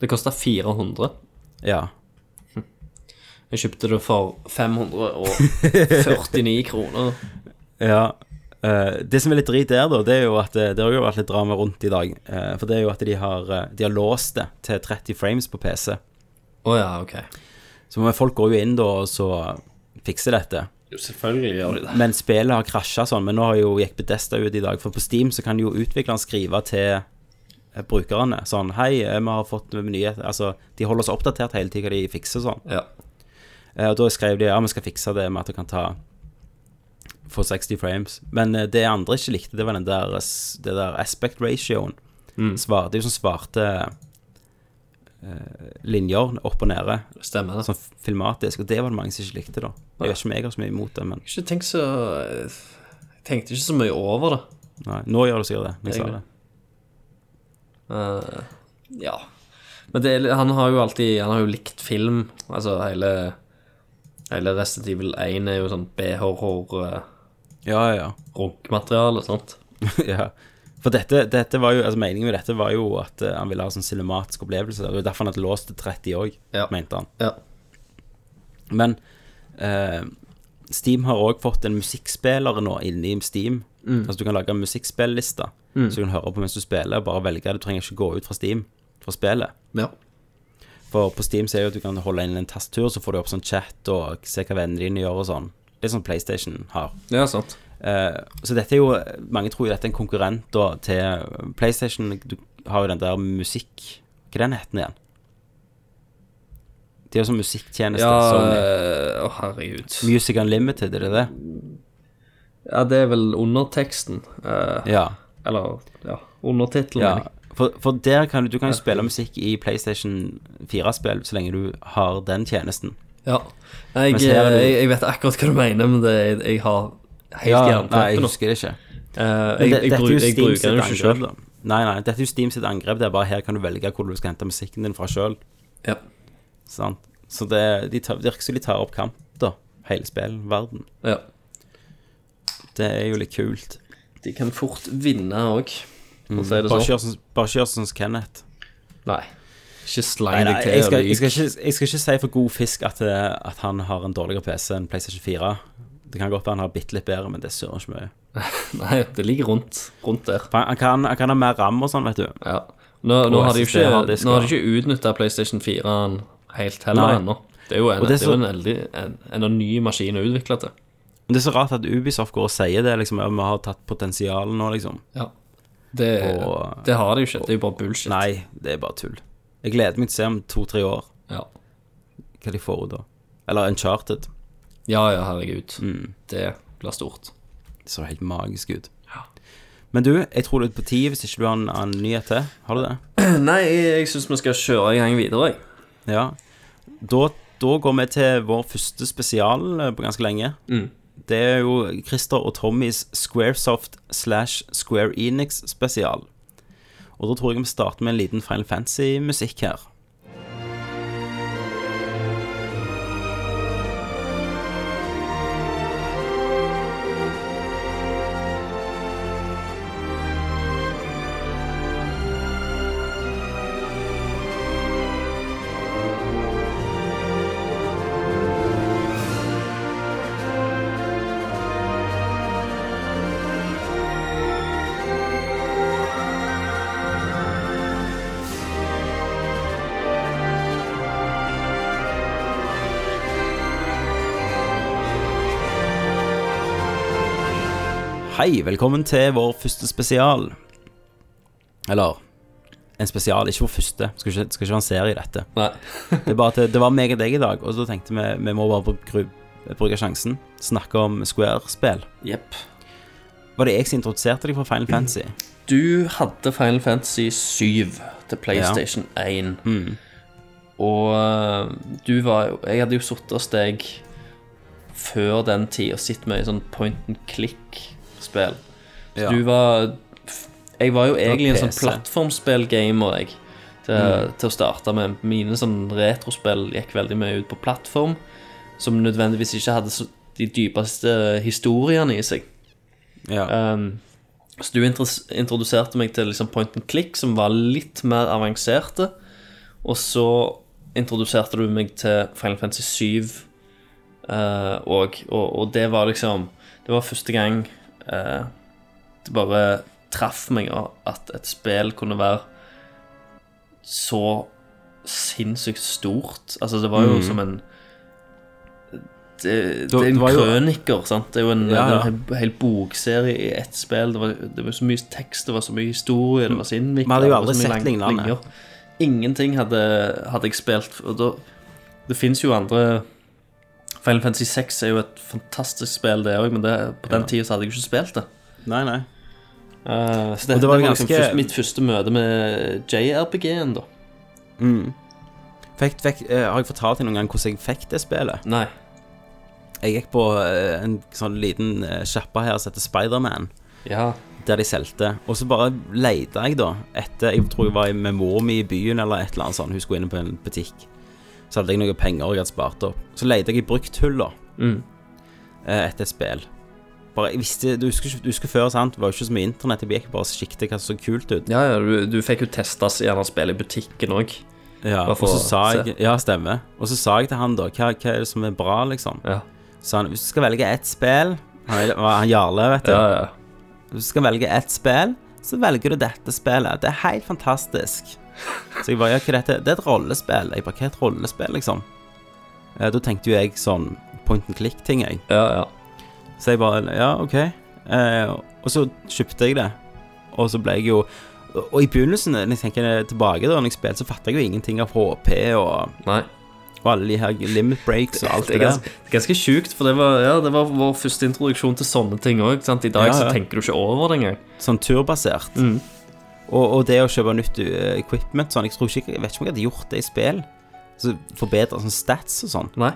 Speaker 5: Det kosta 400.
Speaker 4: Ja.
Speaker 5: Jeg kjøpte det for 549 kroner.
Speaker 4: ja. eh, det som er litt drit der, da, det er jo at eh, det har jo vært litt drama rundt i dag. eh, for det er jo at de har, eh, de har låst det til 30 frames på PC.
Speaker 5: Å ja, ok.
Speaker 4: Så men folk går jo inn da, og så fikser dette.
Speaker 5: Jo, selvfølgelig gjør de det.
Speaker 4: Men spillet har krasja sånn. Men nå har jo gikk Bedesta ut i dag, for på Steam så kan jo utvikleren skrive til eh, brukerne sånn Hei, eh, vi har fått nyheter Altså, de holder oss oppdatert hele tida, de fikser sånn.
Speaker 5: Ja.
Speaker 4: Eh, Og da skrev de ja, vi skal fikse det med at det kan ta få 60 frames. Men eh, det andre ikke likte, det var den der, eh, s- det der aspect ratioen. Svar, det er jo sånn svarte eh, linjer opp og nede,
Speaker 5: Stemmer det.
Speaker 4: sånn filmatisk. Og det var det mange som ikke likte, da. Jeg vet ikke om jeg har så mye imot det, men
Speaker 5: Ikke tenk så Jeg tenkte ikke så mye over det.
Speaker 4: nei, nå gjør du sikkert det. når Jeg sa det.
Speaker 5: Eh, ja. Men det, er- han har jo alltid Han har jo likt film. Altså hele Hele Resident Evil 1 er jo sånn B-horror-runkmateriale,
Speaker 4: Ja, ja,
Speaker 5: eh, sant?
Speaker 4: ja. ja. For dette, dette var jo, altså Meningen med dette var jo at eh, han ville ha sånn cinematisk opplevelse. Det var jo derfor han hadde låst til 30 òg,
Speaker 5: Ja.
Speaker 4: mente han.
Speaker 5: Ja.
Speaker 4: Men eh, Steam har òg fått en musikkspiller nå inne i Steam. Altså Du kan lage en musikkspilliste, så du kan høre på mens du spiller. Bare velge. Du trenger ikke gå ut fra Steam fra spillet.
Speaker 5: Ja.
Speaker 4: For på Steam så er det jo at du kan holde inn en tastatur, så får du opp sånn chat og se hva vennene dine gjør og sånn. Det er sånn PlayStation har.
Speaker 5: ja, sant.
Speaker 4: Eh, så dette er jo Mange tror jo dette er en konkurrent da, til PlayStation. Du har jo den der musikk Hva er den heten igjen? Det er jo sånn musikktjeneste.
Speaker 5: Ja,
Speaker 4: Sony.
Speaker 5: øh, å herregud.
Speaker 4: Music Unlimited, er det det?
Speaker 5: Ja, det er vel underteksten. eh,
Speaker 4: Ja.
Speaker 5: Eller ja, undertittelen.
Speaker 4: ja.
Speaker 5: mener jeg.
Speaker 4: For, for der kan du, du kan jo spille musikk i PlayStation 4-spill så lenge du har den tjenesten.
Speaker 5: Ja. Nei, Jeg,
Speaker 4: Men ser du-
Speaker 5: jeg, jeg vet akkurat hva du mener, men det, jeg, jeg har helt
Speaker 4: nei, jeg
Speaker 5: jernteppe nå.
Speaker 4: husker det
Speaker 5: Eh,
Speaker 4: ikke. Men
Speaker 5: jeg,
Speaker 4: det-
Speaker 5: jeg,
Speaker 4: dette er
Speaker 5: bru-
Speaker 4: jo
Speaker 5: jeg
Speaker 4: Steam
Speaker 5: bruker
Speaker 4: sitt
Speaker 5: den jo ikke
Speaker 4: angrep,
Speaker 5: sjøl.
Speaker 4: da. Nei, nei, dette er jo Steam sitt angrep. Det er bare her kan du velge hvor du skal hente musikken din fra sjøl.
Speaker 5: Ja.
Speaker 4: Så det, de tar, det virker som de tar opp kamp, da. Hele spillverden.
Speaker 5: Ja.
Speaker 4: Det er jo litt kult.
Speaker 5: De kan fort vinne òg, for å si det
Speaker 4: Bare
Speaker 5: sånn.
Speaker 4: kjør som- bare kjør sånn som Kenneth.
Speaker 5: Nei. Ikke
Speaker 4: Nei,
Speaker 5: sleng
Speaker 4: nei,
Speaker 5: deg til.
Speaker 4: jeg, skal,
Speaker 5: eller-
Speaker 4: jeg, skal ikke, jeg skal ikke si for god fisk at, eh, at han har en dårligere PC enn PlayStation 4. Det kan godt være han har bitte litt bedre, men det søren ikke mye.
Speaker 5: Nei, det ligger rundt, rundt der.
Speaker 4: For han, han, kan, han kan ha mer ram og sånn, vet du.
Speaker 5: Ja. Nå, nå har de jo
Speaker 4: SSD har
Speaker 5: ikke,
Speaker 4: disk,
Speaker 5: nå har
Speaker 4: ja.
Speaker 5: de ikke utnytta PlayStation 4-en helt heller
Speaker 4: Nei.
Speaker 5: ennå. Det er jo en,
Speaker 4: Og
Speaker 5: det
Speaker 4: det
Speaker 5: er jo
Speaker 4: som-
Speaker 5: en, veldig- en, en, ny maskin å utvikle til.
Speaker 4: Men det er så rart at Ubisoft går og sier det, liksom. at Vi har tatt potensialet nå, liksom.
Speaker 5: Ja. Det,
Speaker 4: Og-
Speaker 5: det har de jo ikke. Det er jo bare bullshit.
Speaker 4: Nei, det er bare tull. Jeg gleder meg til å se om to-tre år
Speaker 5: Ja.
Speaker 4: hva de får ut da. Eller Uncharted.
Speaker 5: ja, ja, herregud. Det blir stort.
Speaker 4: Det så helt magisk ut. Men du, jeg tror det er på tide hvis ikke du har en, en nyhet til. Har du det?
Speaker 5: Nei, jeg, jeg syns vi skal kjøre i gang videre, jeg.
Speaker 4: Ja. Da, da går vi til vår første spesial eh, på ganske lenge. Det er jo Christer og Tommys Squaresoft slash Square Enix-spesial. Og da tror jeg vi starter med en liten Final Fantasy-musikk her. Hei, velkommen til vår første spesial. Eller en spesial, ikke vår første. Skal ikke, skal ikke være en serie, i dette.
Speaker 5: Nei.
Speaker 4: Det, er bare at det, det var meg og deg i dag, og så tenkte vi vi må bare bruke, bruke sjansen. Snakke om Square-spill.
Speaker 5: Jepp.
Speaker 4: Var det jeg som introduserte deg for Final Fantasy?
Speaker 5: Du hadde Final Fantasy 7 til PlayStation 1. Og øh, du var jo Jeg hadde jo sittet hos deg før den tid og sett mye sånn point and click-spill. Så
Speaker 4: Ja.
Speaker 5: du var f- Jeg var jo egentlig en sånn
Speaker 4: PC.
Speaker 5: plattformspill-gamer, jeg. Til, til å starte med. Mine sånn retrospill gikk veldig mye ut på plattform, som nødvendigvis ikke hadde så, de dypeste historiene i seg.
Speaker 4: Ja.
Speaker 5: Um, så du intres- introduserte meg til liksom point and click, som var litt mer avanserte. Og så introduserte du meg til Final Fantasy 7 og, og, og det var liksom Det var første gang eh, det bare traff meg av at et spill kunne være så sinnssykt stort. Altså, det var jo som en det, det
Speaker 4: Mm. Det-
Speaker 5: er en
Speaker 4: det var jo-
Speaker 5: krøniker, sant? Det er jo en,
Speaker 4: Ja, ja.
Speaker 5: en hel, hel bokserie i ett spill. Det var, det var så mye tekst, det var så mye historie, det var så innviklet.
Speaker 4: Vi hadde jo
Speaker 5: det var
Speaker 4: aldri
Speaker 5: så mye lang-
Speaker 4: sett lignende.
Speaker 5: linjer. Ingenting hadde, hadde jeg spilt. Og da, det fins jo andre Final Fantasy 6 er jo et fantastisk spill, det òg, men det, på den tida så hadde jeg jo ikke spilt det.
Speaker 4: Nei, nei.
Speaker 5: Eh, så det,
Speaker 4: Og
Speaker 5: det var, liksom
Speaker 4: ganske-
Speaker 5: først, mitt første møte med JRPG-en, da.
Speaker 4: Fikk, fikk, eh, har jeg fortalt deg noen gang hvordan jeg fikk det spillet?
Speaker 5: Nei.
Speaker 4: Jeg gikk på eh, en sånn liten eh, sjappe her som heter Spiderman.
Speaker 5: Ja.
Speaker 4: der de solgte. Og så bare leita jeg, da, etter Jeg tror jeg var med mor mi i byen eller et eller annet sånt. Hun skulle inn på en butikk. Så hadde jeg noen penger jeg hadde spart opp. Så leita jeg i brukthylla
Speaker 5: Mm.
Speaker 4: eh, etter et spill. Bare, jeg visste, du husker, ikke- du husker før, sant? Det var jo ikke så mye internett. Jeg gikk bare og siktet hva som så kult ut.
Speaker 5: Ja, ja, du, du fikk jo testa gjerne spill i butikken òg.
Speaker 4: Ja,
Speaker 5: Bare
Speaker 4: og
Speaker 5: for
Speaker 4: så
Speaker 5: å
Speaker 4: sa
Speaker 5: se.
Speaker 4: jeg Ja, stemmer. Og så sa jeg til han, da, hva, hva er det som er bra, liksom?
Speaker 5: Ja.
Speaker 4: Så han, hvis du skal velge ett spill Han, er- han Jarle, vet du.
Speaker 5: Ja, ja.
Speaker 4: Hvis du skal velge ett spill, så velger du dette spillet. Det er helt fantastisk. Så jeg bare, ja, hva er dette? Det er et rollespill. Jeg bare, hva er et rollespill, liksom? Eh, Da tenkte jo jeg sånn point and click-ting, jeg.
Speaker 5: ja, ja.
Speaker 4: Så jeg bare, ja, ok. Eh, og så kjøpte jeg det. Og så ble jeg jo... Og i begynnelsen, når jeg tenker tilbake da, når jeg spilte, så fattet jeg jo ingenting av HP og,
Speaker 5: Nei.
Speaker 4: og alle de her limit breaks og alt
Speaker 5: Det
Speaker 4: det
Speaker 5: er
Speaker 4: der.
Speaker 5: ganske, det er ganske sjukt, for det var, ja, det var vår første introduksjon til sånne ting òg. I dag
Speaker 4: Ja, ja.
Speaker 5: så tenker du ikke over det engang.
Speaker 4: Sånn turbasert.
Speaker 5: Mm.
Speaker 4: Og, og det å kjøpe nytt eh, equipment sånn, jeg, tror ikke, jeg vet ikke om jeg hadde gjort det i spill. Så Forbedre sånn stats og sånn.
Speaker 5: Nei.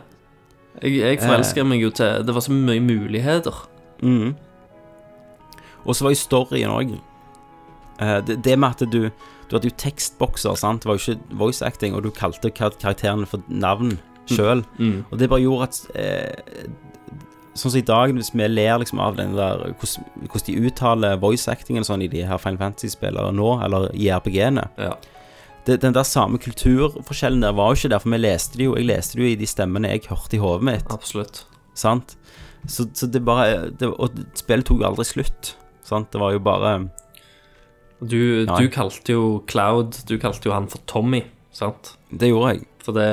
Speaker 5: Jeg, jeg
Speaker 4: Eh.
Speaker 5: forelsker meg jo til Det var så mye muligheter.
Speaker 4: Mhm.
Speaker 5: Mm.
Speaker 4: Og så var jo storyen òg. det, det med at du Du hadde jo tekstbokser, sant. Det var jo ikke voice acting, og du kalte kar karakterene for navn sjøl.
Speaker 5: Mm.
Speaker 4: Og det bare gjorde at eh, Sånn som i dag, hvis vi ler liksom av den der hvordan hvordan de uttaler voice actingen og sånn i de her Final Fantasy-spillene nå, eller i RPG-ene.
Speaker 5: Ja.
Speaker 4: det, den der samme kulturforskjellen der var jo ikke der, for vi leste det jo. Jeg leste det jo i de stemmene jeg hørte i hodet mitt.
Speaker 5: Absolutt.
Speaker 4: Sant? Så, så det bare det, Og spillet tok jo aldri slutt. Sant? Det var jo bare
Speaker 5: Du,
Speaker 4: Nei.
Speaker 5: du kalte jo Cloud Du kalte jo han for Tommy, sant?
Speaker 4: Det gjorde jeg.
Speaker 5: For det,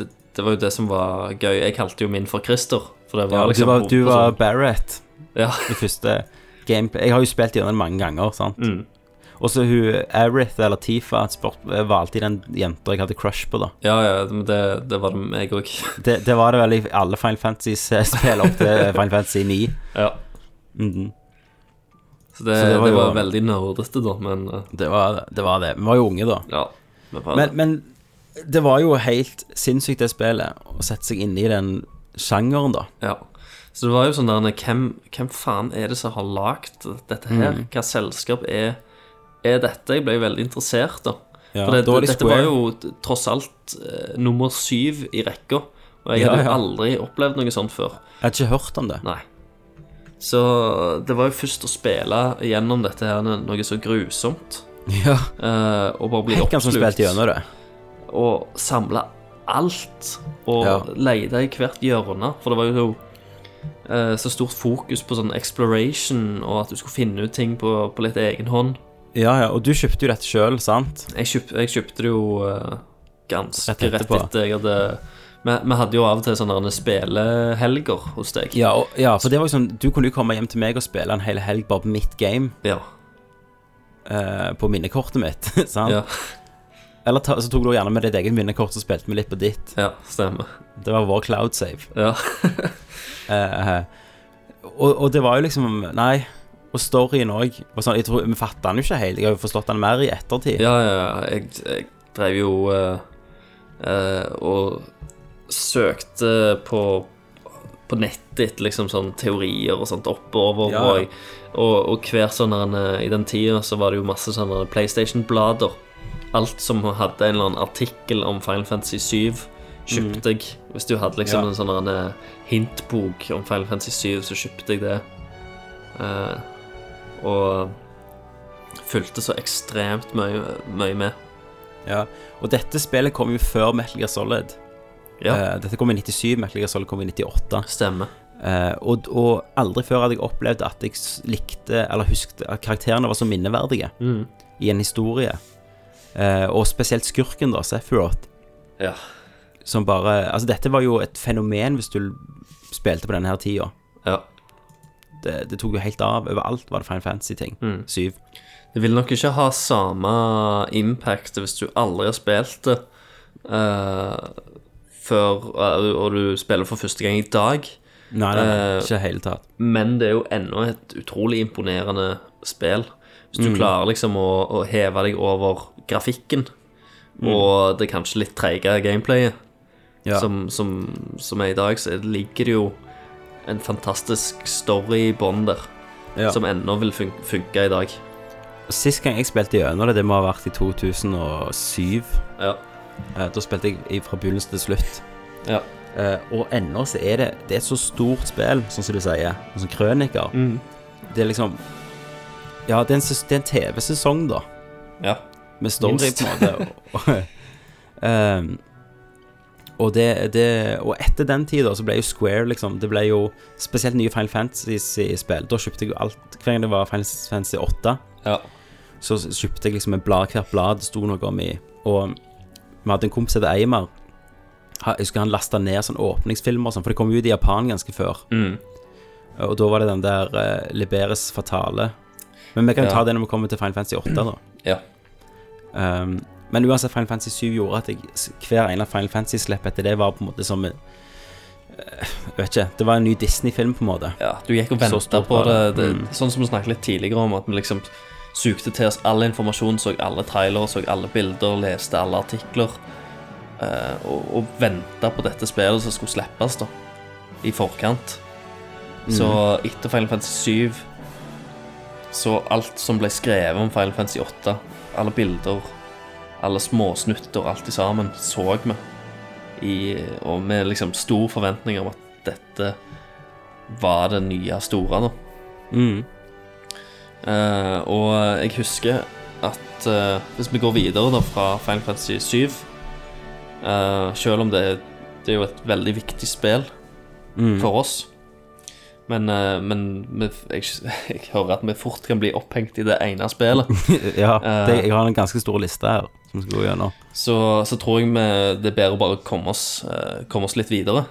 Speaker 5: det, det var jo det som var gøy. Jeg kalte jo min for Christer. For det var
Speaker 4: Ja,
Speaker 5: liksom
Speaker 4: du var, du
Speaker 5: på- på
Speaker 4: var
Speaker 5: sånn-
Speaker 4: Barrett
Speaker 5: Ja.
Speaker 4: i første gameplay. Jeg har jo spilt gjennom den mange ganger, sant.
Speaker 5: Mm.
Speaker 4: Og så hun Arith eller Tifa spurt, var alltid den jenta jeg hadde crush på, da.
Speaker 5: ja, ja, men det, det var det meg òg.
Speaker 4: Det, det var det vel i alle Final Fantasy-spill opp til Final Fantasy 9.
Speaker 5: Ja.
Speaker 4: Mhm.
Speaker 5: Så det,
Speaker 4: Så
Speaker 5: det
Speaker 4: det
Speaker 5: var,
Speaker 4: var jo-
Speaker 5: veldig nerdete, da, men eh,
Speaker 4: det, var, det var det. Vi var jo unge da.
Speaker 5: ja. Men, bare-
Speaker 4: Men, men det var jo helt sinnssykt det spillet Å sette seg inn i den sjangeren da
Speaker 5: ja. Så det var jo sånn der Hvem, hvem faen er det som har lagd dette her?
Speaker 4: Mm.
Speaker 5: Hva selskap er, er dette? Jeg ble veldig interessert, da.
Speaker 4: Ja,
Speaker 5: For det,
Speaker 4: da var de
Speaker 5: dette
Speaker 4: Square.
Speaker 5: var jo t- tross alt eh, nummer syv i rekka. Og jeg
Speaker 4: Ja,
Speaker 5: hadde jo
Speaker 4: ja.
Speaker 5: aldri opplevd noe sånt før.
Speaker 4: Jeg hadde ikke hørt om det
Speaker 5: Nei. Så det var jo først å spille gjennom dette her noe så grusomt.
Speaker 4: Ja,
Speaker 5: eh, og bare bli
Speaker 4: Hekkan som
Speaker 5: oppslukt.
Speaker 4: spilte gjennom det
Speaker 5: Og samle alt. Og
Speaker 4: Ja.
Speaker 5: lete i hvert hjørne. For det var jo eh, så stort fokus på sånn exploration, og at du skulle finne ut ting på, på litt egen hånd.
Speaker 4: Ja, ja, og du kjøpte jo dette selv, sant?
Speaker 5: Jeg, kjøp, jeg kjøpte det jo eh, ganske
Speaker 4: Rett
Speaker 5: rett,
Speaker 4: etterpå.
Speaker 5: etter jeg hadde vi, vi hadde jo av og til sånne derne spelehelger hos deg.
Speaker 4: Ja, og, ja, for det var jo sånn Du kunne jo komme hjem til meg og spille en hel helg Bare på mitt game
Speaker 5: Ja.
Speaker 4: eh, På minnekortet mitt, sant?
Speaker 5: Ja,
Speaker 4: Eller ta, så tok du gjerne med ditt eget minnekort Og spilte vi litt på ditt
Speaker 5: ja stemmer.
Speaker 4: Det var vår cloud save
Speaker 5: Ja.
Speaker 4: Eh, og, og det var jo liksom Nei, og storyen òg. Sånn, jeg tror- vi fatta den jo ikke helt. Jeg har jo forstått den mer i ettertid.
Speaker 5: Ja, ja, ja. Jeg, jeg drev jo eh, eh, og søkte på, på nettet, liksom sånn teorier og sånt oppover.
Speaker 4: Ja, ja.
Speaker 5: Og, jeg- og, og hver sånn her, eh, I den tida så var det jo masse sånne PlayStation-blader. Alt som hadde en eller annen artikkel om Final Fantasy 7, kjøpte jeg. Hvis du hadde liksom
Speaker 4: Mm. Ja.
Speaker 5: en sånn her, eh, hintbok om Final Fantasy 7, så kjøpte jeg det. Eh, og fulgte så ekstremt mye, mye med.
Speaker 4: Ja. Og dette spillet kom jo før Metal Gear Solid.
Speaker 5: Ja,
Speaker 4: Eh, dette kom i 97, Metal Gear Solid kom i 98.
Speaker 5: stemmer.
Speaker 4: Eh, og, og aldri før hadde jeg opplevd at jeg s- likte eller husket at karakterene var så minneverdige
Speaker 5: Mm.
Speaker 4: i en historie. Eh, og spesielt skurken, da, Sephiroth,
Speaker 5: Ja.
Speaker 4: som bare Altså, dette var jo et fenomen hvis du spilte på denne her tida.
Speaker 5: ja.
Speaker 4: det, det tok jo helt av. Overalt var det Final Fantasy-ting.
Speaker 5: Mm.
Speaker 4: Syv.
Speaker 5: Det vil nok ikke ha samme impact hvis du aldri har spilt det eh, før, eh, og du spiller for første gang i dag.
Speaker 4: Nei, nei, nei,
Speaker 5: Eh,
Speaker 4: ikke i det hele tatt.
Speaker 5: Men det er jo ennå et utrolig imponerende spill. Hvis du klarer liksom å, å heve deg over grafikken og det kanskje litt treige gameplayet
Speaker 4: Ja.
Speaker 5: som, som, som er i dag, så ligger det jo en fantastisk story i bånn der.
Speaker 4: Ja.
Speaker 5: Som ennå vil fun funke i dag.
Speaker 4: Sist gang jeg spilte gjennom det, det må ha vært i 2007.
Speaker 5: Ja.
Speaker 4: Eh, da spilte jeg i- fra begynnelsen til slutt.
Speaker 5: Ja.
Speaker 4: Eh, og ennå så er det Det er et så stort spill, sånn som du sier. Sånn som krøniker. Det er liksom Ja, det er en, ses- det er en TV-sesong, da.
Speaker 5: ja.
Speaker 4: med story,
Speaker 5: Minst.
Speaker 4: på en måte. Og, og, ehm, Og, det, det, og etter den tid da, så ble jo Square liksom Det ble jo spesielt nye Final Fantasy-spill. Da kjøpte jeg jo alt Hver gang det var Final Fantasy 8,
Speaker 5: Ja.
Speaker 4: så kjøpte jeg liksom en blad, hvert blad det sto noe om i. Og vi hadde en kompis som het Eimer. Ha- Jeg husker han lasta ned sånn åpningsfilmer og sånn, for det kom jo ut i Japan ganske før.
Speaker 5: Mm.
Speaker 4: Og da var det den der eh, Liberes Fatale. Men vi kan
Speaker 5: Ja.
Speaker 4: ta det når vi kommer til Final Fantasy 8, da.
Speaker 5: ja.
Speaker 4: Um, men uansett, Final Fantasy 7 gjorde at jeg, s- hver ene Final Fantasy-slipp etter det var på en måte som en- eh, Vet ikke. Det var en ny Disney-film, på en måte.
Speaker 5: Ja, du gikk og
Speaker 4: Så
Speaker 5: venta
Speaker 4: stort
Speaker 5: på
Speaker 4: var
Speaker 5: det.
Speaker 4: det.
Speaker 5: det
Speaker 4: Mm.
Speaker 5: Sånn som vi snakket litt tidligere om, at vi liksom sugde til oss all informasjon, så alle trailere, så alle bilder, leste alle artikler. eh, og og venta på dette spillet som skulle slippes, da. I forkant.
Speaker 4: Mm.
Speaker 5: Så etter Final Fantasy 7 Så alt som ble skrevet om Final Fantasy 8, alle bilder, alle småsnutter, alt i sammen, så vi. I, og med liksom stor forventning om at dette var det nye store da.
Speaker 4: Mm.
Speaker 5: Eh, og jeg husker at eh, hvis vi går videre da fra Final Fantasy 7, eh, selv om det, er- det er jo et veldig viktig spill for oss, men, eh, men vi, jeg, jeg hører at vi fort kan bli opphengt i det ene spillet,
Speaker 4: ja. Det, jeg har en ganske stor liste her som vi skal gå gjennom.
Speaker 5: så, så tror jeg vi, det er bedre å bare komme oss, eh, komme oss litt videre.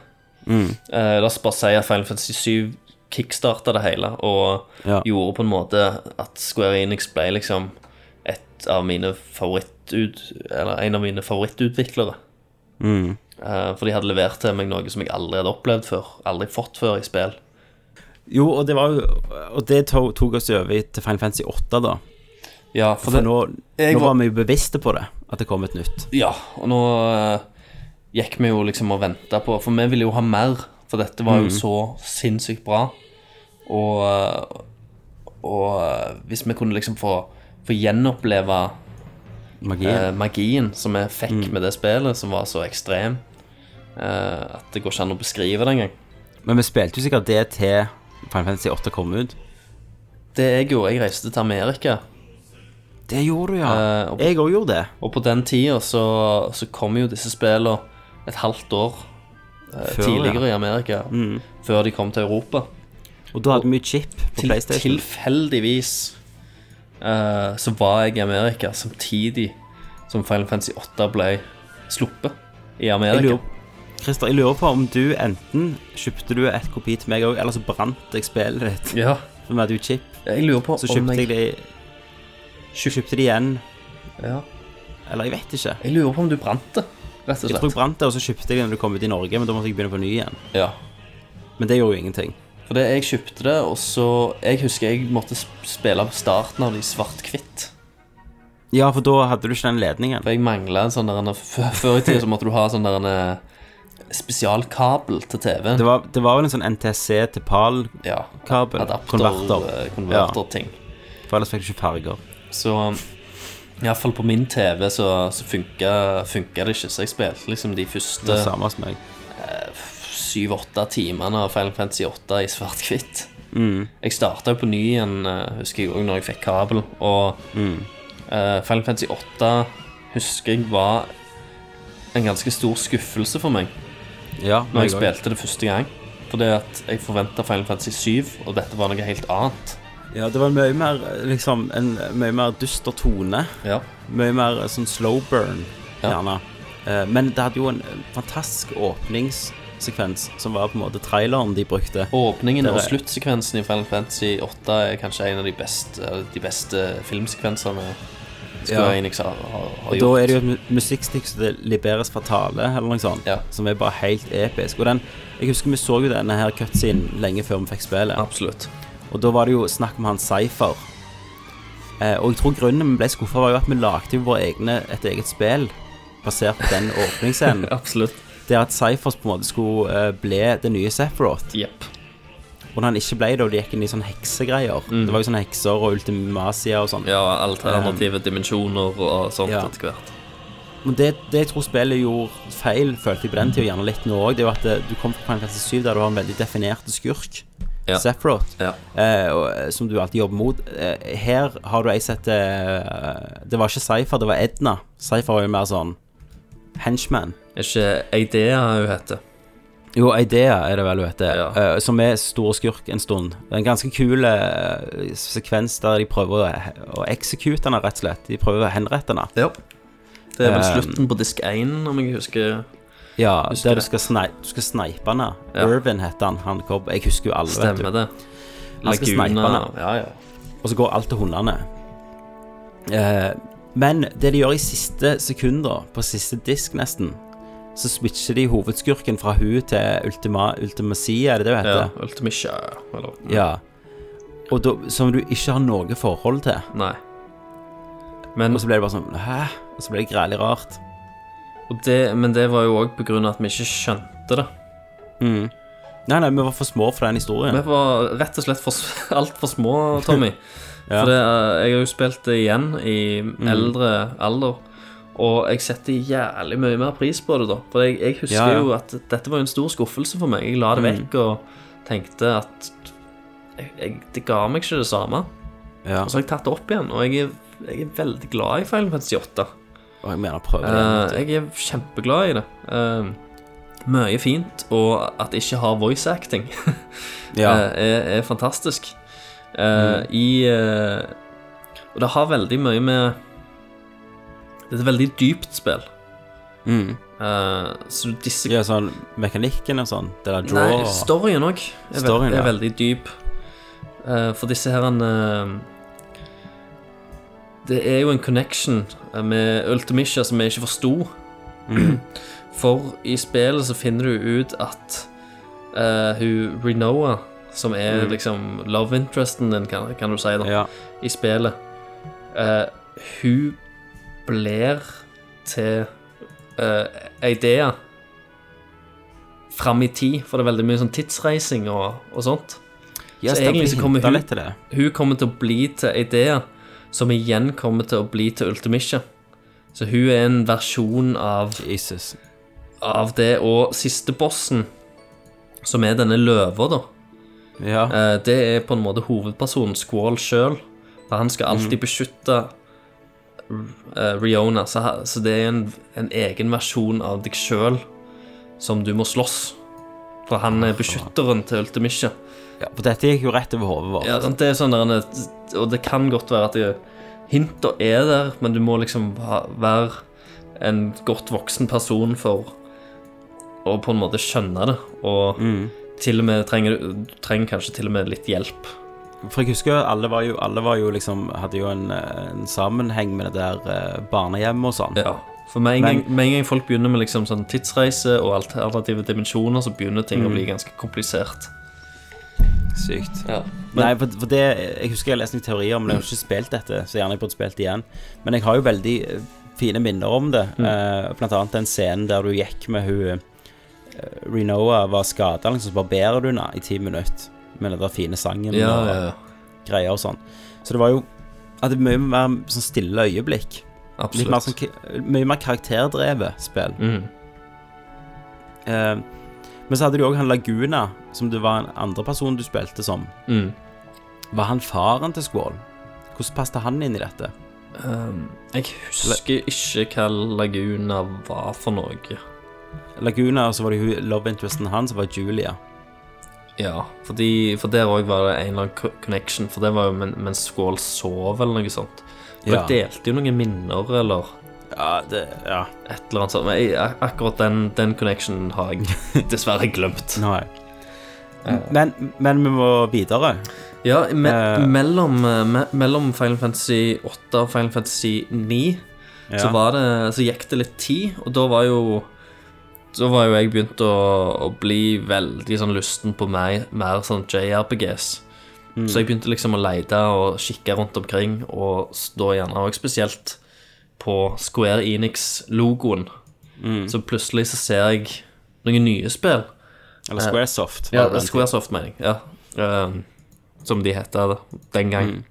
Speaker 4: Mm.
Speaker 5: Eh, la oss bare si at Final Fantasy 7 kickstarta det hele og
Speaker 4: Ja.
Speaker 5: gjorde på en måte at Square Enix ble liksom et av mine favorittud... Eller en av mine favorittutviklere.
Speaker 4: Mm.
Speaker 5: Eh, for de hadde levert til meg noe som jeg aldri hadde opplevd før. Aldri fått før i spill.
Speaker 4: Jo, og det var jo Og det to, tok oss over i- til Final Fantasy 8, da.
Speaker 5: Ja, for,
Speaker 4: For
Speaker 5: det,
Speaker 4: nå,
Speaker 5: jeg
Speaker 4: nå
Speaker 5: var-
Speaker 4: var vi jo bevisste på det, at det kom et nytt.
Speaker 5: Ja, og nå eh, gikk vi jo liksom og venta på For vi ville jo ha mer, for dette var jo
Speaker 4: Mm.
Speaker 5: så sinnssykt bra. Og, eh, og eh, hvis vi kunne liksom få, få gjenoppleve
Speaker 4: Magien.
Speaker 5: eh, magien som vi fikk
Speaker 4: Mm.
Speaker 5: med det spillet, som var så ekstrem eh, at det går ikke an å beskrive det engang.
Speaker 4: Men vi spilte jo sikkert det til Final Fantasy 8 kom ut.
Speaker 5: Det jeg gjorde, jeg reiste til Amerika,
Speaker 4: Det gjorde du, ja.
Speaker 5: Eh, og-
Speaker 4: jeg òg gjorde det.
Speaker 5: og på den tida så, så kom jo disse spillene et halvt år eh,
Speaker 4: Før, ja. Mm.
Speaker 5: tidligere i Amerika, før de kom til Europa.
Speaker 4: Og da hadde vi jo chip på
Speaker 5: Til,
Speaker 4: PlayStation.
Speaker 5: tilfeldigvis eh, så var jeg i Amerika samtidig som Final Fantasy 8 ble sluppet i
Speaker 4: Jeg
Speaker 5: Amerika.
Speaker 4: lurer, Christer, jeg lurer på om du enten kjøpte du et kopi til meg òg, eller så brant jeg spillet ditt.
Speaker 5: Ja,
Speaker 4: For vi hadde jo chip.
Speaker 5: jeg lurer på
Speaker 4: Så
Speaker 5: om
Speaker 4: kjøpte jeg det, kjøpte det igjen.
Speaker 5: ja.
Speaker 4: Eller jeg vet ikke.
Speaker 5: Jeg lurer på om du brant det, rett og
Speaker 4: Jeg tror jeg
Speaker 5: slett.
Speaker 4: brant det, og så kjøpte jeg det når det kom ut i Norge, men da måtte jeg begynne på ny igjen.
Speaker 5: Ja.
Speaker 4: Men det gjorde jo ingenting.
Speaker 5: For det, jeg kjøpte det, og så Jeg husker jeg måtte sp- spille på starten av det i svart-hvitt.
Speaker 4: Ja, for da hadde du ikke den ledningen.
Speaker 5: For jeg mangla en sånn der en- f- Før i tida så måtte du ha sånn der en eh, spesialkabel til
Speaker 4: Det
Speaker 5: TV-en.
Speaker 4: var, det var vel en sånn NTC til PAL-kabel.
Speaker 5: Ja. eh,
Speaker 4: Konverter. Ja,
Speaker 5: Adapter-konverter-ting.
Speaker 4: for ellers fikk du ikke farger.
Speaker 5: Så iallfall på min TV så, så funka, funka det ikke. Så jeg spilte liksom de
Speaker 4: Det
Speaker 5: første
Speaker 4: samme som meg.
Speaker 5: syv-åtte timene av Final Fantasy 8 i svart-hvitt.
Speaker 4: Mm.
Speaker 5: Jeg starta jo på ny igjen, eh, husker jeg òg, når jeg fikk kabel. Og
Speaker 4: Mm.
Speaker 5: eh, Final Fantasy 8 husker jeg var en ganske stor skuffelse for meg
Speaker 4: Ja,
Speaker 5: når jeg
Speaker 4: meg også.
Speaker 5: spilte det første gang. Fordi at jeg forventa Final Fantasy 7, og dette var noe helt annet.
Speaker 4: Ja, det var en mye mer, liksom, en mye mer dyster tone.
Speaker 5: Ja.
Speaker 4: Mye mer sånn slow burn,
Speaker 5: Ja.
Speaker 4: gjerne. Eh, Men det hadde jo en fantastisk åpningssekvens, som var på en måte traileren de brukte.
Speaker 5: Åpningen
Speaker 4: Det er-
Speaker 5: og sluttsekvensen i Final Fantasy 8 er kanskje en av de beste, de beste filmsekvensene Square
Speaker 4: Ja.
Speaker 5: Enix har, har, har
Speaker 4: Og da
Speaker 5: gjort.
Speaker 4: er det jo et mu- musikkstikk som det Liberes Fatale, eller noe sånt,
Speaker 5: Ja.
Speaker 4: som er bare helt episk. Og den, jeg husker vi så jo denne her cutscenen lenge før vi fikk spillet.
Speaker 5: Absolutt.
Speaker 4: Og da var det jo snakk om han Cypher. Eh, og jeg tror grunnen vi ble skuffa, var jo at vi lagde jo våre egne, et eget spill basert på den
Speaker 5: Mm.
Speaker 4: åpningsscenen.
Speaker 5: Absolutt.
Speaker 4: Der at Cyphers på en måte skulle eh, bli det nye Sephiroth.
Speaker 5: Jepp.
Speaker 4: Og når han ikke ble det, og de gikk inn i sånne heksegreier Det var jo sånne hekser og ultimasia og sånn.
Speaker 5: Mm. Ja, alternative dimensjoner og sånt
Speaker 4: Um, ja.
Speaker 5: etter hvert.
Speaker 4: Men det, det jeg tror spillet gjorde feil, følte jeg på den tida, og gjerne litt nå òg, det er jo at eh, du kom fra Final Fantasy 7 der du har en veldig definert skurk,
Speaker 5: Ja.
Speaker 4: Sephiroth,
Speaker 5: Ja.
Speaker 4: eh, og, eh, som du alltid jobber mot. Eh, her har du ei sett eh, Det var ikke Cypher, det var Edna. Cypher var jo mer sånn henchman.
Speaker 5: Er ikke Aidea hun heter?
Speaker 4: Jo, Idea er det vel hun heter,
Speaker 5: Ja.
Speaker 4: eh, som er stor skurk en stund. Det er en ganske kul eh, sekvens der de prøver å, å execute henne, rett og slett. De prøver å henrette henne.
Speaker 5: Ja. Det er vel
Speaker 4: Eh,
Speaker 5: slutten på disk 1, om jeg husker.
Speaker 4: Ja,
Speaker 5: Husker
Speaker 4: der du
Speaker 5: det.
Speaker 4: skal, snei, du skal snipe henne.
Speaker 5: Ja.
Speaker 4: Irvin heter han. han kom, jeg husker jo alle, vet
Speaker 5: Stemmer
Speaker 4: du.
Speaker 5: det.
Speaker 4: Han skal snipe henne.
Speaker 5: Ja, ja.
Speaker 4: Og så går alt til hundene. Eh, men det de gjør i siste sekunder, på siste disk nesten, så switcher de hovedskurken fra hun til Ultima, Ultimacia, er det det hun
Speaker 5: ja
Speaker 4: heter?
Speaker 5: Ultimisha, eller
Speaker 4: Ja. Og da, som du ikke har noe forhold til.
Speaker 5: Nei. Men,
Speaker 4: Og så ble det bare sånn Hæ? Og så ble det grælig rart.
Speaker 5: og det, men det var jo òg på grunn av at vi ikke skjønte det.
Speaker 4: Nei, nei, vi var for små for den historien.
Speaker 5: Vi var rett og slett for- altfor små, Tommy. For det, eh, jeg har jo spilt det igjen i
Speaker 4: Mm.
Speaker 5: eldre alder. Og jeg setter jævlig mye mer pris på det, da. For jeg, jeg husker
Speaker 4: Ja, Mm. ja.
Speaker 5: jo at dette var jo en stor skuffelse for meg. Jeg la det vekk og tenkte at jeg, jeg, det ga meg ikke det samme.
Speaker 4: Ja.
Speaker 5: Og så har jeg tatt det opp igjen, og jeg er, jeg er veldig glad i Final Fantasy 8.
Speaker 4: Og jeg mener, prøv
Speaker 5: Eh,
Speaker 4: igjen.
Speaker 5: jeg er kjempeglad i det. Eh, mye fint, og at det ikke har voice acting
Speaker 4: ja. Mm.
Speaker 5: eh, er, er fantastisk. Eh, I eh, Og det har veldig mye med Det er et veldig dypt spill.
Speaker 4: Mm.
Speaker 5: Eh, så du disser
Speaker 4: ja, sånn mekanikken og sånn. Det der draw
Speaker 5: Nei,
Speaker 4: og
Speaker 5: storyen òg er, vel-
Speaker 4: Storyen, ja.
Speaker 5: er veldig dyp. Eh, for disse her eh, Det er jo en connection eh, med Ultimisha som vi ikke forsto.
Speaker 4: Mm.
Speaker 5: For i spillet så finner du ut at eh, hun Renoa, som er liksom love interesten din, kan, kan du si, da,
Speaker 4: Mm. Ja.
Speaker 5: i spillet eh, Hun blir til uh, ideer fram i tid, for det er veldig mye sånn tidsreising og, og sånt.
Speaker 4: ja
Speaker 5: Så
Speaker 4: stemmer,
Speaker 5: egentlig
Speaker 4: de
Speaker 5: så kommer
Speaker 4: hinta
Speaker 5: hun-
Speaker 4: litt til det.
Speaker 5: Hun kommer til å bli til ideer som igjen kommer til å bli til Ultimisha. Så hun er en versjon av,
Speaker 4: Jesus.
Speaker 5: av det. Og siste bossen, som er denne løva, da,
Speaker 4: Ja.
Speaker 5: eh, det er på en måte hovedpersonen Squall sjøl. For han skal alltid beskytte eh, Riona. Så, ha- så det er en, en egen versjon av deg sjøl som du må slåss. For han er beskytteren til Ultimisha.
Speaker 4: ja. For dette gikk jo rett over hodet vårt.
Speaker 5: Ja, sant, det er sånn der, en- Og det kan godt være at det- hinta er der, men du må liksom ha, være en godt voksen person for å på en måte skjønne det. Og til og med trenger du du trenger kanskje til og med litt hjelp.
Speaker 4: For jeg husker alle var jo, alle var jo liksom Hadde jo en, eh, en sammenheng med det der eh, barnehjemmet og sånn.
Speaker 5: Ja. For med en,
Speaker 4: Men-
Speaker 5: gang, med en gang folk begynner med liksom sånn tidsreise og alternative dimensjoner, så begynner ting
Speaker 4: Mm.
Speaker 5: å bli ganske komplisert.
Speaker 4: Sykt.
Speaker 5: Ja.
Speaker 4: Nei, for, for det Jeg husker jeg leste noen teorier om det, jeg har ikke spilt dette, så gjerne jeg burde spilt det igjen. Men jeg har jo veldig eh, fine minner om det.
Speaker 5: Mm.
Speaker 4: Eh, blant annet den scenen der du gikk med hun eh, Renoa var skada, liksom, så barberer du henne i ti minutter med den der fine sangen
Speaker 5: Ja,
Speaker 4: og
Speaker 5: ja, ja.
Speaker 4: greier og sånn. Så det var jo hadde mye mer sånn stille øyeblikk. Litt mer,
Speaker 5: Absolutt.
Speaker 4: sånn, k- mye mer karakterdrevet spill.
Speaker 5: Mm.
Speaker 4: Eh, men så hadde de òg han Laguna, som det var en andre person du spilte som.
Speaker 5: Mm.
Speaker 4: Var han faren til Squall? Hvordan passet han inn i dette?
Speaker 5: Um, jeg husker ikke hva Laguna var for noe.
Speaker 4: Laguna, og så var det hun love interesten hans, som var Julia.
Speaker 5: Ja, fordi, for der òg var det en eller annen co- connection. For det var jo men- mens Skål sov, eller noe sånt. For
Speaker 4: Ja.
Speaker 5: Jeg delte jo noen minner, eller
Speaker 4: Ja, det Ja.
Speaker 5: et eller annet sånt. Men jeg, ak- akkurat den, den connectionen har jeg dessverre glemt.
Speaker 4: Nei. Men, men vi må videre.
Speaker 5: Ja, me
Speaker 4: Eh.
Speaker 5: mellom, eh, me mellom Final Fantasy 8 og Final Fantasy 9 så,
Speaker 4: Ja.
Speaker 5: var det, så gikk det litt tid, og da var jo så var jo jeg begynt å, å bli veldig sånn lysten på meg, mer sånn JRPGs.
Speaker 4: Mm.
Speaker 5: Så jeg begynte liksom å lete og kikke rundt omkring, og s- da gjerne også spesielt på Square Enix-logoen.
Speaker 4: Mm.
Speaker 5: Så plutselig så ser jeg noen nye spill.
Speaker 4: Eller Squaresoft.
Speaker 5: Ja,
Speaker 4: var det den
Speaker 5: Squaresoft, mener jeg. Ja. Um, som de heter det, den gang.
Speaker 4: Mm.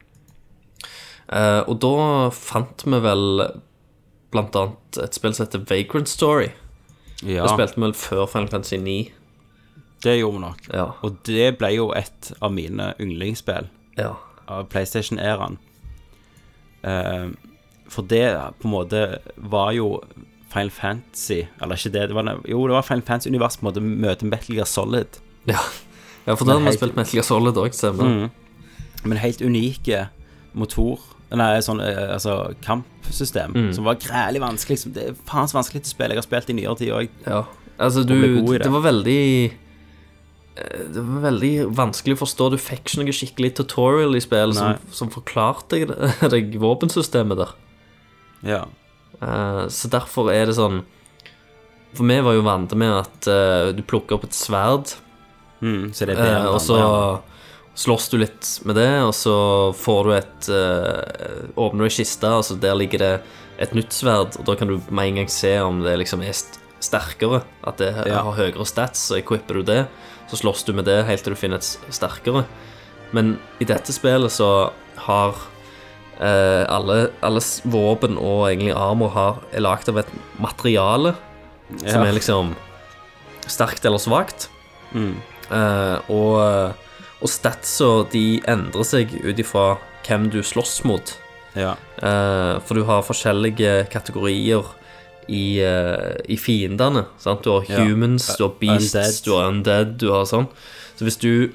Speaker 5: Eh, og da fant vi vel blant annet et spill som heter Vagrant Story. Det
Speaker 4: tiden. ja,
Speaker 5: spilte vi vel før Final Fantasy 9.
Speaker 4: det gjorde vi nok.
Speaker 5: Ja.
Speaker 4: Og det ble jo et av mine yndlingsspill.
Speaker 5: ja.
Speaker 4: av Ehm, PlayStation-æraen. Eh, for det på en måte var jo Final Fantasy Eller ikke det, det var, ne- jo, det var Final Fantasy-univers på en måte møter Metal Gear Solid.
Speaker 5: Ja, ja for da har
Speaker 4: Nei,
Speaker 5: vi spilt Metal Gear Solid òg, stemmer det?
Speaker 4: Mm. Men helt unike motor Nei, sånn eh, altså, kampsystem
Speaker 5: Mm.
Speaker 4: som var grælig vanskelig. Som, det er faen så vanskelig til å spille. Jeg har spilt i nyere tid òg.
Speaker 5: Ja. Altså, du
Speaker 4: ble god i
Speaker 5: det.
Speaker 4: det.
Speaker 5: var veldig eh, Det var veldig vanskelig å forstå. Du fikk ikke noe skikkelig tutorial i spillet
Speaker 4: Nei.
Speaker 5: som, som forklarte deg- deg våpensystemet der.
Speaker 4: Ja.
Speaker 5: Eh, Så derfor er det sånn For vi var jo vant med at eh, du plukker opp et sverd,
Speaker 4: Mm, så det er
Speaker 5: eh,
Speaker 4: bedre enn
Speaker 5: og
Speaker 4: andre,
Speaker 5: så
Speaker 4: ja.
Speaker 5: slåss du litt med det, og så får du et eh, Åpner du ei kiste, og så der ligger det et nytt sverd, og da kan du med en gang se om det liksom er st- sterkere, at det
Speaker 4: Ja.
Speaker 5: har høyere stats, så equipper du det, så slåss du med det helt til du finner et s- sterkere. Men i dette spillet så har eh, alle, alle s- våpen og egentlig armor har, er lagd av et materiale som
Speaker 4: Ja.
Speaker 5: er liksom sterkt eller svakt.
Speaker 4: Mm.
Speaker 5: Eh, og, og statsa de endrer seg ut ifra hvem du slåss mot.
Speaker 4: ja.
Speaker 5: Eh, for du har forskjellige kategorier i, eh, i fiendene. Sant? Du har
Speaker 4: Ja. Uh,
Speaker 5: humans, du har beasts,
Speaker 4: Undead.
Speaker 5: du har undead, du har sånn. Så hvis du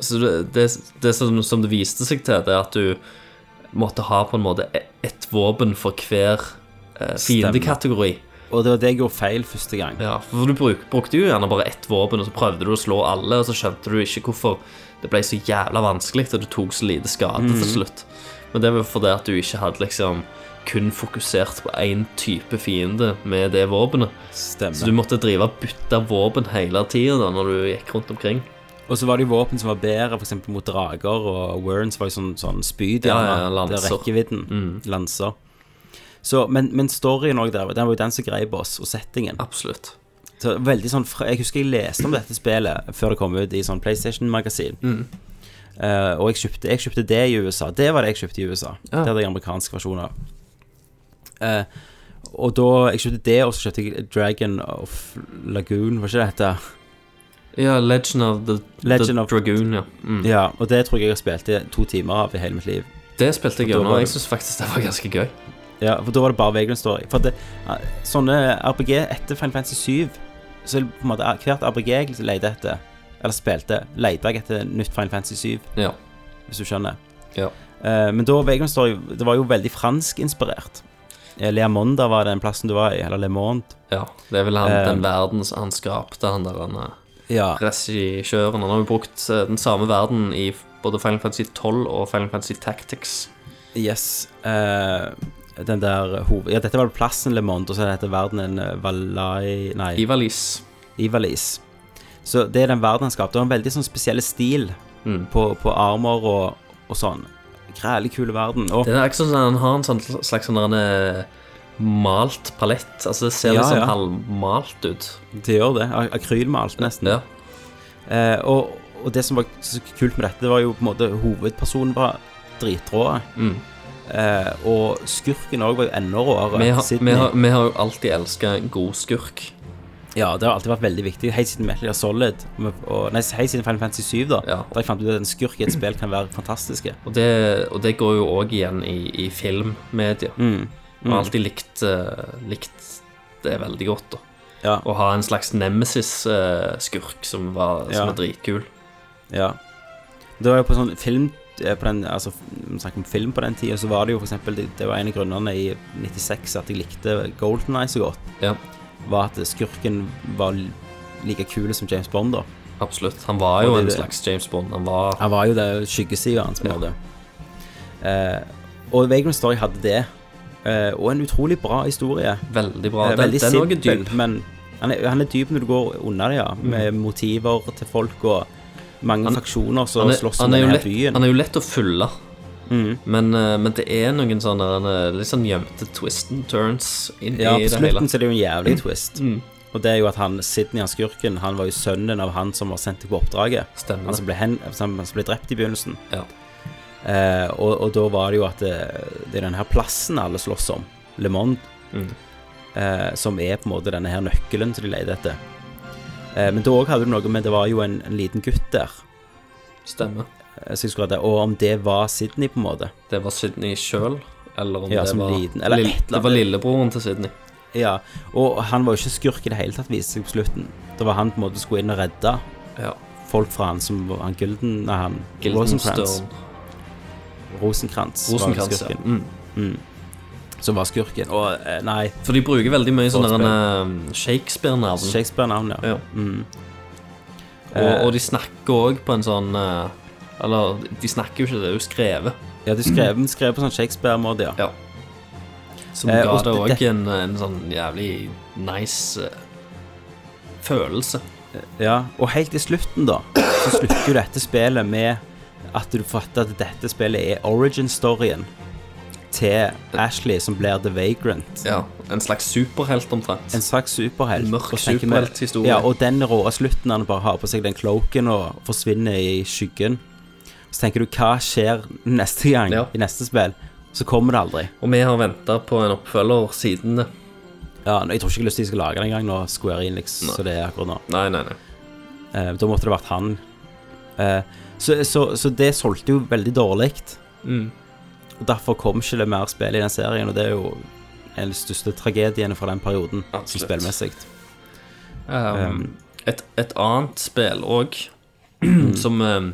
Speaker 5: Så det, det, det som, som det viste seg til, det er at du måtte ha på en måte e- ett våpen for hver eh,
Speaker 4: Stemmer.
Speaker 5: fiendekategori.
Speaker 4: Og det var det jeg gjorde feil første gang.
Speaker 5: Ja, for du bruk, brukte jo gjerne bare ett våpen, og så prøvde du å slå alle, og så skjønte du ikke hvorfor det ble så jævla vanskelig, og du tok så lite skade til slutt. Men det var fordi at du ikke hadde liksom kun fokusert på én type fiende med det våpenet. Så
Speaker 4: Stemmer.
Speaker 5: du måtte drive og bytte våpen hele tida når du gikk rundt omkring.
Speaker 4: Og så var det jo våpen som var bedre, f.eks. mot drager, og Werns var jo sånn, sånn spyd.
Speaker 5: Ja,
Speaker 4: gjerne.
Speaker 5: ja, lanser. Mm.
Speaker 4: Det er rekkevidden. Lanser. Så, men, men storyen òg der, den var jo den som greip oss, og settingen.
Speaker 5: Absolutt.
Speaker 4: Så veldig sånn, fra- Jeg husker jeg leste om dette spillet før det kom ut i sånn PlayStation-magasin.
Speaker 5: Mm.
Speaker 4: Eh, og jeg kjøpte, jeg kjøpte det i USA. Det var det jeg kjøpte i USA.
Speaker 5: Ja.
Speaker 4: Det hadde jeg amerikansk versjon av. Eh, og da jeg kjøpte det, og så kjøpte jeg Dragon of Lagoon, var ikke det det heter?
Speaker 5: Ja, Legend of the,
Speaker 4: Legend
Speaker 5: the
Speaker 4: of-
Speaker 5: Dragoon, ja. Mm.
Speaker 4: Ja, og det tror jeg jeg har spilt i to timer av i hele mitt liv.
Speaker 5: Det spilte jeg
Speaker 4: Og da
Speaker 5: gjennom,
Speaker 4: var
Speaker 5: og
Speaker 4: det-
Speaker 5: jeg syns faktisk det var ganske gøy.
Speaker 4: Ja, For da var det bare Vagrant Story. For det, eh, sånne RPG etter Final Fantasy 7 Så er det på en måte eh, hvert RPG jeg leter etter, eller spilte, leter jeg etter nytt Final Fantasy 7.
Speaker 5: Ja.
Speaker 4: hvis du skjønner.
Speaker 5: Ja.
Speaker 4: Eh, men da Vagrant Story Det var jo veldig franskinspirert. Eh, Lea Monda var den plassen du var i, eller Le Monde.
Speaker 5: ja. Det er vel han,
Speaker 4: Eh.
Speaker 5: den verden som han skapte, han der han eh,
Speaker 4: Ja.
Speaker 5: regissøren. Han har jo brukt eh, den samme verden i både Final Fantasy 12 og Final Fantasy Tactics.
Speaker 4: Yes. Eh, den der hoved... Ja, dette var plassen Le Monde, og så heter verdenen eh, Valai... Nei,
Speaker 5: Ivalis.
Speaker 4: Ivalice. Så det er den verden han skapte. Og en veldig sånn spesiell stil
Speaker 5: Mm.
Speaker 4: på, på armer og, og sånn. Grælig kule verden. Og
Speaker 5: Det er ikke sånn at han har en sånn slags sånn der, eh, malt palett. Altså Det ser
Speaker 4: Ja,
Speaker 5: litt sånn
Speaker 4: ja.
Speaker 5: halvmalt ut.
Speaker 4: det gjør det. Ak- Akrylmalt, nesten.
Speaker 5: Ja.
Speaker 4: Eh, og, og det som var så kult med dette, det var jo på en måte hovedpersonen var dritrå.
Speaker 5: Mm.
Speaker 4: Eh, og skurken òg var jo enda råere.
Speaker 5: Vi, har, vi,
Speaker 4: Sydney.
Speaker 5: har, vi har jo alltid elska en god skurk.
Speaker 4: Ja, det har alltid vært veldig viktig. Helt siden Metal Gear Solid, og, og, nei, helt siden Final Fantasy 7, da.
Speaker 5: Ja.
Speaker 4: Der jeg fant ut at en skurk i et spill kan være fantastiske.
Speaker 5: Og det, og det går jo òg igjen i, i filmmedia. Vi har alltid likt, eh, likt det veldig godt. da
Speaker 4: Ja,
Speaker 5: Å ha en slags nemesis-skurk som, var- som
Speaker 4: Ja.
Speaker 5: er dritkul.
Speaker 4: ja. Det var jo på sånn film eh, på den, altså, vi snakker om film på den tida, så var det jo for eksempel Det det var en av grunnene i 96 at jeg likte Golden Eye så godt,
Speaker 5: Ja.
Speaker 4: var at skurken var li- like kul som James Bond, da.
Speaker 5: Absolutt. Han var jo
Speaker 4: Og det-
Speaker 5: en
Speaker 4: det-
Speaker 5: slags James Bond. Han var
Speaker 4: Han var jo det skyggesida hans, på en måte. Eh, og Vagrant Story hadde det. Eh, og en utrolig bra historie.
Speaker 5: veldig bra.
Speaker 4: Eh,
Speaker 5: Den,
Speaker 4: veldig
Speaker 5: den er også
Speaker 4: simpel,
Speaker 5: dyp. Mm.
Speaker 4: men han er, han er dyp når du går unna det, ja. Med motiver til folk og mange faksjoner som
Speaker 5: Han er,
Speaker 4: slåss om
Speaker 5: han, er jo
Speaker 4: denne
Speaker 5: lett,
Speaker 4: byen. Mm.
Speaker 5: han er jo lett å fylle, men, eh, men det er noen sånne eh, litt sånn gjemte twist and turns inn
Speaker 4: ja,
Speaker 5: i Mm.
Speaker 4: på
Speaker 5: det hele.
Speaker 4: slutten så er det jo en jævlig twist. Og det er jo at han, Sydney, han skurken, han var jo sønnen av han som var sendt på oppdraget.
Speaker 5: Stemmer.
Speaker 4: Han som ble, hen, han som ble drept i begynnelsen.
Speaker 5: Ja.
Speaker 4: Eh, og, og da var det jo at det, det er denne her plassen alle slåss om, Le Monde,
Speaker 5: Mm.
Speaker 4: eh, som er på en måte denne her nøkkelen som de leter etter. Eh, men da òg hadde du noe med Det var jo en, en liten gutt der,
Speaker 5: Stemmer.
Speaker 4: eh, så jeg skulle hatt det, og om det var Sydney, på en måte.
Speaker 5: Det var Sydney sjøl, eller om
Speaker 4: Ja,
Speaker 5: det
Speaker 4: som
Speaker 5: var
Speaker 4: liten, eller
Speaker 5: Lill-
Speaker 4: et eller
Speaker 5: Det var lillebroren til Sydney.
Speaker 4: Ja, og han var jo ikke skurk i det hele tatt, viste seg på slutten. Det var han på en måte skulle inn og redde
Speaker 5: Ja.
Speaker 4: folk fra han som var han Gilden Nei, han Rosenkrantz.
Speaker 5: Gildenstone.
Speaker 4: Rosenkrantz, var
Speaker 5: Rosenkrantz, ja. Mm.
Speaker 4: skurken. Som var skurken. Og eh, nei,
Speaker 5: For de bruker veldig mye
Speaker 4: Forspill.
Speaker 5: sånne eh, Shakespeare-navn.
Speaker 4: Shakespeare-navn, ja.
Speaker 5: Ja. Og, og de snakker òg på en sånn eh, Eller, de snakker jo ikke, det er jo skrevet.
Speaker 4: Ja, de skrev, den skrev på sånn Shakespeare-måte, ja.
Speaker 5: Ja. Som
Speaker 4: Eh,
Speaker 5: ga
Speaker 4: og
Speaker 5: det
Speaker 4: det-
Speaker 5: òg en, en sånn jævlig nice eh, følelse.
Speaker 4: Ja, og helt i slutten da Så slutter jo dette spillet med At du fatter at dette spillet er origin-storyen Til Ashley som blir The Vagrant
Speaker 5: Ja, En slags superhelt, omtrent.
Speaker 4: En slags superhelt
Speaker 5: En mørk
Speaker 4: Og så tenker vi-
Speaker 5: superhelthistorie.
Speaker 4: Ja, og den råre slutten Han bare har på seg den kloken og forsvinner i skyggen Så tenker du, hva skjer neste gang
Speaker 5: Ja.
Speaker 4: I neste spill? Så kommer det aldri
Speaker 5: Og vi har venta på en oppfølger siden det.
Speaker 4: Ja, nå- jeg tror ikke jeg har lyst til at de skal lage den en gang nå Square Enix, så det er akkurat nå
Speaker 5: Nei, nei, nei.
Speaker 4: Eh, Da måtte det vært han. Eh, så, så, så det solgte jo veldig dårlig.
Speaker 5: Mm.
Speaker 4: Og derfor kom ikke det mer spill i den serien, og det er jo en av de største tragediene fra den perioden. Som
Speaker 5: Absolutt.
Speaker 4: spillmessig.
Speaker 5: Um, et, et annet spill òg som um,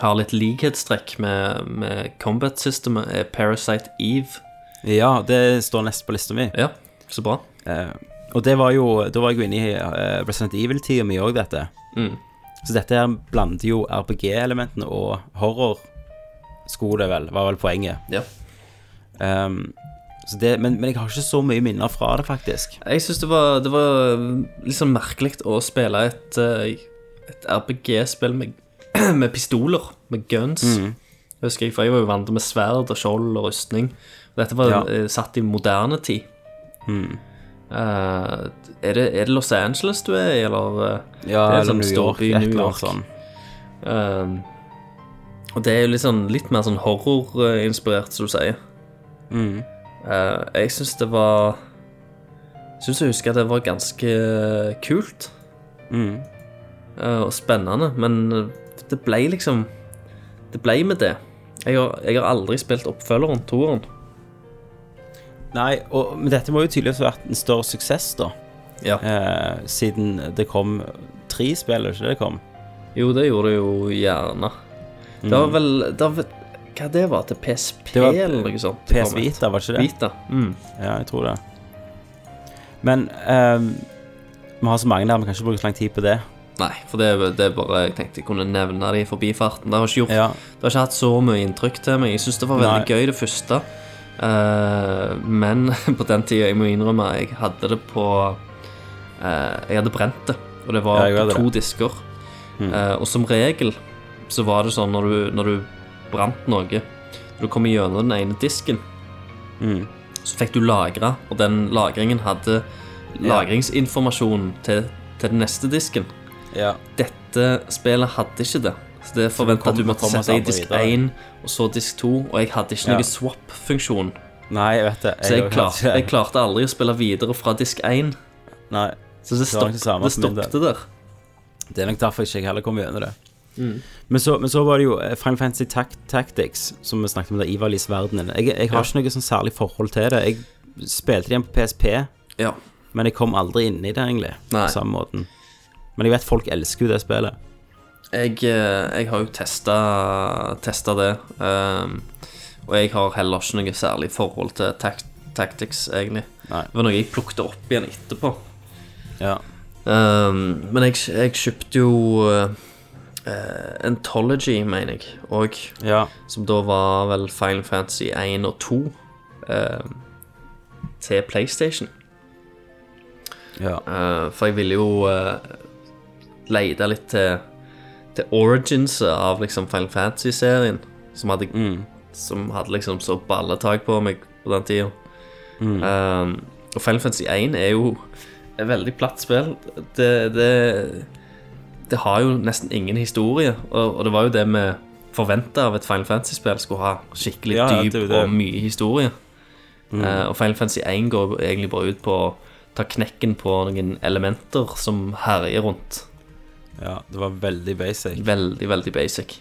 Speaker 5: har litt likhetstrekk med, med combat-systemet, er Parasite Eve.
Speaker 4: Ja, det står nest på lista mi.
Speaker 5: Ja, så bra.
Speaker 4: Eh, og det var jo Da var jeg jo inne i eh, Resident Evil-tida mi òg, dette.
Speaker 5: Mm.
Speaker 4: Så dette her blander jo RPG-elementene og horror. Skulle det vel, var vel poenget.
Speaker 5: Ja.
Speaker 4: Ehm, så det, men, men jeg har ikke så mye minner fra det, faktisk.
Speaker 5: Jeg syns det var, det var litt sånn merkelig å spille et, eh, et RPG-spill med, med pistoler, med guns.
Speaker 4: Mm.
Speaker 5: Husker jeg, for jeg var jo vant med sverd og skjold og rustning. Dette var
Speaker 4: Ja. Mm.
Speaker 5: eh, satt i moderne tid. Eh, er, det, er det Los Angeles du er i, eller? eh,
Speaker 4: Ja,
Speaker 5: det er
Speaker 4: eller
Speaker 5: sånn
Speaker 4: New York,
Speaker 5: storby
Speaker 4: et
Speaker 5: i
Speaker 4: eller
Speaker 5: New
Speaker 4: annet
Speaker 5: York.
Speaker 4: sånn.
Speaker 5: eh, og det er jo litt, sånn, litt mer sånn horrorinspirert, som du sier. Eh, jeg syns det var Syns jeg husker at det var ganske kult. Eh, og spennende, men det ble liksom Det ble med det. Jeg har, jeg har aldri spilt oppfølgeren, toeren.
Speaker 4: Nei, og, men dette må jo tydeligvis ha vært en større suksess, da.
Speaker 5: Ja.
Speaker 4: Eh, siden det kom tre spill, er det ikke det det kom?
Speaker 5: Jo, det gjorde det jo gjerne. Det var vel det var, Hva det var til PSP
Speaker 4: Det var
Speaker 5: eller noe sånt? det
Speaker 4: PS
Speaker 5: kom et.
Speaker 4: Vita, var det ikke det?
Speaker 5: Vita. Mm.
Speaker 4: Ja, jeg tror det. Men eh, vi har så mange der, vi kan ikke bruke så lang tid på det.
Speaker 5: Nei, for det, er- det er bare Jeg tenkte jeg kunne nevne det i forbifarten. Det har ikke, gjort,
Speaker 4: Ja.
Speaker 5: det har ikke hatt så mye inntrykk til meg. Jeg syns det var veldig gøy, det første. Eh, men på den tida, jeg må innrømme, jeg hadde det på eh, Jeg hadde brent det, og det var
Speaker 4: Ja, jeg
Speaker 5: på
Speaker 4: hadde Mm.
Speaker 5: to disker. Eh, og som regel så var det sånn når du, når du brant noe Når du kom gjennom den ene disken,
Speaker 4: Mm.
Speaker 5: så fikk du lagra, og den lagringen hadde lagringsinformasjonen til, til den neste disken.
Speaker 4: ja.
Speaker 5: Dette spillet hadde ikke det. Så det
Speaker 4: kom-
Speaker 5: forventa at du måtte
Speaker 4: kom oss
Speaker 5: sette i
Speaker 4: aldri
Speaker 5: disk
Speaker 4: videre.
Speaker 5: 1, og så disk 2, og jeg hadde ikke
Speaker 4: Ja.
Speaker 5: noen swap-funksjon.
Speaker 4: Nei, jeg vet det.
Speaker 5: Så jeg,
Speaker 4: har
Speaker 5: klarte,
Speaker 4: ikke-
Speaker 5: jeg klarte aldri å spille videre fra disk 1.
Speaker 4: Nei,
Speaker 5: Så det,
Speaker 4: Det var
Speaker 5: stopp,
Speaker 4: ikke det samme
Speaker 5: det
Speaker 4: for min del.
Speaker 5: stoppet der.
Speaker 4: det er nok derfor ikke jeg heller kom gjennom det. Men, så, men så var det jo eh, Final Fantasy Tac- Tactics, som vi snakket om der Ivar Lis verdenen. Jeg, jeg har
Speaker 5: Ja.
Speaker 4: ikke noe sånn særlig forhold til det. Jeg spilte det igjen på PSP.
Speaker 5: Ja.
Speaker 4: Men jeg kom aldri inn i det, egentlig.
Speaker 5: Nei.
Speaker 4: På samme måten. Men jeg vet folk elsker jo det spillet.
Speaker 5: Jeg, eh, jeg har jo testa, testa det, ehm, og jeg har heller ikke noe særlig forhold til tac tactics, egentlig.
Speaker 4: Nei.
Speaker 5: Det var noe jeg plukket opp igjen etterpå.
Speaker 4: Ja.
Speaker 5: Ehm, men jeg, jeg kjøpte jo eh, eh, Anthology, mener jeg, og
Speaker 4: ja.
Speaker 5: som da var vel Final Fantasy 1 og 2 ehm, til PlayStation.
Speaker 4: ja.
Speaker 5: Eh, for jeg ville jo uh, lete litt til, til origins av liksom Final Fantasy-serien, som, hadde-
Speaker 4: Mm.
Speaker 5: som hadde liksom så balletak på meg på den tida.
Speaker 4: Mm.
Speaker 5: Eh, og Final Fantasy 1 er jo et veldig platt spill. Det, det, det har jo nesten ingen historie, og, og det var jo det vi forventa av et Final Fantasy-spill skulle ha skikkelig
Speaker 4: Ja, ja,
Speaker 5: dyp
Speaker 4: det er jo det. Mm.
Speaker 5: og mye historie. Eh, og Final Fantasy 1 går egentlig bare ut på å ta knekken på noen elementer som herjer rundt.
Speaker 4: ja. Det var veldig basic.
Speaker 5: Veldig, veldig basic.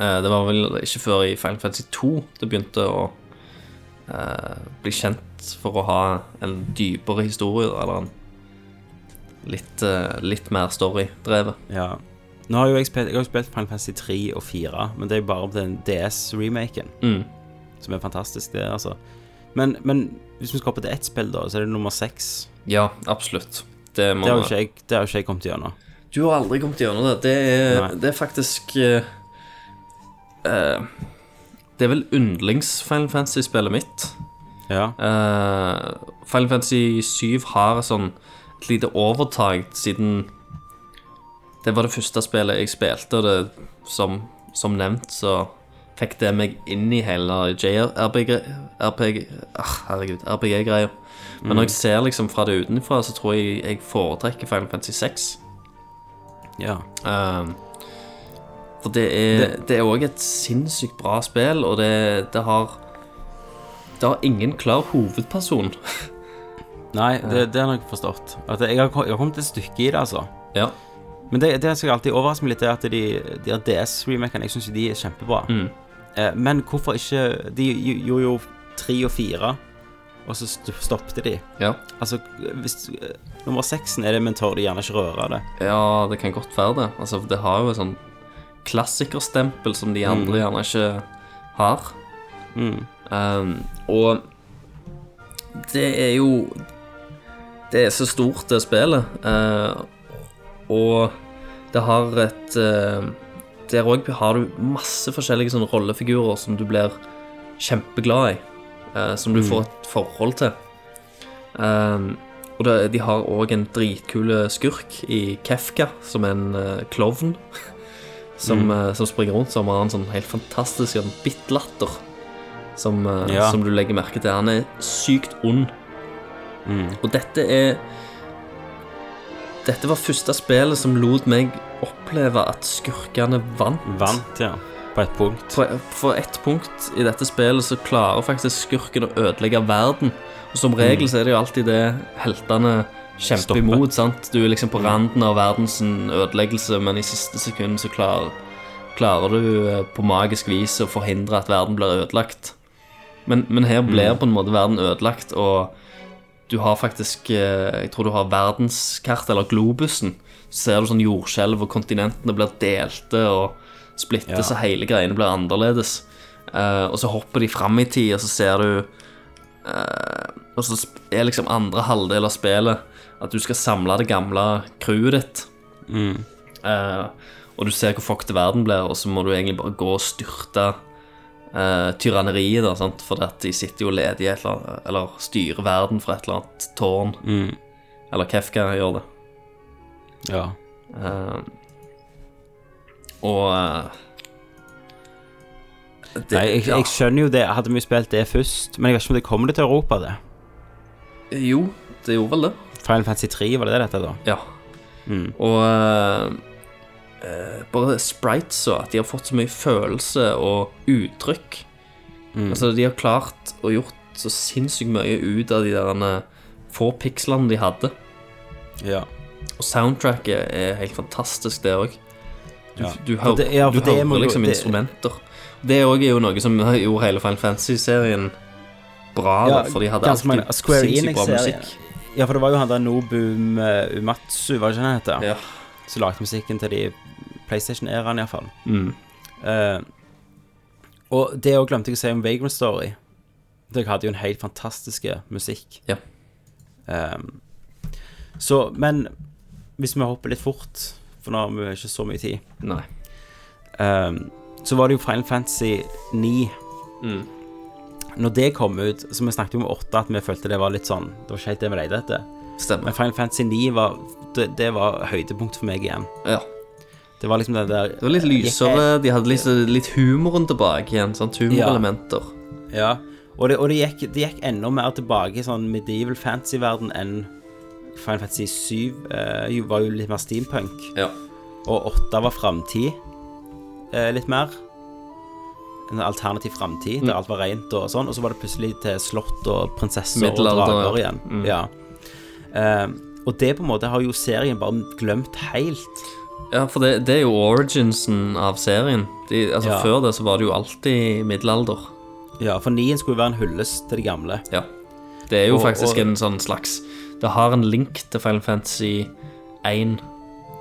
Speaker 5: Eh, det var vel ikke før i Final Fantasy 2 det begynte å eh, bli kjent for å ha en dypere historie, da, eller en litt, eh, litt mer storydrevet.
Speaker 4: Ja. Nå har jo jeg spilt, jeg har jo spilt Final Fantasy 3 og 4, men det er jo bare den DS-remaken.
Speaker 5: Mm.
Speaker 4: Som er fantastisk, det, altså. Men, men hvis vi skal hoppe til ett spill, da, så er det nummer seks.
Speaker 5: Ja, absolutt. Det må
Speaker 4: Det har jo
Speaker 5: vi-
Speaker 4: ikke jeg, det har jo ikke jeg kommet gjennom.
Speaker 5: Du har aldri kommet gjennom det. Det er,
Speaker 4: Nei.
Speaker 5: det er faktisk eh, eh, Det er vel yndlings-Final Fantasy-spillet mitt.
Speaker 4: Ja.
Speaker 5: Eh, Final Fantasy 7 har sånn et lite overtak siden Det var det første spillet jeg spilte, og det, som, som nevnt, så fikk det meg inn i hele JRPG RPG, ah, Herregud, RPG-greia. Men når jeg ser liksom fra det utenfra, så tror jeg jeg foretrekker Final Fantasy 6.
Speaker 4: ja.
Speaker 5: Um, for det er Det er òg et sinnssykt bra spill, og det, det har Det har ingen klar hovedperson.
Speaker 4: Nei, det, det har jeg nok forstått. At jeg, har, jeg har kommet et stykke i det, altså.
Speaker 5: ja.
Speaker 4: Men det, det som jeg alltid overrasker meg litt, er at de, de her DS-remakene, jeg syns de er kjempebra. Eh, men hvorfor ikke De gj- gjorde jo tre og fire, og så st- stoppet de.
Speaker 5: ja.
Speaker 4: Altså, hvis eh, Nummer seksen er det, men tør de gjerne ikke røre det.
Speaker 5: Ja, det kan godt være det. Altså, det har jo et sånn klassikerstempel som de andre gjerne ikke har. Um, og det er jo Det er så stort, det spillet. eh, og det har et eh, Der òg har du masse forskjellige sånne rollefigurer som du blir kjempeglad i. eh, som du får et forhold til. Um, og det, de har òg en dritkule skurk i Kefka, som er en eh, klovn. Som, eh, som springer rundt som har en sånn helt fantastisk sånn bitt-latter. Som, eh,
Speaker 4: Ja.
Speaker 5: som du legger merke til. Han er sykt ond. Og dette er Dette var første spillet som lot meg oppleve at skurkene vant.
Speaker 4: Vant, ja. På ett punkt.
Speaker 5: På, på ett punkt i dette spillet så klarer faktisk skurken å ødelegge verden. Og som regel så er det jo alltid det heltene kjemper
Speaker 4: Mm. Stopper. Mm.
Speaker 5: imot. sant? Du er liksom på randen av verdens ødeleggelse, men i siste sekund så klarer, klarer du eh, på magisk vis å forhindre at verden blir ødelagt. Men, men her blir på en måte verden ødelagt, og du har faktisk eh, Jeg tror du har verdenskart, eller globusen. Så ser du sånn jordskjelv, og kontinentene blir delte og splittes,
Speaker 4: Ja.
Speaker 5: og hele greiene blir annerledes. Eh, og så hopper de fram i tid, og så ser du eh, Og så sp- er liksom andre halvdel av spillet at du skal samle det gamle crewet ditt. Eh, og du ser hvor fucked verden blir, og så må du egentlig bare gå og styrte eh, tyranneriet, da, sant? for at de sitter jo og leder i et eller annet, eller styrer verden fra et eller annet tårn.
Speaker 4: Mm.
Speaker 5: Eller Kefka gjør det.
Speaker 4: Ja.
Speaker 5: Og eh, det,
Speaker 4: Nei, jeg, jeg skjønner jo det. Hadde vi spilt det først Men jeg vet ikke om det kommer det til Europa, det.
Speaker 5: ja. Jo, det gjorde vel det.
Speaker 4: Final Fantasy 3, var det det dette, da?
Speaker 5: Ja.
Speaker 4: Mm.
Speaker 5: Og eh, eh, bare sprites og at de har fått så mye følelse og uttrykk.
Speaker 4: Mm.
Speaker 5: Altså, de har klart og gjort så sinnssykt mye ut av de der eh, få pikslene de hadde.
Speaker 4: Ja.
Speaker 5: Og soundtracket er helt fantastisk, det òg. Du,
Speaker 4: Ja.
Speaker 5: du hører,
Speaker 4: det- ja, for
Speaker 5: du
Speaker 4: det må
Speaker 5: hører
Speaker 4: jo-
Speaker 5: liksom
Speaker 4: det-
Speaker 5: instrumenter. Det òg er jo noe som gjorde hele Final Fantasy-serien bra, da, for de hadde
Speaker 4: ganske mange-
Speaker 5: alltid
Speaker 4: Square
Speaker 5: sinnssykt bra
Speaker 4: Enix-serien.
Speaker 5: musikk.
Speaker 4: Ja, for det var jo han der Nobum eh, Umatsu, var det ikke han heter?
Speaker 5: Ja.
Speaker 4: Som lagde musikken til de PlayStation-æraen, iallfall.
Speaker 5: Mm.
Speaker 4: Uh, og det òg glemte jeg å si om Vagrant Story. Dere hadde jo en helt fantastisk musikk.
Speaker 5: Ja.
Speaker 4: Ehm, så, men hvis vi hopper litt fort, for nå har vi ikke så mye tid
Speaker 5: Nei.
Speaker 4: Ehm, Så var det jo Final Fantasy 9
Speaker 5: Mm.
Speaker 4: Når det kom ut, så vi snakket jo om 8 At vi følte det var litt sånn Det var ikke helt det vi leide etter Men
Speaker 5: Stemmer.
Speaker 4: Final Fantasy 9 var Det, det var høydepunkt for meg igjen
Speaker 5: Ja.
Speaker 4: Det var liksom den der
Speaker 5: Det var litt lysere, de hadde litt, litt humoren tilbake igjen. sant? Humorelementer.
Speaker 4: Ja Og det, og det, gikk, det gikk enda mer tilbake i sånn medieval fantasy-verden Enn Final Fantasy 7 eh, jo- Var jo litt mer steampunk
Speaker 5: Ja.
Speaker 4: Og 8 var framtid eh, litt mer. En alternativ framtid
Speaker 5: Mm.
Speaker 4: der alt var rent og sånn. Og så var det plutselig til slott og prinsesser og
Speaker 5: Middelalder,
Speaker 4: drager
Speaker 5: ja. Mm.
Speaker 4: igjen. Ja. Eh, og det på en måte har jo serien bare glemt helt.
Speaker 5: ja, for det, det er jo originsen av serien. De, altså
Speaker 4: Ja.
Speaker 5: Før det så var det jo alltid middelalder.
Speaker 4: Ja, for nien skulle jo være en hyllest til det gamle.
Speaker 5: Ja. Det er jo
Speaker 4: Og-
Speaker 5: faktisk
Speaker 4: og-
Speaker 5: en sånn slags Det har en link til Final Fantasy 1.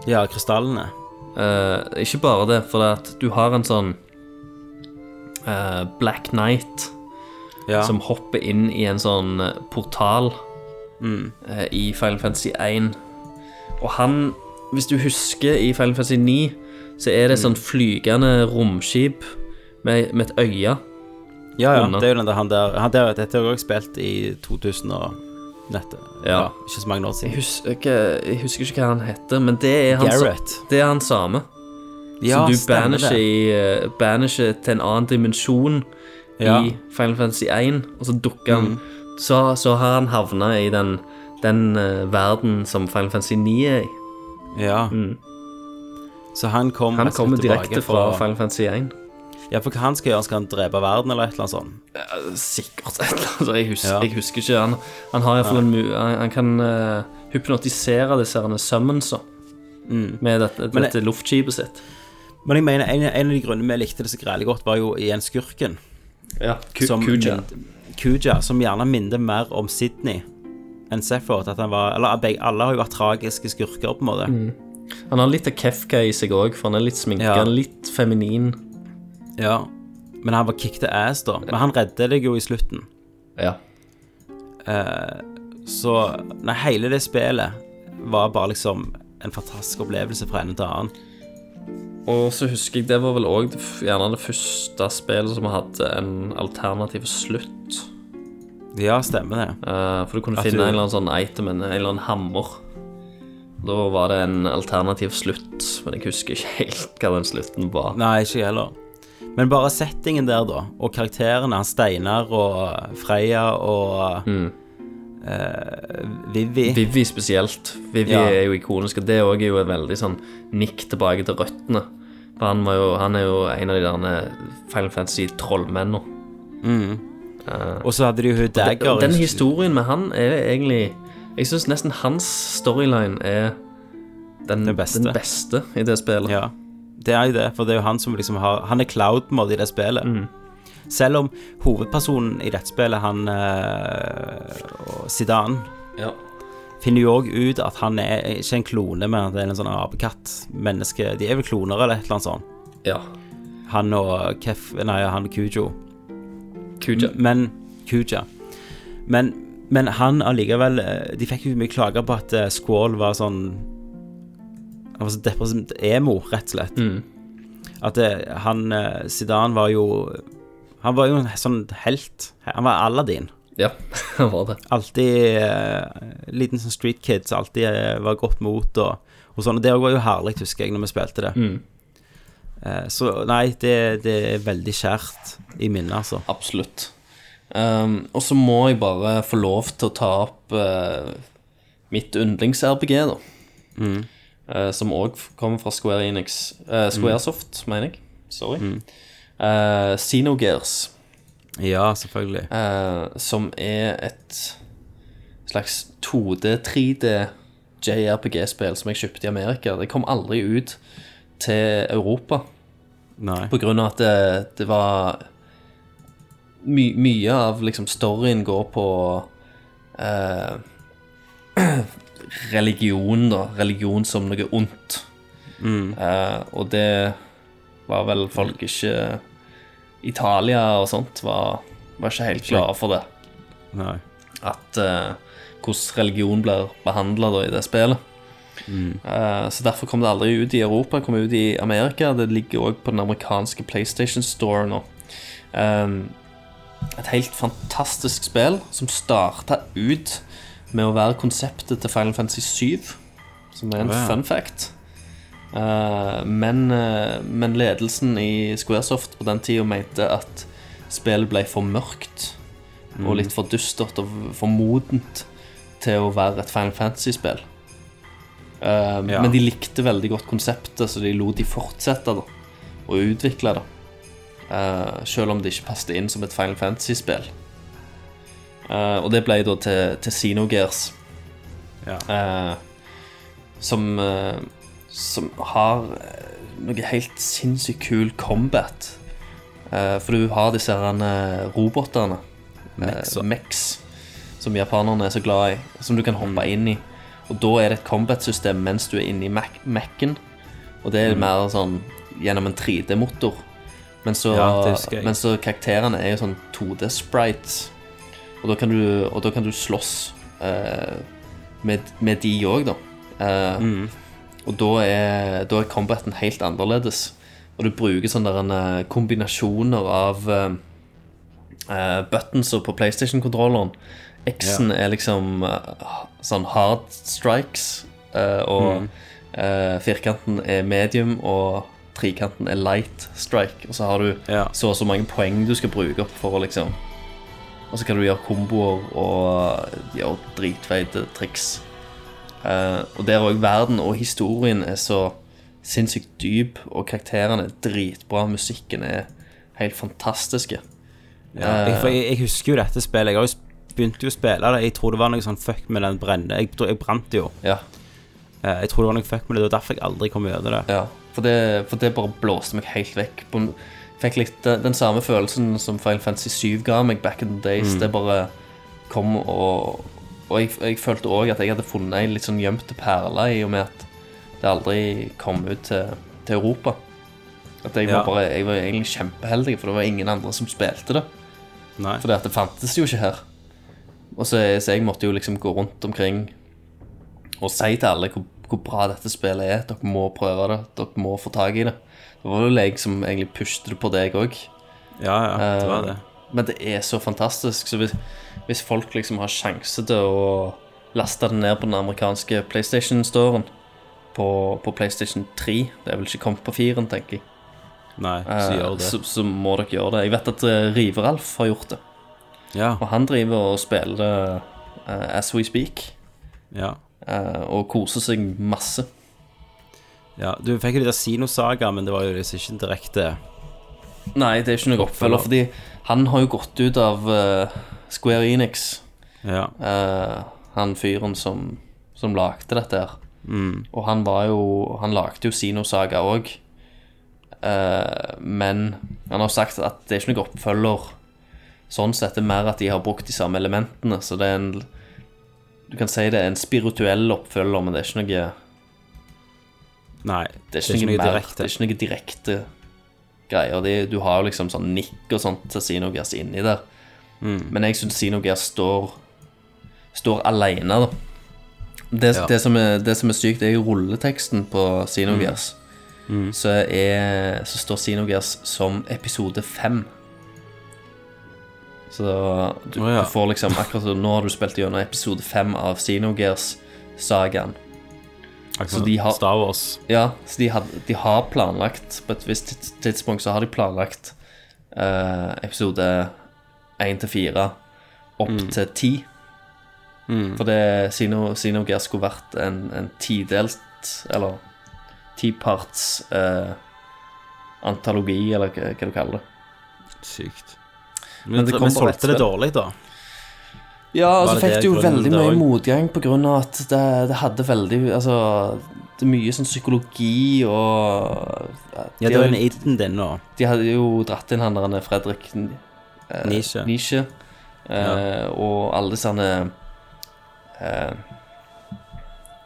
Speaker 4: Ja, krystallene.
Speaker 5: Eh, ikke bare det, for det at du har en sånn eh, Black Knight
Speaker 4: Ja.
Speaker 5: som hopper inn i en sånn eh, portal
Speaker 4: Mm.
Speaker 5: eh, i Final Fantasy 1. Og han, hvis du husker i Final Fantasy 9, så er
Speaker 4: Mm.
Speaker 5: det sånn flygende romskip med, med et øye.
Speaker 4: ja, ja.
Speaker 5: under.
Speaker 4: Det er jo den der han der han der, Dette har jeg også spilt i 2000 og nettet.
Speaker 5: Ja.
Speaker 4: Ikke så mange år siden.
Speaker 5: Jeg husker, ikke, jeg husker ikke hva han heter, men det er han, sa-
Speaker 4: Gareth.
Speaker 5: det er han samme.
Speaker 4: Ja,
Speaker 5: så du
Speaker 4: stemmer
Speaker 5: banisher,
Speaker 4: det.
Speaker 5: i, eh, banisher til en annen dimensjon
Speaker 4: Ja. Mm.
Speaker 5: i Final Fantasy 1, og så dukker han så, så har han havna i den, den eh, verden som Final Fantasy 9 er i.
Speaker 4: Ja. Så han kom
Speaker 5: Mm. Han
Speaker 4: rett og slett
Speaker 5: kommer
Speaker 4: tilbake
Speaker 5: direkte fra Final Fantasy 1.
Speaker 4: Ja, for hva han skal gjøre? Skal han drepe verden, eller et eller annet sånt?
Speaker 5: Sikkert et eller annet. Jeg husker,
Speaker 4: Ja.
Speaker 5: jeg husker ikke. Han, han har iallfall en mu... Han, han kan eh, hypnotisere disse herne summonser med dette,
Speaker 4: Mm. Men
Speaker 5: dette luftskipet sitt.
Speaker 4: Men jeg mener, en, en av de grunnene vi likte det så grælig godt, var jo igjen skurken.
Speaker 5: Ja,
Speaker 4: som
Speaker 5: Kuja.
Speaker 4: min- Kuja, som gjerne minner mer om Sydney enn Sephiroth. At han var Eller begge, alle har jo vært tragiske skurker, på en måte.
Speaker 5: Mm. Han har litt av Kefka i seg òg, for han er litt sminka,
Speaker 4: Ja.
Speaker 5: litt feminin.
Speaker 4: Ja. Men han var kick the ass, da. Men han redder deg jo i slutten.
Speaker 5: Ja.
Speaker 4: Så nei, hele det spillet var bare liksom en fantastisk opplevelse fra ende til annen.
Speaker 5: Og så husker jeg, det var vel òg gjerne det første spillet som hadde en alternativ slutt.
Speaker 4: Ja, stemmer det.
Speaker 5: Eh, for du kunne
Speaker 4: At
Speaker 5: finne
Speaker 4: du-
Speaker 5: en eller annen sånn item, en en eller annen hammer. Da var det en alternativ slutt, men jeg husker ikke helt hva den slutten var.
Speaker 4: Nei, ikke jeg heller. Men bare settingen der, da, og karakterene, han Steinar og Freya og eh, Mm. Vivi
Speaker 5: Vivi spesielt. Vivi
Speaker 4: Ja.
Speaker 5: er jo ikonisk, og det òg er jo et veldig sånn nikk tilbake til røttene. For han, var jo, han er jo en av de der Final Fantasy-trollmennene.
Speaker 4: Og så hadde de jo hun Dagger.
Speaker 5: Den historien med han er egentlig Jeg syns nesten hans storyline er den,
Speaker 4: Den beste.
Speaker 5: den beste i det spillet.
Speaker 4: Ja, det er jo det, for det er jo han som liksom har Han er cloud mod i det spillet. Selv om hovedpersonen i dette spillet, han eh, og Zidane,
Speaker 5: Ja.
Speaker 4: finner jo òg ut at han er ikke en klone, men at det er en sånn apekatt. Menneske De er vel kloner eller et eller annet sånt.
Speaker 5: ja.
Speaker 4: Han og Kef Nei, han og Kujo.
Speaker 5: Kuja.
Speaker 4: Men Kuja. Men, men han allikevel eh, De fikk jo mye klager på at eh, Squall var sånn Han var så depressivt emo, rett og slett. At eh, han eh, Zidane var jo Han var jo en sånn helt. Han var Aladdin.
Speaker 5: Ja, han var det.
Speaker 4: Alltid eh, liten sånn street kid som alltid eh, var godt mot og, og sånn. Og det òg var jo herlig, husker jeg, når vi spilte det. Eh, så nei, det, det er veldig kjært i minnet, altså.
Speaker 5: Absolutt. Ehm, og så må jeg bare få lov til å ta opp eh, mitt yndlings-RPG, da.
Speaker 4: Mm.
Speaker 5: Eh, som òg kommer fra Square Enix eh, Squaresoft,
Speaker 4: Mm.
Speaker 5: mener jeg. Sorry. Eh, Xenogears,
Speaker 4: Ja, selvfølgelig.
Speaker 5: eh, som er et slags 2D, 3D JRPG-spill som jeg kjøpte i Amerika. Det kom aldri ut til Europa.
Speaker 4: Nei.
Speaker 5: På grunn av at det, det var my, Mye av liksom storyen går på eh, religion, da. Religion som noe ondt. Eh, og det var vel folk ikke Italia og sånt var, var ikke helt glade for det.
Speaker 4: Nei.
Speaker 5: At eh, hvordan religion blir behandla i det spillet. Eh, så derfor kom det aldri ut i Europa, kom ut i Amerika. Det ligger òg på den amerikanske PlayStation Store nå. Ehm, et helt fantastisk spill som starta ut med å være konseptet til Final Fantasy 7, som er en
Speaker 4: Wow.
Speaker 5: fun fact. Eh, men, eh, men ledelsen i Squaresoft på den tida mente at spillet ble for mørkt og litt for dystert og for modent til å være et Final Fantasy-spill. Eh,
Speaker 4: Ja.
Speaker 5: Men de likte veldig godt konseptet, så de lot de fortsette da, å utvikle det. Eh, selv om det ikke passet inn som et Final Fantasy-spill. Eh, og det ble da til, til Xenogears.
Speaker 4: Ja.
Speaker 5: Eh, som, eh, uh, som har eh, noe helt sinnssykt kul combat. Eh, For du har disse her eh, robotene,
Speaker 4: Mexer.
Speaker 5: Mex, som japanerne er så glad i, som du kan hoppe
Speaker 4: Mm.
Speaker 5: inn i. Og da er det et combat-system mens du er inne i Mac- Mac-en. Og det er
Speaker 4: Mm.
Speaker 5: mer sånn gjennom en 3D-motor. Men så,
Speaker 4: Ja, det husker jeg.
Speaker 5: men så karakterene er jo sånn 2D-sprites. Og da kan du, og da kan du slåss eh, med, med de òg, da. Eh,
Speaker 4: Mm.
Speaker 5: Og da er, da er combaten helt annerledes. Og du bruker sånne der, eh, kombinasjoner av eh, eh, buttonser på PlayStation-kontrolleren. X-en er liksom eh, sånn hard strikes, eh, og eh, firkanten er medium, og trekanten er light strike. Og så har du
Speaker 4: Ja.
Speaker 5: så og så mange poeng du skal bruke opp for å liksom Og så kan du gjøre komboer og eh, gjøre dritfeite triks. Eh, og der òg verden og historien er så sinnssykt dyp, og karakterene er dritbra, musikken er helt fantastiske.
Speaker 4: Ja,
Speaker 5: eh,
Speaker 4: jeg, for jeg, jeg husker jo dette spillet. Jeg har jo sp- begynte jo å spille det. Jeg tror det var noe sånn fuck med den brenne... Jeg, tror- jeg brant det jo.
Speaker 5: Ja,
Speaker 4: Eh, Jeg tror det var noe fuck med det, og derfor jeg aldri kom over det.
Speaker 5: ja. For, det, for det bare blåste meg helt vekk. På, en- fikk litt den, den samme følelsen som Final Fantasy 7 ga meg back in the days. Det bare kom og Og jeg, jeg følte òg at jeg hadde funnet ei litt sånn gjemte perle, i og med at det aldri kom ut til, til Europa. At jeg var,
Speaker 4: Ja.
Speaker 5: bare, jeg var egentlig kjempeheldig, for det var ingen andre som spilte det.
Speaker 4: Nei.
Speaker 5: For det, at det fantes jo ikke her. Og så, så jeg måtte jo liksom gå rundt omkring og si til alle hvor, hvor bra dette spillet er. Dere må prøve det. Dere må få tak i det. Det var jo jeg som egentlig pushet det på deg òg.
Speaker 4: Ja, ja, det
Speaker 5: Eh,
Speaker 4: var det.
Speaker 5: Men det er så fantastisk. Så hvis, hvis folk liksom har sjanse til å laste det ned på den amerikanske PlayStation-storen på, på PlayStation 3 Det er vel ikke kommet på 4-en, tenker jeg.
Speaker 4: Nei, så gjør det.
Speaker 5: eh, Så, så må dere gjøre det. Jeg vet at eh, River-Alf har gjort det.
Speaker 4: Ja,
Speaker 5: Og han driver og spiller det eh, as we speak,
Speaker 4: ja.
Speaker 5: eh, og koser seg masse.
Speaker 4: ja. Du fikk jo det der Sinosaga, men det var jo liksom ikke direkte
Speaker 5: Nei, det er ikke noe oppfølger, fordi han har jo gått ut av eh, Square Enix,
Speaker 4: Ja.
Speaker 5: eh, han fyren som, som lagde dette her. Og han var jo Han lagde jo Sinosaga òg, Eh, men han har sagt at det er ikke noe oppfølger. Sånn sett det er mer at de har brukt de samme elementene, så det er en Du kan si det er en spirituell oppfølger, men det er ikke noe
Speaker 4: Nei,
Speaker 5: det er ikke, noe, mer, det er ikke noe direkte greier. Det, du har jo liksom sånn nikk og sånt til Sinogears inni der. Men jeg syns Sinogears står, står aleine, da. Det,
Speaker 4: Ja.
Speaker 5: det, som er, det som er sykt, det er jo rulleteksten på Sinogears. Så, er, så står Sinogears som episode fem. Så du,
Speaker 4: Å, ja.
Speaker 5: du får liksom akkurat som Nå har du spilt gjennom episode fem av Sinogears-sagaen.
Speaker 4: Akkurat
Speaker 5: de har-
Speaker 4: Star Wars.
Speaker 5: Ja, så de, had, de har planlagt På et visst tids- tidspunkt så har de planlagt eh, episode 1-4 opp til 10. For det Sino, Sinogear skulle vært en, en tidelt Eller tiparts eh, antologi, eller hva, hva du kaller det.
Speaker 4: Sykt.
Speaker 5: Men
Speaker 4: Men,
Speaker 5: det
Speaker 4: men,
Speaker 5: kom på rett
Speaker 4: solgte det
Speaker 5: spill.
Speaker 4: dårlig, da.
Speaker 5: Ja, og så
Speaker 4: det
Speaker 5: fikk
Speaker 4: det
Speaker 5: du jo
Speaker 4: grunnen
Speaker 5: veldig
Speaker 4: til
Speaker 5: mye
Speaker 4: også?
Speaker 5: motgang på grunn av at det, det hadde veldig Altså, det er mye sånn psykologi og
Speaker 4: Ja,
Speaker 5: de
Speaker 4: det
Speaker 5: har
Speaker 4: er
Speaker 5: jo-
Speaker 4: den iden din nå.
Speaker 5: De hadde jo dratt inn han der Fredrik eh,
Speaker 4: Nisje.
Speaker 5: Nisje eh, og alle disse han eh,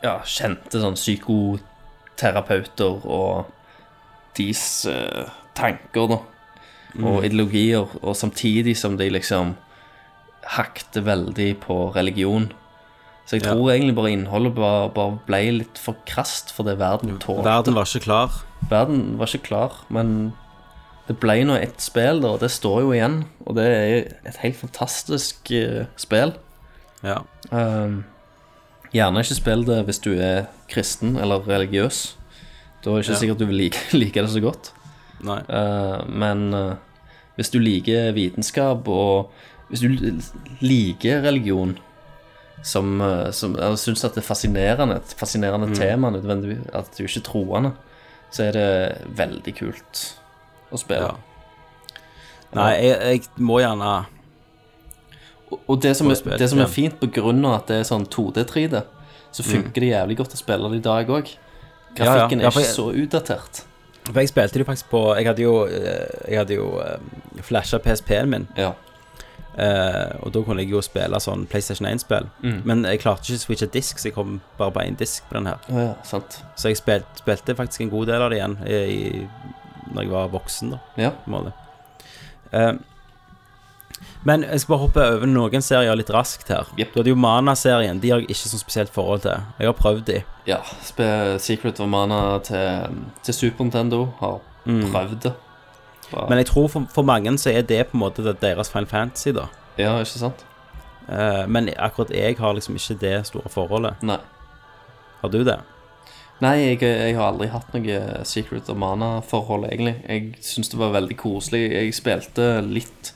Speaker 5: ja, kjente sånn psykoterapeuter og deres eh, tanker da, og ideologier, og samtidig som de liksom hakte veldig på religion. Så jeg tror egentlig bare innholdet bare, bare ble litt for krast for det verden tålte.
Speaker 4: Verden var ikke klar.
Speaker 5: Verden var ikke klar, men det ble nå ett spill, da, og det står jo igjen. Og det er et helt fantastisk eh, spill.
Speaker 4: Ja.
Speaker 5: Um, gjerne ikke spill det hvis du er kristen eller religiøs. Da er det ikke
Speaker 4: Ja.
Speaker 5: sikkert du vil like, like det så godt.
Speaker 4: Nei.
Speaker 5: Eh, men eh, hvis du liker vitenskap, og hvis du l- liker religion som, eh, som eller syns at det er fascinerende, et fascinerende
Speaker 4: Mm.
Speaker 5: tema, nødvendigvis, at du ikke er troende, så er det veldig kult å spille.
Speaker 4: Ja. Nei, jeg, jeg må gjerne
Speaker 5: Og- Og det som,
Speaker 4: Og
Speaker 5: er,
Speaker 4: spill,
Speaker 5: det som
Speaker 4: ja.
Speaker 5: er fint, på grunn av at det er sånn 2D-3D, så funker det jævlig godt å spille det i dag òg.
Speaker 4: Mm. Ja, ja.
Speaker 5: Grafikken
Speaker 4: Ja,
Speaker 5: er
Speaker 4: for
Speaker 5: ikke
Speaker 4: jeg-
Speaker 5: så utdatert.
Speaker 4: For jeg spilte det jo faktisk på Jeg hadde jo, eh, jeg hadde jo eh, flasha PSP-en min.
Speaker 5: Ja.
Speaker 4: Eh, og da kunne jeg jo spille sånn PlayStation 1-spill.
Speaker 5: Mm.
Speaker 4: Men jeg klarte ikke å switche disk, så jeg kom bare på én disk på den her.
Speaker 5: Å ja, sant.
Speaker 4: Så jeg spil, spilte faktisk en god del av det igjen i, i, når jeg var voksen, da,
Speaker 5: Ja.
Speaker 4: på en måte. Eh, men jeg skal bare hoppe over noen serier litt raskt her.
Speaker 5: Jep.
Speaker 4: Du hadde jo Mana-serien. De har jeg ikke så spesielt forhold til. Jeg har prøvd de.
Speaker 5: ja. spe- Secret of Mana til, til Super Nintendo har prøvd det. Bare-
Speaker 4: Men jeg tror for, for mange så er det på en måte det deres Final Fantasy, da.
Speaker 5: Ja, ikke sant?
Speaker 4: Eh, men akkurat jeg har liksom ikke det store forholdet.
Speaker 5: Nei.
Speaker 4: Har du det?
Speaker 5: Nei, jeg, jeg har aldri hatt noe Secret of Mana-forhold, egentlig. Jeg syns det var veldig koselig. Jeg spilte litt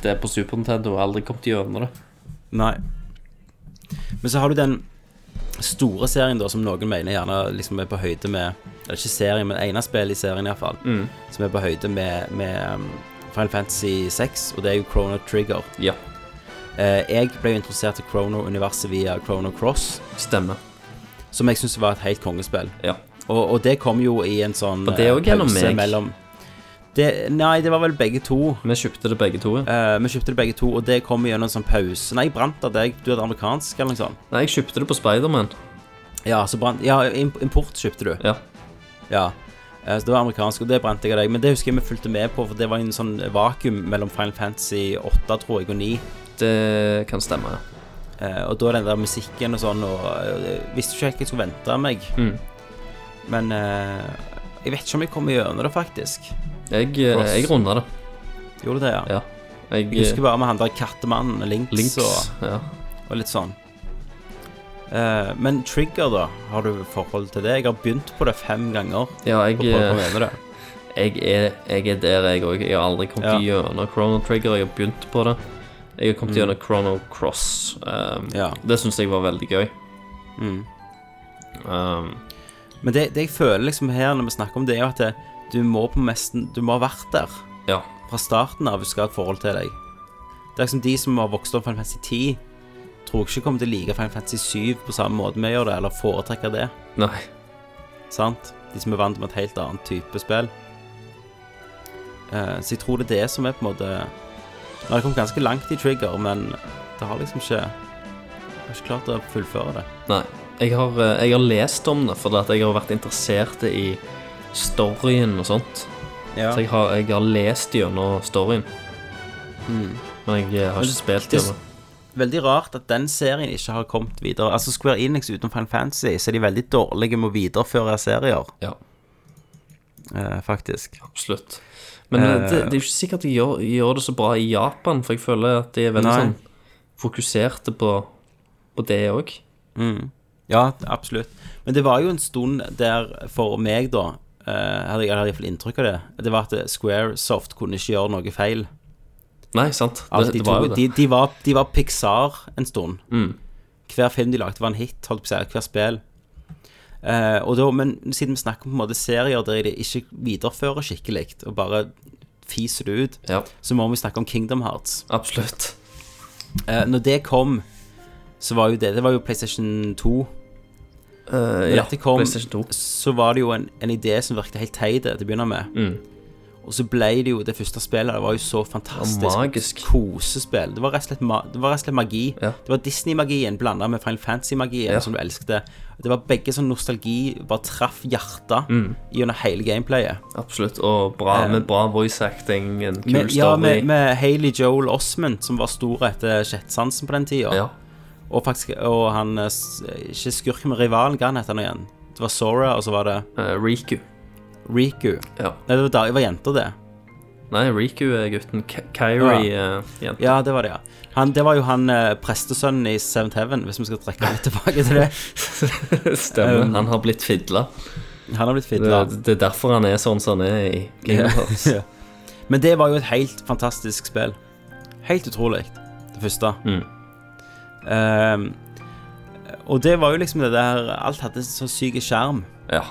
Speaker 5: det på Super Nintendo, og aldri kommet gjennom det.
Speaker 4: Nei. Men så har du den store serien da, som noen mener gjerne liksom er på høyde med Eller ikke serien, men ene spill i serien iallfall. Mm. Som er på høyde med, med um, Final Fantasy 6, og det er jo Chrono Trigger.
Speaker 5: Ja,
Speaker 4: Eh, jeg ble jo introdusert til Chrono-universet via Chrono Cross,
Speaker 5: stemmer.
Speaker 4: som jeg syns var et helt kongespill.
Speaker 5: Ja.
Speaker 4: Og, og det kom jo i en sånn
Speaker 5: Var det
Speaker 4: eh,
Speaker 5: også gjennom
Speaker 4: pause
Speaker 5: meg?
Speaker 4: mellom det, Nei, det var vel begge to.
Speaker 5: Vi kjøpte det begge to. ja.
Speaker 4: Eh, vi kjøpte det begge to, og det kom gjennom en sånn pause. Nei, jeg brant av deg. Du hadde amerikansk, eller noe sånt.
Speaker 5: Nei, jeg kjøpte det på Spiderman.
Speaker 4: Ja, så brant, ja, im- import kjøpte du.
Speaker 5: Ja.
Speaker 4: Ja. Eh, Så det var amerikansk, og det brant jeg av deg. Men det husker jeg vi fulgte med på, for det var en sånn vakuum mellom Final Fantasy 8, tror jeg, og 9.
Speaker 5: Det kan stemme, ja.
Speaker 4: Eh, Og da den der musikken og sånn, og eh, jeg visste ikke helt hva jeg skulle vente av meg.
Speaker 5: Mm.
Speaker 4: Men eh, jeg vet ikke om jeg kom gjennom det, faktisk.
Speaker 5: Jeg, eh,
Speaker 4: Cross.
Speaker 5: jeg runda det.
Speaker 4: Gjorde du det, ja?
Speaker 5: Ja. Jeg,
Speaker 4: Jeg husker
Speaker 5: eh,
Speaker 4: bare med han der kattemannen, Links,
Speaker 5: Links.
Speaker 4: Og,
Speaker 5: Ja.
Speaker 4: og litt sånn. Eh, men Trigger, da? Har du forhold til det? Jeg har begynt på det fem ganger.
Speaker 5: ja, jeg,
Speaker 4: Og prøvd å komme
Speaker 5: eh,
Speaker 4: gjennom det.
Speaker 5: jeg, er, jeg er der, jeg òg. Jeg har aldri kommet
Speaker 4: Ja. Mm.
Speaker 5: gjennom Chrono Trigger. Jeg har begynt på det. Jeg har kommet gjennom Chrono Cross. Um,
Speaker 4: Ja.
Speaker 5: Det syns jeg var veldig gøy.
Speaker 4: Mm.
Speaker 5: Um,
Speaker 4: Men det, det jeg føler liksom her når vi snakker om det, er jo at det, du må på mesten Du må ha vært der
Speaker 5: ja.
Speaker 4: fra starten av hvis du skal ha et forhold til deg. Det er liksom de som har vokst opp Final Fantasy 10, tror jeg ikke kommer til å like Final Fantasy 7 på samme måte vi gjør det, eller foretrekker det.
Speaker 5: Nei.
Speaker 4: Sant? De som er vant med et helt annet type spill. Eh, så jeg tror det er det som er på en måte Nå har jeg kommet ganske langt i Trigger, men det har liksom ikke Jeg har ikke klart å fullføre det.
Speaker 5: Nei. Jeg har, eh, jeg har lest om det fordi at jeg har vært interessert i storyen og sånt.
Speaker 4: Ja.
Speaker 5: Så jeg har, jeg har lest gjennom storyen. Men jeg eh, har ikke spilt
Speaker 4: Mm. det-
Speaker 5: gjennom.
Speaker 4: Veldig rart at den serien ikke har kommet videre. Altså Square Enix utenom Final Fantasy, så er de veldig dårlige med å videreføre serier,
Speaker 5: Ja,
Speaker 4: eh, faktisk.
Speaker 5: absolutt. Men eh, det, det er jo ikke sikkert de gjør, gjør det så bra i Japan, for jeg føler at de er veldig
Speaker 4: Nei.
Speaker 5: sånn fokuserte på, på det òg.
Speaker 4: Ja, absolutt. Men det var jo en stund der for meg, da eh, Hadde jeg iallfall inntrykk av det. Det var at Squaresoft kunne ikke gjøre noe feil.
Speaker 5: Nei, sant. Det,
Speaker 4: Alt Altså, de,
Speaker 5: det var
Speaker 4: tok-
Speaker 5: jo det. Mm.
Speaker 4: de, de, var, de var Pixar en stund. Hver film de lagde, var en hit. Holdt på å si, hver spill. Eh, og da, men siden vi snakker om på en måte serier der de ikke viderefører skikkelig, og bare fiser det ut,
Speaker 5: Ja,
Speaker 4: så må vi snakke om Kingdom Hearts.
Speaker 5: absolutt.
Speaker 4: Eh, når det kom, så var jo det Det var jo PlayStation 2.
Speaker 5: Eh,
Speaker 4: Når
Speaker 5: ja,
Speaker 4: dette kom,
Speaker 5: PlayStation 2.
Speaker 4: så var det jo en, en idé som virket helt teit til å begynne med.
Speaker 5: Mm.
Speaker 4: Og så ble det jo det første spillet. Det var jo så fantastisk.
Speaker 5: Og magisk.
Speaker 4: Kosespill. Det var rett og slett, ma det var rett og slett magi.
Speaker 5: Ja.
Speaker 4: Det var Disney-magien blanda med Final Fantasy-magien, som du elsket. Det var begge sånn nostalgi bare traff hjertet
Speaker 5: Mm.
Speaker 4: gjennom hele gameplayet.
Speaker 5: Absolutt. Og bra,
Speaker 4: Eh,
Speaker 5: med bra voice acting, en kul
Speaker 4: Med,
Speaker 5: story.
Speaker 4: ja, med, med Hayley Joel Osment, som var stor etter Sjettsansen på den tida.
Speaker 5: Ja.
Speaker 4: Og faktisk, og han eh, s- Ikke skurken, men rivalen, hva han heter han igjen? Det var Sora, og så var det
Speaker 5: eh, Riku.
Speaker 4: Riku.
Speaker 5: Ja.
Speaker 4: Nei, det var, da- det var jenter, det.
Speaker 5: Nei, Riku er gutten. Ka- Kairi eh, jenta.
Speaker 4: Ja, det var det, ja. Han, det var jo han eh, prestesønnen i Seventh Heaven, hvis vi skal trekke litt tilbake til det.
Speaker 5: Stemmer. han har blitt fidla.
Speaker 4: Han har blitt
Speaker 5: Det,
Speaker 4: fidla.
Speaker 5: det er derfor han er sånn som han er i Kingdom Hearts.
Speaker 4: Ja. Men det var jo et helt fantastisk spill. Helt utrolig, det første.
Speaker 5: Mm.
Speaker 4: Ehm, og det var jo liksom det der Alt hadde så syk skjerm.
Speaker 5: Ja.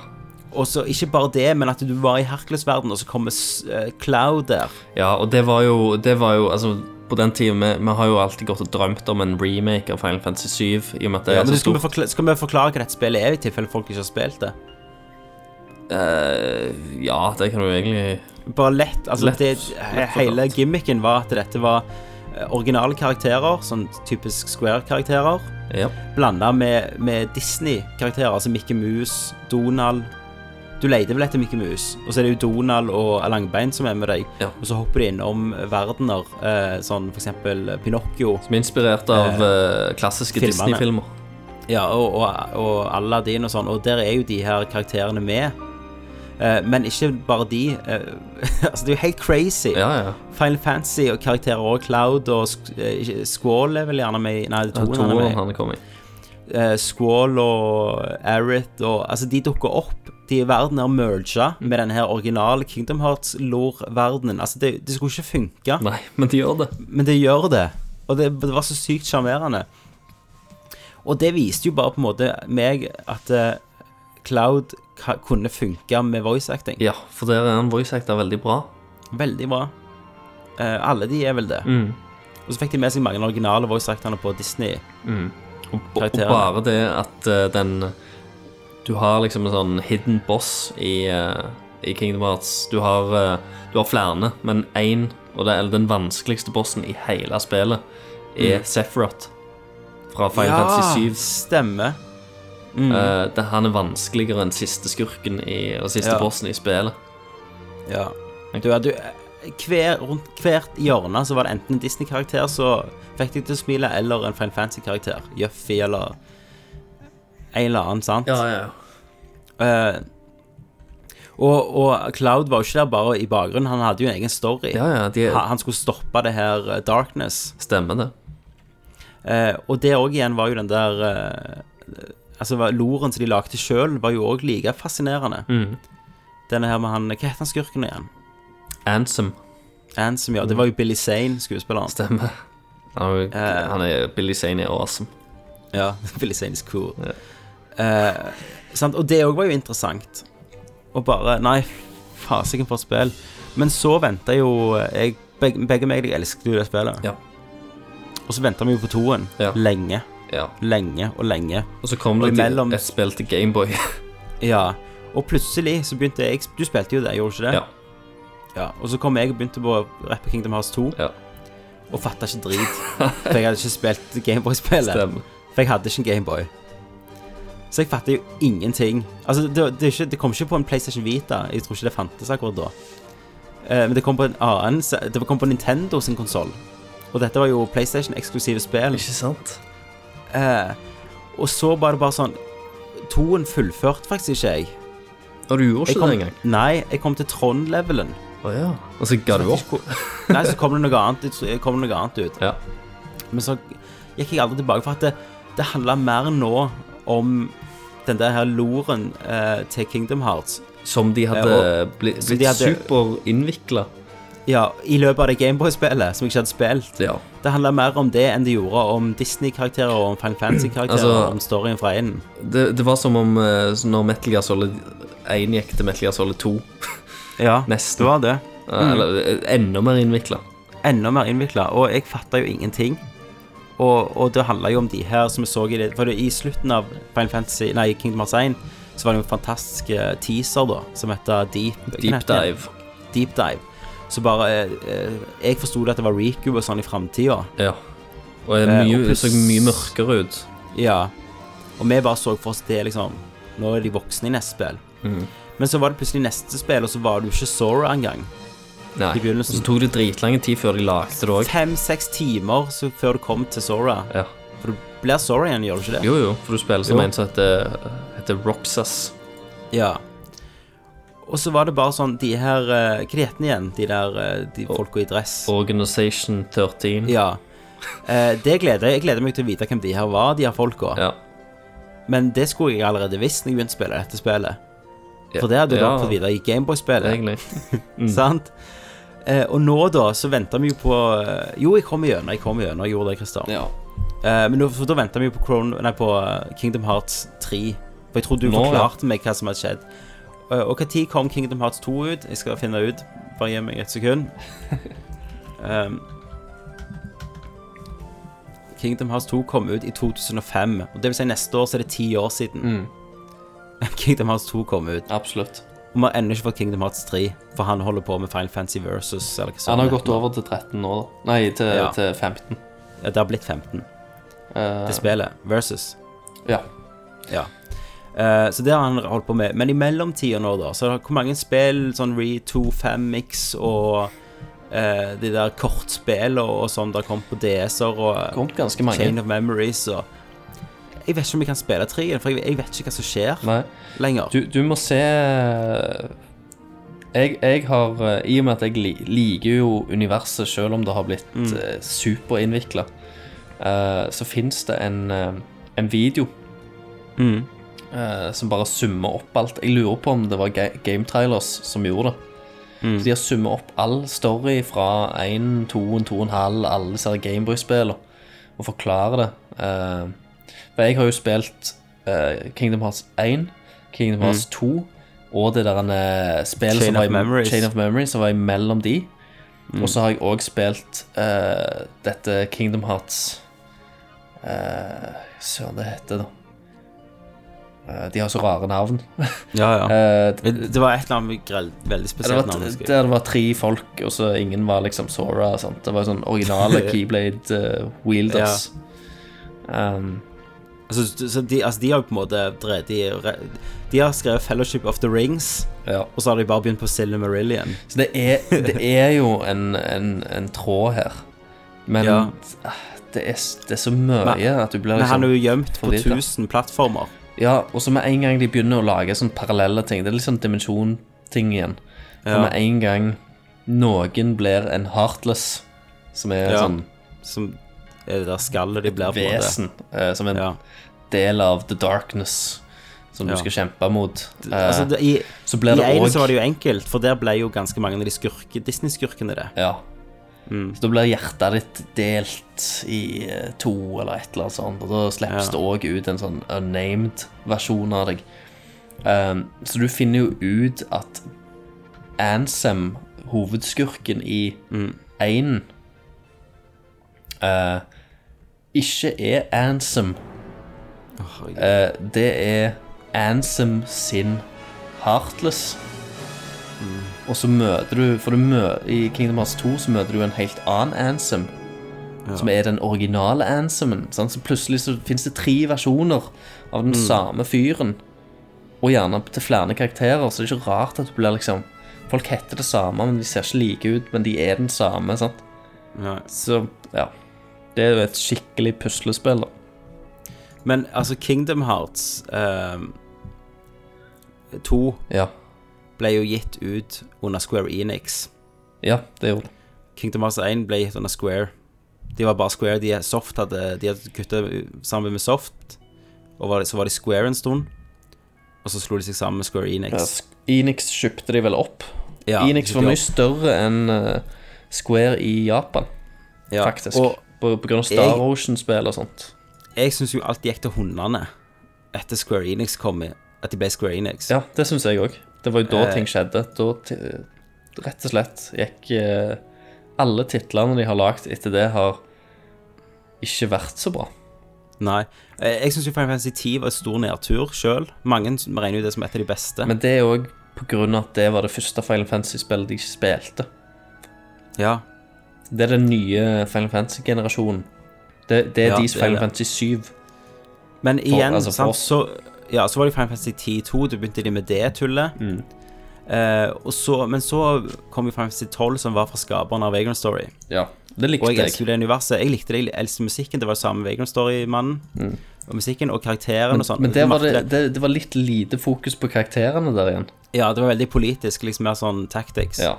Speaker 4: Og så ikke bare det, men at du var i Hercules-verden, og så kommer s- eh, Cloud der.
Speaker 5: ja, og det var jo, det var jo Altså, på den tida vi, vi har jo alltid gått og drømt om en remake av Final Fantasy 7, i og med at det
Speaker 4: Ja,
Speaker 5: er
Speaker 4: men
Speaker 5: så
Speaker 4: skal vi,
Speaker 5: stort.
Speaker 4: forklare, skal vi forklare hva dette spillet er, i tilfelle folk ikke har spilt det?
Speaker 5: Eh, ja, det kan du egentlig
Speaker 4: Bare lett. Altså,
Speaker 5: Lett-
Speaker 4: det,
Speaker 5: lett forklart.
Speaker 4: hele gimmicken var at dette var eh, originale karakterer, sånn typisk Square-karakterer,
Speaker 5: Ja.
Speaker 4: blanda med, med Disney-karakterer, altså Mickey Mouse, Donald Du leter vel etter Mickey Mouse, og så er det jo Donald og Langbein som er med deg,
Speaker 5: Ja.
Speaker 4: og så hopper de innom verdener, eh, sånn for eksempel Pinocchio.
Speaker 5: Som er inspirert av eh, klassiske
Speaker 4: filmene.
Speaker 5: Disney-filmer.
Speaker 4: Ja, og, og, og Aladdin og sånn, og der er jo de her karakterene med. Eh, men ikke bare de. eh, altså, det er jo helt crazy.
Speaker 5: Ja, ja.
Speaker 4: Final Fantasy og karakterer og Cloud og Sk- eh, ikke- Squall er vel gjerne med i- Nei, det er toen han er
Speaker 5: Toeren
Speaker 4: med i.
Speaker 5: han kom i.
Speaker 4: Eh, Squall og Aerith og Altså, de dukker opp. De verdenene er merga med den her originale Kingdom Hearts-lore-verdenen. Altså, det, det skulle ikke funke.
Speaker 5: Nei, men de gjør det.
Speaker 4: Men det gjør det. Og det, det var så sykt sjarmerende. Og det viste jo bare på en måte meg at eh, Cloud ka- kunne funke med voice acting.
Speaker 5: Ja, for der er han voice actor veldig bra.
Speaker 4: Veldig bra. Eh, alle de er vel det.
Speaker 5: Mm.
Speaker 4: Og så fikk de med seg mange originale voice acterne på Disney.
Speaker 5: Og og
Speaker 4: Karakterene.
Speaker 5: bare det at eh, den Du har liksom en sånn hidden boss i, eh, i Kingdom Hearts. Du har, eh, du har flere, men én, og det er den vanskeligste bossen i hele spillet, er Sephiroth fra Final Fantasy 7.
Speaker 4: stemmer.
Speaker 5: Eh, det, han er vanskeligere enn siste skurken i, og siste
Speaker 4: Ja.
Speaker 5: bossen i spillet.
Speaker 4: Ja. Du, ja, du, eh, hver, rundt hvert hjørne så var det enten en Disney-karakter så fikk deg til å smile, eller en Final Fantasy-karakter. Juffy eller en eller annen, sant?
Speaker 5: ja.
Speaker 4: Eh, og, og Cloud var jo ikke der bare i bakgrunnen, han hadde jo en egen story.
Speaker 5: ja, ja de
Speaker 4: Han, han skulle stoppe det her eh, darkness.
Speaker 5: stemmer, det.
Speaker 4: Eh, og det òg igjen var jo den der eh, Altså var- loren som de lagde sjøl, var jo òg like fascinerende. Denne her med han Hva heter han skurken igjen?
Speaker 5: Ansem.
Speaker 4: Ansem, ja. Det var jo Billy Zane, skuespilleren.
Speaker 5: Stemmer. Han er, han er Billy Zane er awesome.
Speaker 4: Ja, Billy Zane is cool. Eh, sant? Og det òg var jo interessant. Og bare Nei, fasiken for et spill. Men så venta jo eh, jeg Begge, begge meg og jeg elsket jo det spillet.
Speaker 5: Ja.
Speaker 4: Og så venta vi jo på toen.
Speaker 5: Ja.
Speaker 4: Lenge,
Speaker 5: Ja.
Speaker 4: lenge og lenge.
Speaker 5: Og så kom
Speaker 4: Og
Speaker 5: det
Speaker 4: imellom-
Speaker 5: til et spill til Gameboy.
Speaker 4: Ja. Og plutselig så begynte jeg Du spilte jo det, gjorde du ikke det?
Speaker 5: ja.
Speaker 4: Ja. Og så kom jeg og begynte på Rap Kingdom Hearts 2
Speaker 5: ja.
Speaker 4: og fatta ikke drit. For jeg hadde ikke spilt Gameboy-spillet.
Speaker 5: Stemmer.
Speaker 4: For jeg hadde ikke en Gameboy. Så jeg fatter jo ingenting. Altså, det, det, er ikke, det kom ikke på en PlayStation Vita. Jeg tror ikke det fantes akkurat da. Eh, men det kom på en annen se- Det kom på Nintendo sin konsoll. Og dette var jo PlayStation-eksklusive spill.
Speaker 5: Ikke sant?
Speaker 4: Eh, og så var det bare sånn Toen fullførte faktisk ikke jeg.
Speaker 5: Og du gjorde
Speaker 4: jeg
Speaker 5: ikke
Speaker 4: kom,
Speaker 5: det engang.
Speaker 4: Nei, jeg kom til Trond-levelen.
Speaker 5: Å ja. Og så ga du opp.
Speaker 4: Nei, så kom det noe annet, ut- så kom det noe annet ut.
Speaker 5: Ja.
Speaker 4: Men så gikk jeg aldri tilbake, for at det, det handla mer nå om den der her loren eh, til Kingdom Hearts.
Speaker 5: Som de hadde
Speaker 4: Ja,
Speaker 5: bli,
Speaker 4: som
Speaker 5: blitt
Speaker 4: de hadde-
Speaker 5: superinnvikla.
Speaker 4: Ja, I løpet av det Gameboy-spillet som jeg ikke hadde spilt.
Speaker 5: Ja.
Speaker 4: Det handla mer om det enn det gjorde om Disney-karakterer og om Final Fantasy-karakterer.
Speaker 5: Altså-
Speaker 4: og om storyen fra én.
Speaker 5: Det, det var som om eh, når Metal Gear Solid 1 gikk til Metal Gear Solid 2.
Speaker 4: Ja,
Speaker 5: Nesten.
Speaker 4: det var det.
Speaker 5: Eh, Eller eh, enda mer innvikla.
Speaker 4: Enda mer innvikla. Og jeg fatta jo ingenting. Og, og det handla jo om de her som vi så i det For det, i slutten av Final Fantasy, nei, Kingdom Hearts 1 så var det jo en fantastisk eh, teaser da, som heter Deep hva
Speaker 5: Deep
Speaker 4: heter den?
Speaker 5: dive.
Speaker 4: deep dive. Så bare eh, eh, Jeg forsto det at det var Riku og sånn i framtida.
Speaker 5: Ja. Og det
Speaker 4: Eh,
Speaker 5: mye,
Speaker 4: og pluss-
Speaker 5: så mye mørkere ut.
Speaker 4: Ja. Og vi bare så for oss det, liksom. Nå er de voksne i neste spill.
Speaker 5: Mhm.
Speaker 4: Men så var det plutselig neste spill, og så var det jo ikke Sora engang.
Speaker 5: Nei.
Speaker 4: I begynnelsen.
Speaker 5: Og Så tok det dritlang tid før de lagde det òg.
Speaker 4: Fem-seks timer så før du kom til Sora.
Speaker 5: Ja.
Speaker 4: For du blir Sora igjen, gjør du ikke det?
Speaker 5: Jo, jo, for du spiller som
Speaker 4: Jo.
Speaker 5: en som heter, heter Roxas.
Speaker 4: Ja. Og så var det bare sånn De her eh, Hva heter de igjen? De der eh, de folka i dress.
Speaker 5: Organization 13.
Speaker 4: Ja. Eh, det gleder jeg. Jeg gleder meg til å vite hvem de her var, de her folka.
Speaker 5: Ja.
Speaker 4: Men det skulle jeg allerede visst når jeg begynte å spille dette spillet.
Speaker 5: Ja,
Speaker 4: For det hadde du
Speaker 5: ja,
Speaker 4: bare fått videre i Gameboy-spillet.
Speaker 5: Egentlig.
Speaker 4: Sant? Eh, og nå, da, så venter vi jo på eh, Jo, jeg kom igjennom, jeg kom igjennom, jeg gjorde det, Christer.
Speaker 5: Ja.
Speaker 4: Eh, men nå, for da venter vi jo på, Kron- nei, på eh, Kingdom Hearts 3. For jeg tror du
Speaker 5: Nå, ja.
Speaker 4: forklarte meg hva som hadde skjedd. Eh, og når kom Kingdom Hearts 2 ut? Jeg skal finne ut. Bare gi meg et sekund. Um, Kingdom Hearts 2 kom ut i
Speaker 5: Mm.
Speaker 4: 2005. Og det vil si neste år så er det ti år siden Kingdom Hearts 2 kom ut.
Speaker 5: Absolutt.
Speaker 4: Og vi har ennå ikke fått Kingdom Hearts 3, for han holder på med Final Fantasy Versus. Eller hva
Speaker 5: Han
Speaker 4: søren
Speaker 5: har
Speaker 4: det
Speaker 5: gått
Speaker 4: heter.
Speaker 5: over til 13 nå, da. Nei, til,
Speaker 4: Ja.
Speaker 5: til 15.
Speaker 4: Ja, det har blitt 15
Speaker 5: Eh,
Speaker 4: til spillet. Versus.
Speaker 5: ja.
Speaker 4: Ja. Eh, så det har han holdt på med. Men i mellomtida nå, da, så er det- hvor mange spill sånn Re2, 5Mix og eh, de der kortspillene og, og sånn der kom på DS-er og eh,
Speaker 5: Kommet ganske mange.
Speaker 4: Chain of Memories og Jeg vet ikke om jeg kan spille treen, for jeg, jeg vet ikke hva som skjer
Speaker 5: Nei.
Speaker 4: lenger.
Speaker 5: Du, du må se jeg, jeg har eh, I og med at jeg li, liker jo universet selv om det har blitt eh, superinnvikla, eh, så fins det en, eh, en video
Speaker 4: Mm.
Speaker 5: eh, som bare summer opp alt. Jeg lurer på om det var ga Game Trailers som gjorde det. Så De har summet opp all story fra 1, 2, 2,5, alle disse her Gameboy-spillene, og forklarer det. Eh, for jeg har jo spilt eh, Kingdom Hearts 1, Kingdom Hearts 2 og det der eh, spillet
Speaker 4: Mm. Chain
Speaker 5: som var
Speaker 4: of
Speaker 5: i-
Speaker 4: Memories. Mm.
Speaker 5: Chain of Memories, som var imellom de. Og så har jeg òg spilt eh, dette Kingdom Hearts eh, Søren, det heter det. Eh, de har så rare navn.
Speaker 4: Ja, ja.
Speaker 5: Eh,
Speaker 4: Men det var et eller annet grell- veldig
Speaker 5: det
Speaker 4: spesielt
Speaker 5: var,
Speaker 4: navn. husker jeg.
Speaker 5: der det var tre folk, og så ingen var liksom Sora. og sånt. Det var sånn originale Keyblade eh, Wielders. Um,
Speaker 4: Altså, du- så de, altså, de har jo på en måte drevet de, de har skrevet 'Fellowship of the Rings',
Speaker 5: ja.
Speaker 4: og så har de bare begynt på Silly Marillion.
Speaker 5: Så det er, det er jo en, en, en tråd her. Men
Speaker 4: Ja.
Speaker 5: ah, det, er, s- det er så mye
Speaker 4: Men-
Speaker 5: at du blir
Speaker 4: Men han er
Speaker 5: liksom
Speaker 4: jo gjemt på
Speaker 5: forvirret.
Speaker 4: 1000 plattformer.
Speaker 5: Ja, og så med en gang de begynner å lage sånn parallelle ting, det er litt sånn dimensjon-ting igjen. For
Speaker 4: Ja.
Speaker 5: med en gang noen blir en heartless, som er
Speaker 4: Ja.
Speaker 5: sånn
Speaker 4: Som er det der skallet de blir på en måte.
Speaker 5: vesen, eh, som en
Speaker 4: Ja.
Speaker 5: del av the darkness, som
Speaker 4: Ja.
Speaker 5: du skal kjempe mot. Eh,
Speaker 4: Altså, det, I
Speaker 5: så blir
Speaker 4: i
Speaker 5: det
Speaker 4: ene
Speaker 5: òg
Speaker 4: så var det jo enkelt, for der ble jo ganske mange av de skurke, Disney-skurkene det.
Speaker 5: Ja. Så da blir hjertet ditt delt i eh, to eller et eller annet sånt, og da slippes
Speaker 4: Ja.
Speaker 5: det òg ut en sånn unnamed versjon av deg. Um, så du finner jo ut at Ansem, hovedskurken i Einen, eh, ikke er Ansem. Eh, det er Ansem sin Heartless. Og så møter du For du mø i Kingdom Hearts 2 så møter du en helt annen Ansem. Som er den originale Ansemen. Sant? Så plutselig så fins det tre versjoner av den
Speaker 4: Mm.
Speaker 5: samme fyren. Og gjerne til flere karakterer, så det er ikke rart at du blir liksom Folk heter det samme, men de ser ikke like ut, men de er den samme. sant?
Speaker 4: Ja.
Speaker 5: Så ja. Det er jo et skikkelig puslespill, da.
Speaker 4: Men altså, Kingdom Hearts eh, 2
Speaker 5: Ja.
Speaker 4: ble jo gitt ut under Square Enix.
Speaker 5: ja det gjorde det.
Speaker 4: Kingdom Hearts 1 ble gitt under Square. De var bare Square. De, Soft hadde, de hadde kutta sammen med Soft, og var, så var de Square en stund. Og så slo de seg sammen med Square
Speaker 5: Ja,
Speaker 4: Enix.
Speaker 5: Sk- Enix kjøpte de vel opp.
Speaker 4: Ja,
Speaker 5: Enix var
Speaker 4: de-
Speaker 5: mye større enn eh, Square i Japan,
Speaker 4: ja.
Speaker 5: faktisk.
Speaker 4: Og
Speaker 5: på, på grunn av Star
Speaker 4: jeg-
Speaker 5: Ocean-spill og sånt.
Speaker 4: jeg syns jo alt gikk til hundene etter Square Enix kom i. At de ble Square Enix.
Speaker 5: Ja, det syns jeg òg. Det var jo da
Speaker 4: Eh.
Speaker 5: ting skjedde. Da ti- rett og slett gikk eh, Alle titlene de har lagd etter det, har ikke vært så bra.
Speaker 4: Nei. Eh, Jeg syns jo Final Fantasy 10 var en stor nedtur sjøl. Mange s- regner jo det som et av de beste.
Speaker 5: Men det er òg på grunn av at det var det første Final Fantasy-spillet de spilte.
Speaker 4: ja.
Speaker 5: Det er den nye Final Fantasy-generasjonen. Det, det er
Speaker 4: Ja,
Speaker 5: deres
Speaker 4: det er
Speaker 5: Final
Speaker 4: det.
Speaker 5: Fantasy 7.
Speaker 4: Men igjen,
Speaker 5: altså, for
Speaker 4: sant,
Speaker 5: oss.
Speaker 4: så Ja, så var det Final Fantasy 10-2, da begynte de med det tullet.
Speaker 5: Mm.
Speaker 4: Eh, og så, men så kom jo Final Fantasy 12, som var fra skaperen av Vagrant Story.
Speaker 5: Ja, det
Speaker 4: Og
Speaker 5: likte
Speaker 4: jeg
Speaker 5: jeg.
Speaker 4: elsker jo det universet. Jeg likte det, jeg elsket musikken. Det var jo samme Vagrant Story-mannen. Og musikken og karakteren og sånn.
Speaker 5: Mm. Men det
Speaker 4: Du
Speaker 5: var,
Speaker 4: merkte
Speaker 5: det, det, det var litt lite fokus på karakterene der igjen.
Speaker 4: Ja, det var veldig politisk, liksom mer sånn tactics.
Speaker 5: Ja.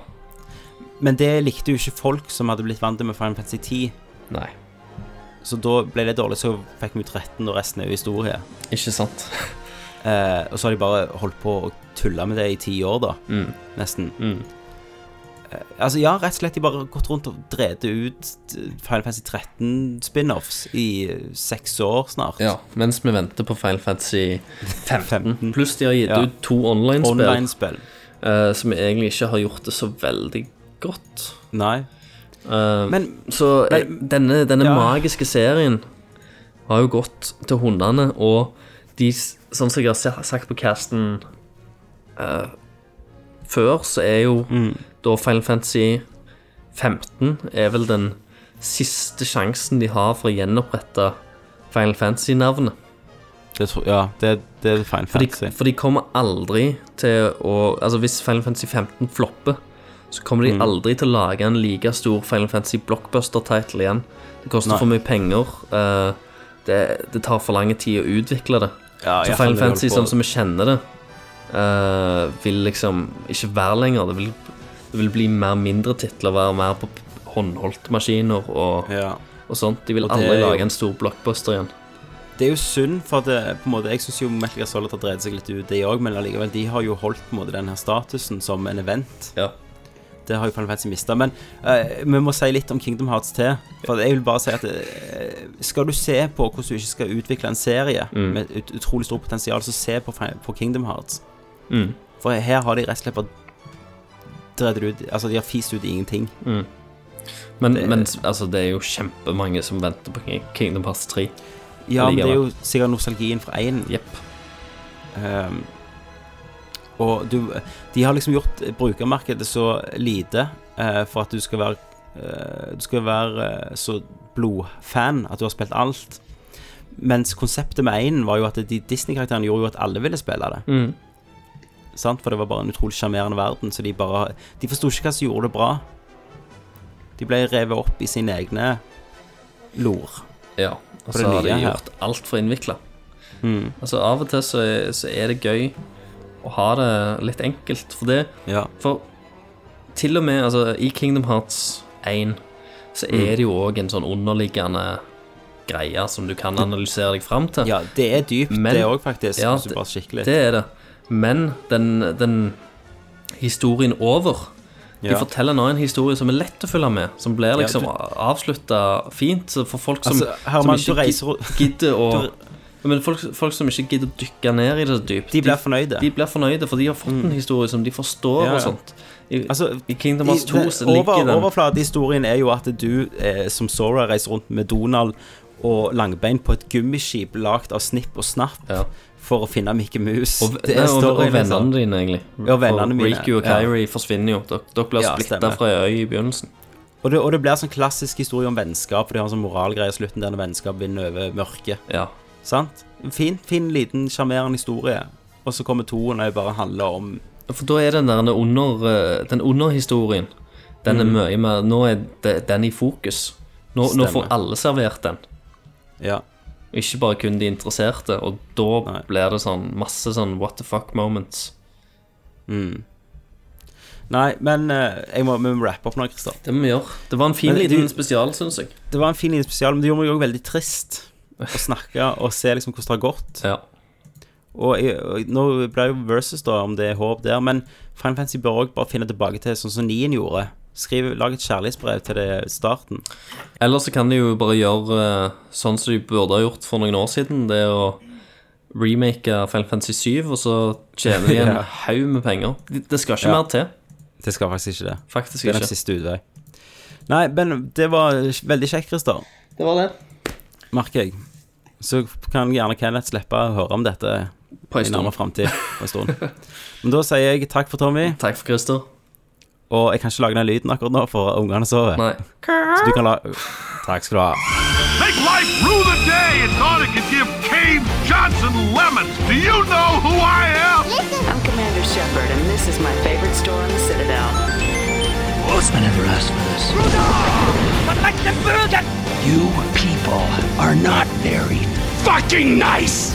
Speaker 4: Men det likte jo ikke folk som hadde blitt vant til med Final Fantasy 10.
Speaker 5: Nei,
Speaker 4: Så da ble det dårlig, så fikk vi ut 13, og resten er jo historie.
Speaker 5: ikke sant.
Speaker 4: Eh, og så har de bare holdt på å tulle med det i ti år, da.
Speaker 5: Mm.
Speaker 4: Nesten. Eh, altså, ja, rett og slett de bare har gått rundt og drevet ut Final Fantasy 13 spin-offs i eh, seks år snart.
Speaker 5: Ja, mens vi venter på Final Fantasy 15.
Speaker 4: 15.
Speaker 5: Pluss de har gitt
Speaker 4: Ja.
Speaker 5: ut to online-spill
Speaker 4: Online-spill.
Speaker 5: eh, som egentlig ikke har gjort det så veldig godt.
Speaker 4: Nei.
Speaker 5: Eh,
Speaker 4: Men
Speaker 5: så eh,
Speaker 4: men-
Speaker 5: denne, denne
Speaker 4: Ja.
Speaker 5: magiske serien har jo gått til hundene, og de, s- sånn som jeg har se- sagt på casten eh, før, så er jo
Speaker 4: Mm.
Speaker 5: da Final Fantasy 15 er vel den siste sjansen de har for å gjenopprette Final Fantasy-navnet.
Speaker 4: Det, tror- ja, det, det er fine
Speaker 5: For,
Speaker 4: fantasy.
Speaker 5: de- for de kommer aldri til å Altså, hvis Final Fantasy 15 flopper, så kommer de
Speaker 4: Mm.
Speaker 5: aldri til å lage en like stor Final Fantasy blockbuster-title igjen. Det koster
Speaker 4: Nei.
Speaker 5: for mye penger. eh, det, det tar for lang tid å utvikle det.
Speaker 4: Ja,
Speaker 5: Så Final
Speaker 4: jeg føler de holder
Speaker 5: Fantasy
Speaker 4: på-
Speaker 5: sånn som vi kjenner det, eh, vil liksom ikke være lenger. Det vil, det vil bli mer mindre titler, være mer på p- håndholdte maskiner og,
Speaker 4: ja.
Speaker 5: og sånt. De vil
Speaker 4: Og det
Speaker 5: aldri
Speaker 4: er jo-
Speaker 5: lage en stor blockbuster igjen.
Speaker 4: Det er jo synd, for at det, på en måte, jeg syns jo Metal Gear Solid har dreid seg litt ut, de òg, men allikevel, de har jo holdt på en måte den her statusen som en event.
Speaker 5: Ja.
Speaker 4: Det har jo Final Fantasy mista. Men eh, vi må si litt om Kingdom Hearts til. For jeg vil bare si at eh, skal du se på hvordan du ikke skal utvikle en serie med ut utrolig stort potensial, så se på, Fi- på Kingdom Hearts.
Speaker 5: Mm.
Speaker 4: For her har de rett og slett bare dreid det ut Altså, de har fist ut i ingenting.
Speaker 5: Mm. Men,
Speaker 4: Det-
Speaker 5: men altså, det er jo kjempemange som venter på King- Kingdom Hearts 3.
Speaker 4: Ja, men det er
Speaker 5: Allikevel.
Speaker 4: jo sikkert nostalgien fra én.
Speaker 5: Jepp.
Speaker 4: Ehm, og du, de har liksom gjort brukermarkedet så lite eh, for at du skal være eh, Du skal være eh, så blodfan at du har spilt alt. Mens konseptet med én var jo at de Disney-karakterene gjorde jo at alle ville spille det.
Speaker 5: Mm.
Speaker 4: Sant? For det var bare en utrolig sjarmerende verden, så de bare De forsto ikke hva som gjorde det bra. De ble revet opp i sine egne lor.
Speaker 5: Ja. Og
Speaker 4: det
Speaker 5: så har de
Speaker 4: nye her.
Speaker 5: gjort altfor innvikla.
Speaker 4: Mm.
Speaker 5: Altså, av og til så er, så er det gøy å ha det litt enkelt, for det
Speaker 4: Ja.
Speaker 5: For til og med altså, i Kingdom Hearts 1 så
Speaker 4: Mm.
Speaker 5: er det jo òg en sånn underliggende greie som du kan analysere deg fram til.
Speaker 4: ja, det er dypt,
Speaker 5: Men-
Speaker 4: det òg, faktisk.
Speaker 5: Ja,
Speaker 4: hvis du
Speaker 5: det-
Speaker 4: bare skikkelig
Speaker 5: Det er det. Men den, den historien over De
Speaker 4: Ja.
Speaker 5: forteller nå en historie som er lett å følge med, som blir liksom avslutta fint. Så for folk som,
Speaker 4: Altså, Herman,
Speaker 5: som
Speaker 4: du
Speaker 5: ikke
Speaker 4: reiser
Speaker 5: gi-
Speaker 4: rundt-
Speaker 5: gidder å
Speaker 4: Du-
Speaker 5: Men folk, folk som ikke gidder å dykke ned i det så dypt,
Speaker 4: De blir fornøyde. Mm.
Speaker 5: De blir fornøyde, for de har fått en historie som de forstår
Speaker 4: Ja, ja.
Speaker 5: og sånt. I,
Speaker 4: Altså,
Speaker 5: I Kingdom Hearts 2 så ligger
Speaker 4: over,
Speaker 5: den
Speaker 4: Overflatehistorien er jo at du eh, som Sora reiser rundt med Donald og Langbein på et gummiskip lagd av snipp og snapp
Speaker 5: Ja.
Speaker 4: for å finne Mickey Mouse.
Speaker 5: Og,
Speaker 4: Det
Speaker 5: nei,
Speaker 4: er
Speaker 5: og,
Speaker 4: storyen,
Speaker 5: og vennene
Speaker 4: altså.
Speaker 5: dine, egentlig.
Speaker 4: Ja, vennene mine,
Speaker 5: Riku og
Speaker 4: ja.
Speaker 5: Kyrie forsvinner jo. Dere, dere blir
Speaker 4: Ja,
Speaker 5: splitta
Speaker 4: stemmer.
Speaker 5: fra ei øy i begynnelsen.
Speaker 4: Og, det, og det blir sånn klassisk historie om vennskap, for de har en sånn moralgreie i slutten der når vennskap vinner over mørket.
Speaker 5: Ja.
Speaker 4: Sant? Fin, fin liten sjarmerende historie. Og så kommer toen og bare handler om
Speaker 5: For da er den der under, eh, den underhistorien Den er mye mer Nå er de- den i fokus. Nå, nå
Speaker 4: Stemmer.
Speaker 5: får alle servert den,
Speaker 4: Ja.
Speaker 5: ikke bare kun de interesserte. Og da
Speaker 4: Nei.
Speaker 5: blir det sånn masse sånn what the fuck moments.
Speaker 4: Nei, men eh, jeg må, vi må rappe opp nå, Christer.
Speaker 5: Det må vi gjøre. Det var en fin
Speaker 4: Men
Speaker 5: liten
Speaker 4: du-
Speaker 5: spesial, syns jeg.
Speaker 4: Det var en fin liten spesial, men det gjorde meg òg veldig trist å snakke og se liksom hvordan det har gått.
Speaker 5: Ja.
Speaker 4: Og, jeg, og nå ble jo versus, da, om det er håp der, men Final Fantasy bør òg bare finne tilbake til sånn som Nien gjorde. Skriv, Lag et kjærlighetsbrev til det starten.
Speaker 5: Eller så kan de jo bare gjøre eh, sånn som de burde ha gjort for noen år siden. Det er å remake Final Fantasy 7, og så tjener de en
Speaker 4: Ja.
Speaker 5: haug med penger. Det- Det skal ikke
Speaker 4: Ja.
Speaker 5: mer til.
Speaker 4: Det skal faktisk ikke det.
Speaker 5: Faktisk
Speaker 4: Det er
Speaker 5: ikke.
Speaker 4: den siste utvei. Nei, men det var veldig kjekt, Christer.
Speaker 6: Det var det.
Speaker 4: Merker jeg. Så kan gjerne Kenneth slippe å høre om dette
Speaker 5: På
Speaker 4: i
Speaker 5: en
Speaker 4: nærmere
Speaker 5: stund.
Speaker 4: framtid. på en stund. Men da sier jeg takk for Tommy,
Speaker 5: Takk for Christer.
Speaker 4: og jeg kan ikke lage den lyden akkurat nå, for ungene sover.
Speaker 5: Nei.
Speaker 4: Så du kan la Takk skal du ha.
Speaker 1: Make life rue the day and thought it could give Cave Johnson lemons. Do you know who I am?
Speaker 2: I'm Commander Shepard, and this is my favorite store in the Citadel.
Speaker 3: Osman never asked for this. You people are not very fucking nice!